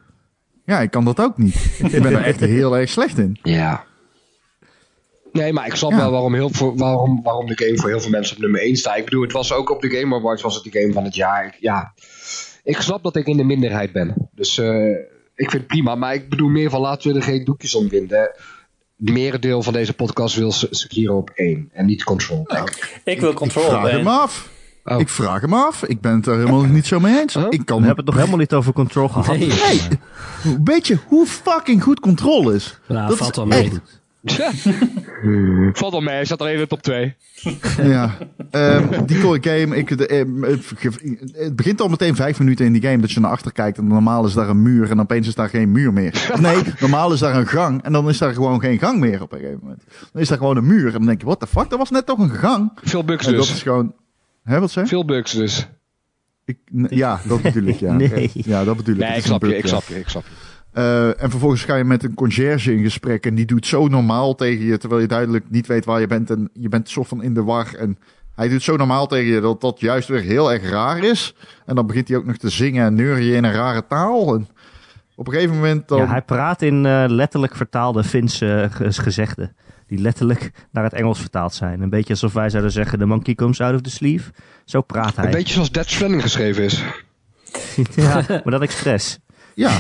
Speaker 1: Ja, ik kan dat ook niet. ik ben er echt heel erg slecht in.
Speaker 4: Ja. Nee, maar ik snap
Speaker 1: Ja.
Speaker 4: wel waarom, heel, voor, waarom, waarom de game voor heel veel mensen op nummer 1 staat. Ik bedoel, het was ook op de Game Awards was het de game van het jaar. Ik, ja. ik snap dat ik in de minderheid ben. Dus eh, ik vind het prima. Maar ik bedoel meer van laten we er geen doekjes om winden. Het merendeel van deze podcast wil Se- Sekiro op 1 en niet Control. denk ik.
Speaker 5: Ik wil
Speaker 1: Ik
Speaker 5: control.
Speaker 1: vraag
Speaker 5: en-
Speaker 1: hem af.
Speaker 4: Oh.
Speaker 1: Ik vraag hem af. Ik ben het er helemaal niet zo mee eens.
Speaker 4: Huh?
Speaker 1: Ik
Speaker 3: Oh. We
Speaker 1: kan
Speaker 3: hebben het nog helemaal niet over control
Speaker 1: Oh,
Speaker 3: gehad.
Speaker 2: Nee.
Speaker 1: Hey, weet je hoe fucking goed controle is?
Speaker 2: Nou,
Speaker 1: Dat
Speaker 2: valt
Speaker 1: is
Speaker 2: wel mee.
Speaker 1: echt-
Speaker 4: Valt wel mee, hij zat alleen in de top 2.
Speaker 1: Ja. Ehm, decoy game. Ik, de, ehm, het ge- het begint al meteen vijf minuten in die game dat je naar achter kijkt. En normaal is daar een muur. En opeens is daar geen muur meer. Of nee, normaal is daar een gang. En dan is daar gewoon geen gang meer op een gegeven moment. Dan is daar gewoon een muur. En dan denk je, what the fuck? Dat was net toch een gang?
Speaker 4: Veel bugs
Speaker 1: En dat is
Speaker 4: dus.
Speaker 1: gewoon... Hè, wat zeg?
Speaker 4: Veel bugs dus.
Speaker 1: Ik, n- ja, dat bedoel ik, ja.
Speaker 3: Nee.
Speaker 1: Ja, dat bedoel ik.
Speaker 4: Nee,
Speaker 1: Het
Speaker 4: ik
Speaker 1: is
Speaker 4: snap
Speaker 1: een
Speaker 4: je,
Speaker 1: bug,
Speaker 4: ik
Speaker 1: ja.
Speaker 4: snap je, ik snap je.
Speaker 1: Eh, en vervolgens ga je met een conciërge in gesprek en die doet zo normaal tegen je, terwijl je duidelijk niet weet waar je bent en je bent soort van in de war. En hij doet zo normaal tegen je dat dat juist weer heel erg raar is. En dan begint hij ook nog te zingen en neuren je in een rare taal. En op een gegeven moment dan...
Speaker 3: Ja, hij praat in eh, letterlijk vertaalde Finse eh, ge- gezegden. Die letterlijk naar het Engels vertaald zijn. Een beetje alsof wij zouden zeggen: The monkey comes out of the sleeve. Zo praat hij.
Speaker 4: Een beetje zoals Dead Stranding geschreven is.
Speaker 3: ja, maar dat expres.
Speaker 1: Ja,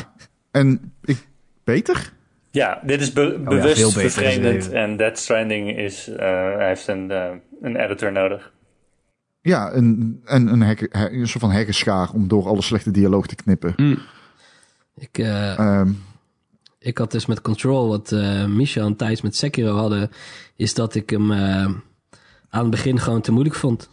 Speaker 1: en ik... Beter?
Speaker 5: Ja, dit is be-
Speaker 3: veel
Speaker 5: bewust
Speaker 3: beter is
Speaker 5: vervreemdend.
Speaker 3: het
Speaker 5: En Death Stranding is, eh, hij heeft een, eh, een editor nodig.
Speaker 1: Ja, een, een, een, hek- he- een soort van hekkenschaar om door alle slechte dialoog te knippen.
Speaker 2: Ik, eh,
Speaker 1: Ehm,
Speaker 2: ik had dus met Control, wat eh Micha en Thijs met Sekiro hadden, is dat ik hem eh, aan het begin gewoon te moeilijk vond.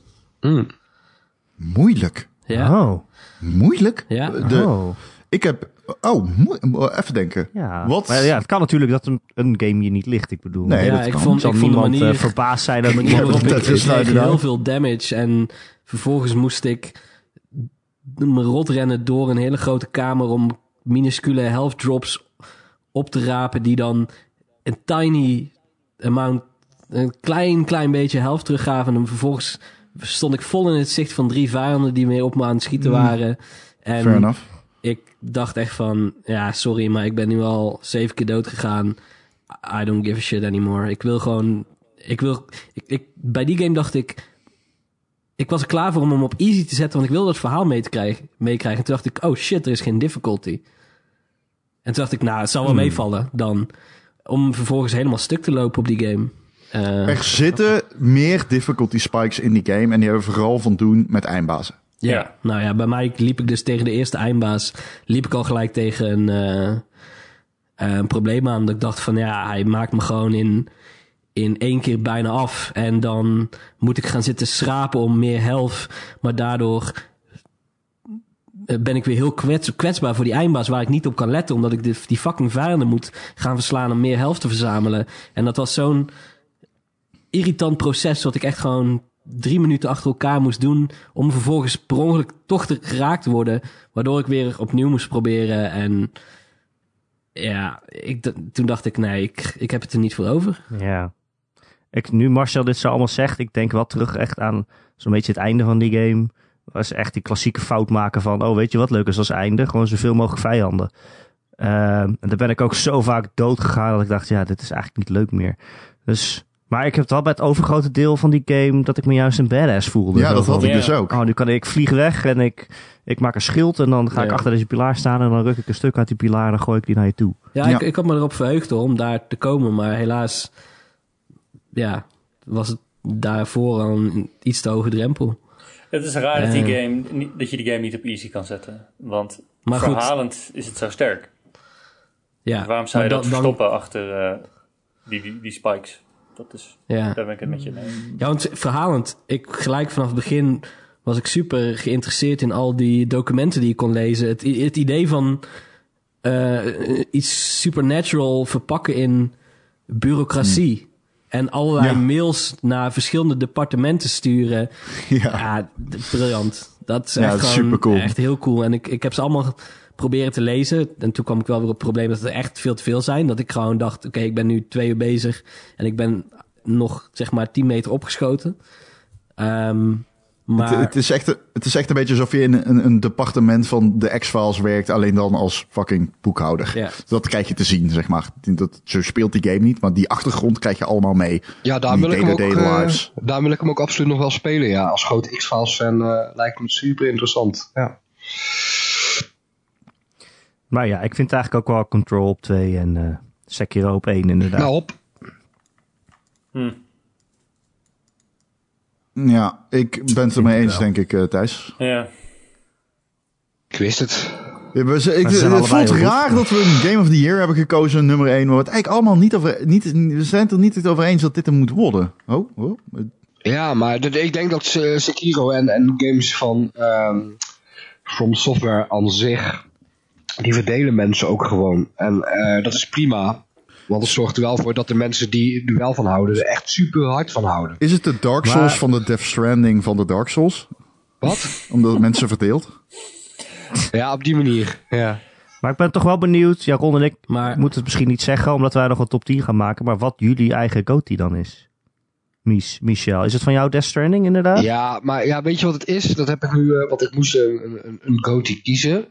Speaker 1: moeilijk.
Speaker 2: Ja,
Speaker 3: Oh.
Speaker 1: Moeilijk?
Speaker 2: Ja.
Speaker 1: De,
Speaker 3: oh.
Speaker 1: Ik heb... Oh, moe- even denken.
Speaker 3: Ja.
Speaker 1: Wat?
Speaker 3: Maar ja, het kan natuurlijk dat een, een game je niet ligt. Ik bedoel,
Speaker 1: Nee,
Speaker 3: nee,
Speaker 1: dat
Speaker 2: ja ik
Speaker 1: kan.
Speaker 2: vond,
Speaker 3: zal
Speaker 2: ik vond de
Speaker 3: niemand eh,
Speaker 2: manier...
Speaker 3: verbaasd zijn dat
Speaker 2: De manier waarop ik,
Speaker 1: dat
Speaker 2: ik
Speaker 1: is nou
Speaker 2: kreeg
Speaker 1: gedaan.
Speaker 2: heel veel damage en vervolgens moest ik me rotrennen door een hele grote kamer om minuscule health drops op te rapen die dan een tiny amount, een klein, klein beetje health teruggaven. En dan vervolgens stond ik vol in het zicht van drie vijanden die mee op me aan het schieten waren. En
Speaker 1: Fair enough.
Speaker 2: ik dacht echt van, ja, sorry, maar ik ben nu al zeven keer dood gegaan. I don't give a shit anymore. Ik wil gewoon, ik wil, ik, ik, bij die game dacht ik, ik was er klaar voor om hem op easy te zetten, want ik wilde dat verhaal mee te krijgen, meekrijgen. En toen dacht ik, oh shit, er is geen difficulty. En toen dacht ik, nou, het zal wel meevallen dan. Om vervolgens helemaal stuk te lopen op die game. Eh,
Speaker 1: Er zitten meer difficulty spikes in die game. En die hebben vooral van doen met eindbazen.
Speaker 2: Ja.
Speaker 5: Ja.
Speaker 2: Nou ja, bij mij liep ik dus tegen de eerste eindbaas. liep ik al gelijk tegen een, eh, eh, een probleem aan. Dat ik dacht van ja, hij maakt me gewoon in, in één keer bijna af. En dan moet ik gaan zitten schrapen om meer helft. Maar daardoor eh, ben ik weer heel kwets, kwetsbaar voor die eindbaas waar ik niet op kan letten. Omdat ik de, die fucking vijanden moet gaan verslaan om meer helft te verzamelen. En dat was zo'n irritant proces dat ik echt gewoon drie minuten achter elkaar moest doen. Om vervolgens per ongeluk toch te, geraakt te worden. Waardoor ik weer opnieuw moest proberen. En ja, ik, d- toen dacht ik nee, ik, ik heb het er niet voor over.
Speaker 3: Ja. Ik, nu Marcel dit zo allemaal zegt, ik denk wel terug echt aan zo'n beetje het einde van die game. Was echt die klassieke fout maken van, oh weet je wat leuk is als einde? Gewoon zoveel mogelijk vijanden. Ehm, en daar ben ik ook zo vaak dood gegaan dat ik dacht, ja, dit is eigenlijk niet leuk meer. Dus, maar ik heb het wel bij het overgrote deel van die game dat ik me juist een badass voelde.
Speaker 1: Ja,
Speaker 3: Zo
Speaker 1: dat had
Speaker 3: van,
Speaker 1: ik dus
Speaker 5: Ja.
Speaker 1: ook.
Speaker 3: Oh, nu kan ik, ik vlieg weg en ik, ik maak een schild en dan ga ik
Speaker 2: Ja.
Speaker 3: achter deze pilaar staan en dan ruk ik een stuk uit die pilaar en dan gooi ik die naar je toe.
Speaker 2: Ja,
Speaker 1: Ja.
Speaker 2: Ik, ik had me erop verheugd hoor, om daar te komen. Maar helaas ja, was het daarvoor al een iets te hoge drempel.
Speaker 5: Het is raar dat, die
Speaker 2: Eh.
Speaker 5: game, niet- dat je die game niet op easy kan zetten. Want
Speaker 2: Maar goed.
Speaker 5: verhalend is het zo sterk.
Speaker 2: Ja,
Speaker 5: Waarom zou je
Speaker 2: maar
Speaker 5: dat
Speaker 2: dan- dan-
Speaker 5: verstoppen achter eh, die, die, die spikes? Dat is,
Speaker 2: Ja.
Speaker 5: Daar ben ik het met je mee.
Speaker 2: Ja, want verhalend, ik gelijk vanaf het begin was ik super geïnteresseerd in al die documenten die ik kon lezen. Het, i- het idee van eh, iets supernatural verpakken in bureaucratie. En allerlei
Speaker 1: Ja.
Speaker 2: mails naar verschillende departementen sturen.
Speaker 1: Ja.
Speaker 2: Ja, d- briljant. Dat is
Speaker 1: Ja,
Speaker 2: echt
Speaker 1: dat is
Speaker 2: gewoon
Speaker 1: supercool.
Speaker 2: echt heel cool. En ik, ik heb ze allemaal proberen te lezen. En toen kwam ik wel weer op het probleem dat er echt veel te veel zijn. Dat ik gewoon dacht, oké, ik ben nu twee uur bezig. En ik ben nog, zeg maar, 10 meter opgeschoten. Ehm, maar
Speaker 1: Het, het is echt, het is echt een beetje alsof je in een, een departement van de X-Files werkt, alleen dan als fucking boekhouder.
Speaker 2: Ja.
Speaker 1: Dat krijg je te zien, zeg maar. Dat, zo speelt die game niet, maar die achtergrond krijg je allemaal mee.
Speaker 4: Ja, daar
Speaker 1: Die
Speaker 4: wil, ik hem ook,
Speaker 1: day-to-day
Speaker 4: eh,
Speaker 1: lives.
Speaker 4: daar wil ik hem ook absoluut nog wel spelen. Ja. Als groot X-Files fan eh, lijkt me het super interessant. Ja.
Speaker 3: Maar ja, ik vind het eigenlijk ook wel Control op 2 en eh Sekiro op 1 inderdaad.
Speaker 4: Nou, op.
Speaker 1: Ja, ik ben het ermee eens, denk ik, eh, Thijs.
Speaker 5: Ja.
Speaker 4: Ik wist het.
Speaker 1: Ja, we z- ik-
Speaker 3: Maar ze zijn
Speaker 1: het
Speaker 3: allebei
Speaker 1: voelt
Speaker 3: heel goed.
Speaker 1: raar dat we een Game of the Year hebben gekozen, nummer 1. Maar we het eigenlijk allemaal niet over... Niet, we zijn het er niet over eens dat dit hem moet worden. Oh, oh.
Speaker 4: Ja, maar dat- ik denk dat eh, Sekiro en, en games van ehm, From Software aan zich, die verdelen mensen ook gewoon. En eh, dat is prima, want het zorgt er wel voor dat de mensen die er wel van houden, er echt super hard van houden.
Speaker 1: Is het de Dark Souls
Speaker 3: Maar-
Speaker 1: van de Death Stranding van de Dark Souls?
Speaker 4: Wat?
Speaker 1: Omdat het mensen verdeelt?
Speaker 4: ja, op die manier. Ja.
Speaker 3: Maar ik ben toch wel benieuwd. Ja, Ron en ik
Speaker 2: Maar
Speaker 3: moeten het misschien niet zeggen, omdat wij nog een top 10 gaan maken. Maar wat jullie eigen goatee dan is. Mies, Michel. Is het van jou Death Stranding inderdaad?
Speaker 4: Ja, maar ja, weet je wat het is? Dat heb ik nu, eh, want ik moest eh, een, een, een goatee kiezen.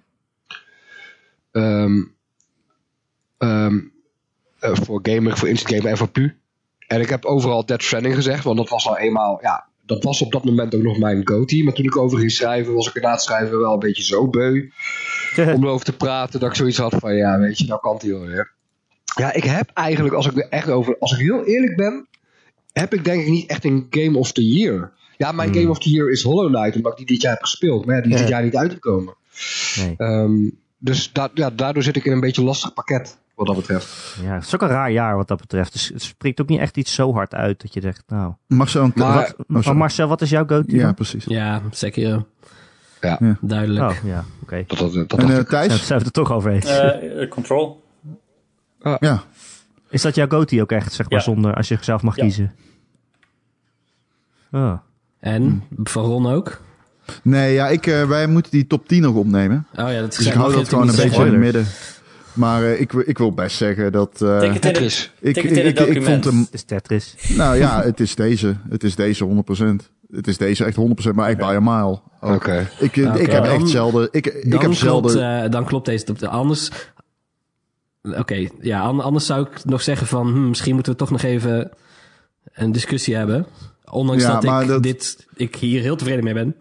Speaker 4: Ehm, ehm, eh, voor gamer, voor instant gamer en voor pu. En ik heb overal Dead Stranding gezegd, want dat was nou eenmaal, ja, dat was op dat moment ook nog mijn goatee. Maar toen ik over ging schrijven, was ik het na het schrijven wel een beetje zo beu om erover te praten dat ik zoiets had van, ja, weet je, nou kan het hier wel weer. Ja, ik heb eigenlijk, als ik er echt over, als ik heel eerlijk ben, heb ik denk ik niet echt een Game of the Year. Ja, mijn Game of the Year is Hollow Knight, omdat ik die dit jaar heb gespeeld. Maar Hmm. ja, die is dit jaar niet uitgekomen.
Speaker 3: Nee.
Speaker 4: Ehm, dus da- ja, daardoor zit ik in een beetje een lastig pakket, wat dat betreft.
Speaker 3: Ja, het is ook een raar jaar wat dat betreft. Dus het spreekt ook niet echt iets zo hard uit dat je zegt, nou.
Speaker 1: Marcel en
Speaker 4: Maar-
Speaker 1: wat- oh,
Speaker 3: Maar
Speaker 1: sorry.
Speaker 3: Marcel, wat is jouw goatee?
Speaker 1: Ja,
Speaker 3: dan?
Speaker 1: precies.
Speaker 2: ja, Sekiro.
Speaker 4: Ja.
Speaker 2: Duidelijk.
Speaker 3: Oh, ja, oké.
Speaker 4: Dat, dat, dat,
Speaker 1: En
Speaker 4: dacht
Speaker 1: eh,
Speaker 4: ik.
Speaker 3: Zijn we-
Speaker 1: Thijs?
Speaker 3: zijn we het er toch over eens?
Speaker 5: Eh, eh, control.
Speaker 1: Ja.
Speaker 3: Is dat jouw goatee ook echt, zeg maar,
Speaker 5: Ja.
Speaker 3: zonder, als je zelf mag
Speaker 5: Ja.
Speaker 3: kiezen? Oh.
Speaker 2: En van Ron ook.
Speaker 1: Nee, ja, ik, eh, wij moeten die top 10 nog opnemen.
Speaker 2: Oh ja, dat is
Speaker 1: Dus ik hou dat gewoon een beetje in het midden. Maar eh, ik, wil- ik wil best zeggen dat... eh,
Speaker 5: Tik het in het-
Speaker 4: Tetris.
Speaker 1: ik,
Speaker 5: tik het in het
Speaker 1: ik
Speaker 5: document.
Speaker 1: vond hem
Speaker 3: Het is Tetris.
Speaker 1: Nou ja, het is deze. Het is deze 100%. Het is deze echt 100%, maar echt by a mile. Ook.
Speaker 4: Oké.
Speaker 1: Ik, eh,
Speaker 2: Oké.
Speaker 1: ik heb
Speaker 2: Dan-
Speaker 1: echt zelden... Ik,
Speaker 2: Dan,
Speaker 1: ik heb
Speaker 2: klopt,
Speaker 1: zelden...
Speaker 2: eh, dan klopt deze top. Anders. Oké, ja, an- anders zou ik nog zeggen van hmm, misschien moeten we toch nog even een discussie hebben. Ondanks
Speaker 1: Ja,
Speaker 2: dat ik
Speaker 1: maar dat-
Speaker 2: dit ik hier heel tevreden mee ben.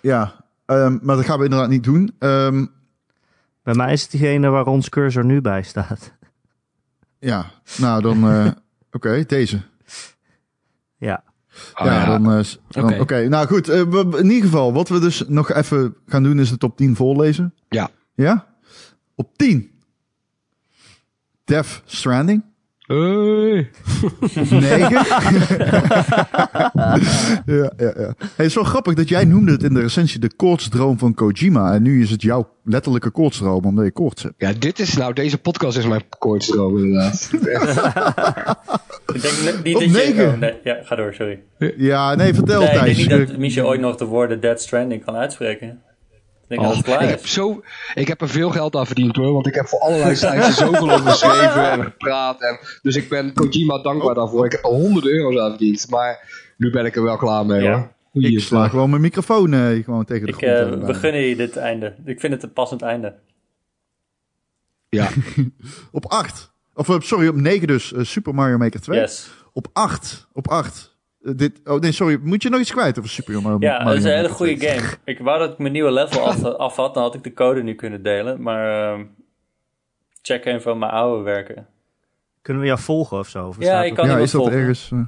Speaker 1: Ja, ehm, maar dat gaan we inderdaad niet doen. Ehm,
Speaker 3: Bij mij is het diegene waar ons cursor nu bij staat.
Speaker 1: ja, nou dan... eh, Oké, deze.
Speaker 3: Ja.
Speaker 4: Ah,
Speaker 1: ja,
Speaker 4: ja.
Speaker 1: dan... eh, s- dan- Oké,
Speaker 2: Oké.
Speaker 1: nou goed. eh, we- we- in ieder geval, wat we dus nog even gaan doen is de top 10 voorlezen.
Speaker 4: Ja.
Speaker 1: Ja? Op 10. Death Stranding.
Speaker 4: Hey.
Speaker 1: 9. ja, ja, ja. Hey, het is wel grappig dat jij noemde het in de recensie de koortsdroom van Kojima. En nu is het jouw letterlijke koortsdroom omdat je koorts hebt.
Speaker 4: Ja, dit is nou, deze podcast is mijn koortsdroom inderdaad.
Speaker 5: Ik denk niet
Speaker 1: Op
Speaker 5: dat je-
Speaker 1: negen.
Speaker 5: oh, nee, ja, ga door, sorry.
Speaker 1: Ja, nee, vertel
Speaker 5: Nee, ik denk
Speaker 1: Thijs.
Speaker 5: niet dat Michel ooit nog de woorden Dead Stranding kan uitspreken. Ik denk
Speaker 2: Oh,
Speaker 5: dat het
Speaker 4: Oh, ik,
Speaker 5: klaar
Speaker 4: heb
Speaker 5: is.
Speaker 4: zo, ik heb er veel geld aan verdiend hoor, want ik heb voor allerlei sites zoveel over geschreven en gepraat. En, dus ik ben Kojima dankbaar daarvoor. Ik heb er honderden euro's aan verdiend, maar nu ben ik er wel klaar mee
Speaker 5: Ja.
Speaker 4: hoor.
Speaker 1: Ik
Speaker 4: Hier,
Speaker 1: sla gewoon mijn microfoon eh, gewoon tegen de
Speaker 5: Ik
Speaker 1: grond.
Speaker 5: eh
Speaker 1: aan.
Speaker 5: we gunnen je dit einde. Ik vind het een passend einde.
Speaker 4: Ja,
Speaker 1: Op 8. Of eh, sorry, op 9 dus. eh, Super Mario Maker 2.
Speaker 5: Yes.
Speaker 1: Op 8. Op 8. dit, oh nee, sorry. Moet je nog iets kwijt over Super Mario
Speaker 5: Ja,
Speaker 1: Mario
Speaker 5: dat is een hele
Speaker 1: Maker 2?
Speaker 5: goede game. Ik wou dat ik mijn nieuwe level af, af had, dan had ik de code nu kunnen delen. Maar ehm, check een van mijn oude werken.
Speaker 3: Kunnen we jou volgen of zo? Of
Speaker 5: Ja,
Speaker 3: staat
Speaker 5: ik
Speaker 3: op-
Speaker 5: kan-
Speaker 1: Ja,
Speaker 5: iemand
Speaker 1: is dat
Speaker 5: volgen.
Speaker 1: ergens... eh,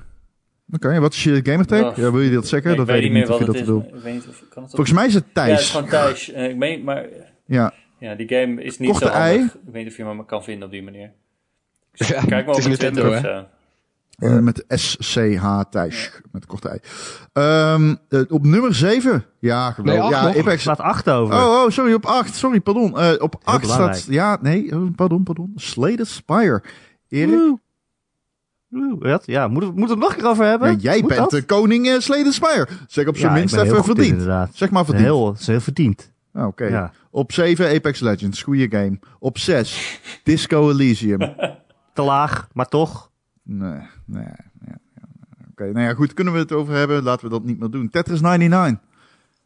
Speaker 1: Oké, wat is je gamertag?
Speaker 5: Oh.
Speaker 1: Ja, wil je dat zeggen? dat weet ik niet of je dat
Speaker 5: het
Speaker 1: wil.
Speaker 5: is. Ik weet niet of kan het
Speaker 1: Volgens mij is het
Speaker 5: Ja, het is
Speaker 1: Thijs.
Speaker 5: gewoon Thijs. Eh, ik meen, maar
Speaker 1: Ja,
Speaker 5: ja, die game is niet
Speaker 1: Korte
Speaker 5: zo handig.
Speaker 1: ei.
Speaker 5: Ik weet niet of je me kan vinden op die manier.
Speaker 4: Ja,
Speaker 5: Kijk maar
Speaker 4: het
Speaker 5: op
Speaker 4: is
Speaker 5: Nintendo
Speaker 4: Nintendo
Speaker 5: of
Speaker 4: hè.
Speaker 5: zo.
Speaker 1: eh, met SCH Thijs. Met korte ei. Ehm, eh, op nummer 7. Ja, geweldig.
Speaker 4: Nee, acht
Speaker 1: ja,
Speaker 4: nog.
Speaker 1: Apex.
Speaker 3: staat acht over.
Speaker 1: Oh, oh, sorry, op 8. Sorry, pardon. Eh, op 8
Speaker 3: belangrijk.
Speaker 1: staat... Ja, nee, eh, pardon, pardon. Slade Spire. Erik,
Speaker 3: Oeh, Wat? Ja, moeten we moeten we het nog een keer over hebben?
Speaker 1: ja, jij
Speaker 3: Moet
Speaker 1: bent
Speaker 3: dat?
Speaker 1: de koning eh, Slade Spire. Zeg op zijn
Speaker 3: Ja, ik
Speaker 1: minst
Speaker 3: ben heel
Speaker 1: even
Speaker 3: goed in,
Speaker 1: verdiend.
Speaker 3: Inderdaad.
Speaker 1: Zeg maar verdiend.
Speaker 3: Heel, het is heel verdiend.
Speaker 1: Ah, Oké.
Speaker 3: Ja.
Speaker 1: Op 7 Apex Legends, goede game. Op 6 Disco Elysium.
Speaker 3: Te laag, maar toch.
Speaker 1: nee, nee, nee. nee. Oké, nou ja, goed, kunnen we het over hebben? Laten we dat niet meer doen. Tetris 99.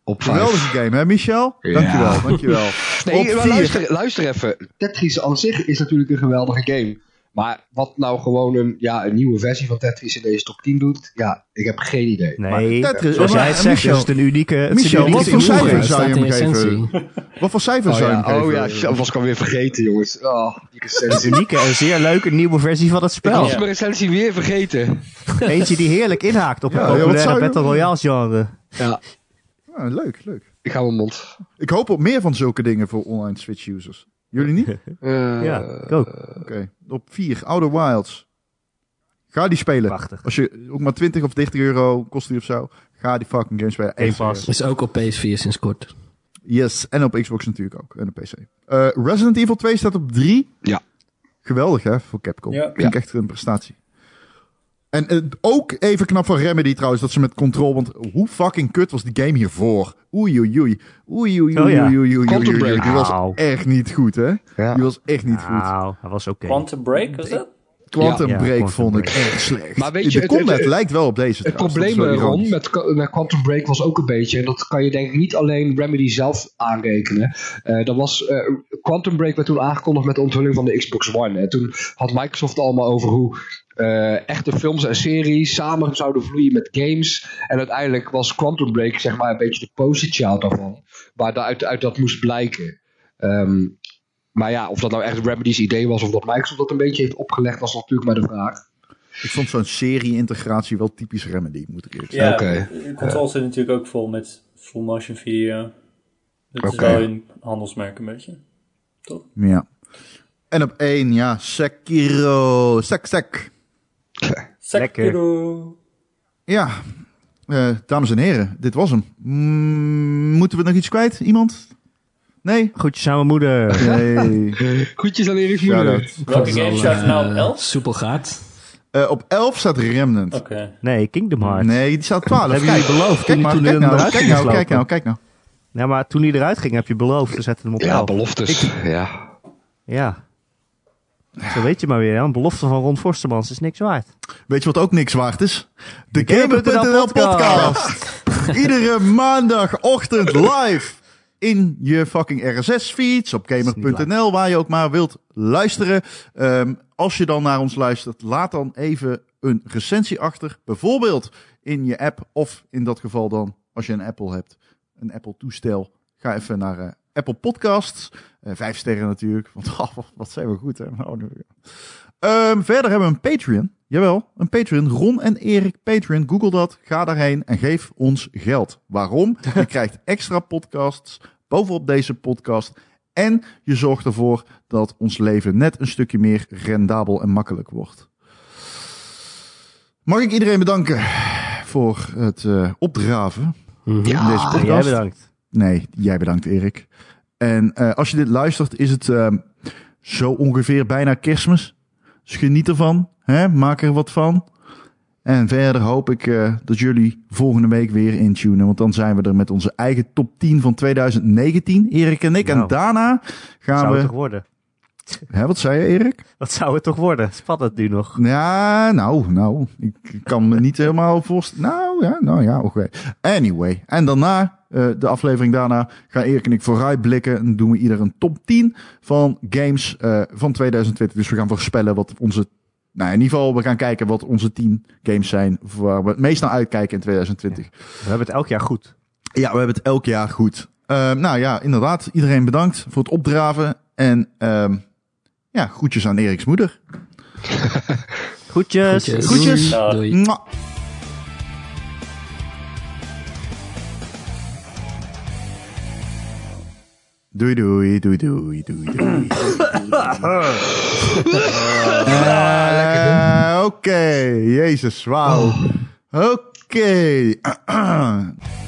Speaker 4: op vijf.
Speaker 1: Geweldige game, hè, Michel?
Speaker 4: Ja.
Speaker 1: Dankjewel, dankjewel.
Speaker 4: Nee,
Speaker 1: op
Speaker 4: maar
Speaker 1: 4.
Speaker 4: luister, luister even. Tetris aan zich is natuurlijk een geweldige game. Maar wat nou gewoon een, ja, een nieuwe versie van Tetris in deze top 10 doet, ja, ik heb geen idee. Maar
Speaker 3: Nee,
Speaker 1: Tetris-
Speaker 3: zoals
Speaker 1: maar-
Speaker 3: jij het
Speaker 1: en
Speaker 3: zegt,
Speaker 1: Michel-
Speaker 3: is het een unieke... Het is
Speaker 1: Michel,
Speaker 3: een
Speaker 1: wat
Speaker 3: unieke
Speaker 1: voor
Speaker 3: toevoeging.
Speaker 1: cijfer
Speaker 2: Het
Speaker 1: zou je
Speaker 2: staat
Speaker 1: hem
Speaker 2: in
Speaker 1: geven?
Speaker 2: essentie.
Speaker 1: Wat voor cijfer
Speaker 4: Oh
Speaker 1: zou je hem
Speaker 4: ja,
Speaker 1: geven?
Speaker 4: oh ja, shit, dat was ik alweer vergeten, jongens. Oh, die recensie.
Speaker 3: Unieke en zeer leuke nieuwe versie van het
Speaker 4: Ik
Speaker 3: spel.
Speaker 4: was mijn recensie weer vergeten.
Speaker 3: Eentje die heerlijk inhaakt op
Speaker 1: Ja,
Speaker 3: het
Speaker 1: ja, wat
Speaker 3: populaire
Speaker 1: zou je-
Speaker 3: Battle Royale genre.
Speaker 4: Ja.
Speaker 1: Ah, leuk, leuk.
Speaker 4: Ik hou mijn mond.
Speaker 1: Ik hoop op meer van zulke dingen voor online Switch-users. Jullie niet? Oké.
Speaker 4: Eh,
Speaker 3: Ja, ik ook.
Speaker 1: Op 4, Outer Wilds. Ga die spelen.
Speaker 3: Prachtig.
Speaker 1: Als je ook maar 20 of 30 euro kost die of zo, ga die fucking games spelen.
Speaker 3: Game
Speaker 1: Echt
Speaker 3: Pass.
Speaker 1: serieus.
Speaker 2: Is ook op PS4 sinds kort.
Speaker 1: Yes, en op Xbox natuurlijk ook. En op PC. Eh, Resident Evil 2 staat op 3.
Speaker 4: Ja.
Speaker 1: Geweldig hè, voor Capcom.
Speaker 5: Ja.
Speaker 1: Vind ik echt een prestatie. En eh, ook even knap van Remedy trouwens, dat ze met Control... Want hoe fucking kut was die game hiervoor? Oei, oei, oei. Oei, oei, oei,
Speaker 3: Oh ja.
Speaker 1: oei, oei, oei,
Speaker 4: Quantum
Speaker 1: oei, oei.
Speaker 4: Break.
Speaker 1: Die was
Speaker 3: Au.
Speaker 1: echt niet goed hè. Die
Speaker 4: Ja.
Speaker 1: was echt niet goed.
Speaker 3: Nou, hij was oké.
Speaker 5: Quantum Break was dat?
Speaker 1: Quantum
Speaker 3: Ja, ja,
Speaker 1: Break
Speaker 3: Quantum
Speaker 1: vond ik
Speaker 3: Break.
Speaker 1: echt slecht.
Speaker 4: Maar weet je,
Speaker 1: de
Speaker 4: het- het-
Speaker 1: combat
Speaker 4: het-
Speaker 1: lijkt wel op deze
Speaker 4: Het
Speaker 1: trouwens. Dat is
Speaker 4: probleem, eh,
Speaker 1: wel
Speaker 4: Ron,
Speaker 1: ironisch.
Speaker 4: met, Qua- met Quantum Break was ook een beetje... en dat kan je denk ik niet alleen Remedy zelf aanrekenen. Eh dat was, eh, Quantum Break werd toen aangekondigd met de onthulling van de Xbox One. En toen had Microsoft het allemaal over hoe... eh, echte films en series samen zouden vloeien met games. En uiteindelijk was Quantum Break zeg maar een beetje de poster child daarvan. Waar daaruit uit dat moest blijken. Ehm, maar ja, of dat nou echt Remedy's idee was of dat Microsoft dat een beetje heeft opgelegd, was natuurlijk maar de vraag.
Speaker 1: Ik vond zo'n serie-integratie wel typisch Remedy, moet ik eerlijk zeggen.
Speaker 5: Ja,
Speaker 4: Oké.
Speaker 5: Control zit natuurlijk ook vol met full motion video. Dat is
Speaker 4: Oké.
Speaker 5: wel een handelsmerk een beetje.
Speaker 1: Ja. En op één, ja, Sekiro. Sek, sek.
Speaker 3: Lekker.
Speaker 5: Sekiro.
Speaker 1: Ja, Eh, dames en heren, dit was hem. Mm, moeten we nog iets kwijt? Iemand? Nee?
Speaker 3: Goed, je samen moeder.
Speaker 1: Nee.
Speaker 4: Groetjes aan Erik Moeder.
Speaker 1: Shout-out.
Speaker 5: Welke
Speaker 2: Dat is
Speaker 5: game
Speaker 2: al,
Speaker 5: staat er nou op
Speaker 2: eh,
Speaker 5: 11?
Speaker 2: Soepel gaat.
Speaker 1: Eh, op 11 staat Remnant.
Speaker 5: Oké.
Speaker 3: Nee, Kingdom Hearts.
Speaker 1: Nee, die staat op 12.
Speaker 3: Hebben
Speaker 1: kijk,
Speaker 3: jullie beloofd
Speaker 1: kijk
Speaker 3: toen-
Speaker 1: maar,
Speaker 3: toen
Speaker 1: kijk
Speaker 3: die
Speaker 1: nou,
Speaker 3: eruit
Speaker 1: kijk
Speaker 3: ging
Speaker 1: nou, kijk
Speaker 3: slopen?
Speaker 1: nou, kijk nou.
Speaker 3: Ja, maar toen hij eruit ging, heb je beloofd. We zetten hem op
Speaker 4: Ja,
Speaker 3: elf.
Speaker 4: beloftes. Ja.
Speaker 3: Ja. Zo weet je maar weer, hè. een belofte van Ron Forstemans is niks waard.
Speaker 1: Weet je wat ook niks waard is? De
Speaker 3: Gamer.nl
Speaker 1: Gamer.nl podcast. Iedere maandagochtend live in je fucking RSS-feeds op gamer.nl, waar je ook maar wilt luisteren. Ehm, als je dan naar ons luistert, laat dan even een recensie achter. Bijvoorbeeld in je app of in dat geval dan, als je een Apple hebt, een Apple-toestel. Ga even naar eh, Apple Podcasts. Eh, vijf sterren natuurlijk, want oh, wat zijn we goed hè. Oh, nu- Ehm, verder hebben we een Patreon. Jawel, een Patreon. Ron en Erik Patreon. Google dat. Ga daarheen en geef ons geld. Waarom? Je krijgt extra podcasts bovenop deze podcast. En je zorgt ervoor dat ons leven net een stukje meer rendabel en makkelijk wordt. Mag ik iedereen bedanken voor het eh, opdraven
Speaker 2: Mhm.
Speaker 1: in deze
Speaker 3: En
Speaker 1: podcast?
Speaker 3: jij bedankt.
Speaker 1: Nee, jij bedankt, Erik. En eh, als je dit luistert, is het ehm, zo ongeveer bijna kerstmis. Dus geniet ervan. Hè? Maak er wat van. En verder hoop ik eh, dat jullie volgende week weer intunen. Want dan zijn we er met onze eigen top 10 van 2019. Erik en ik. En
Speaker 3: Nou.
Speaker 1: daarna
Speaker 3: Wat
Speaker 1: gaan
Speaker 3: zou het
Speaker 1: we...
Speaker 3: toch worden?
Speaker 1: Hè, wat zei je, Erik?
Speaker 3: Wat zou het toch worden? Spannend nu nog.
Speaker 1: Ja, nou, nou. Ik kan me niet helemaal voorstellen. Nou ja, nou ja, oké. Anyway. En daarna, eh, de aflevering daarna, gaan Erik en ik vooruitblikken. En dan doen we ieder een top 10 van games eh, van 2020. Dus we gaan voorspellen wat onze... Nou, in ieder geval, we gaan kijken wat onze 10 games zijn waar we het meest naar uitkijken in 2020.
Speaker 3: We hebben het elk jaar goed.
Speaker 1: Ja, we hebben het elk jaar goed. Ehm, nou ja, inderdaad. Iedereen bedankt voor het opdraven. En ehm, ja, groetjes aan Eriks moeder.
Speaker 3: Goedjes.
Speaker 2: Groetjes.
Speaker 1: Groetjes.
Speaker 2: Doei. Doei.
Speaker 1: Mwah. Doei doei, doei doei, doei doei. Uh, Eh, Oké, jezus, wauw. Oké.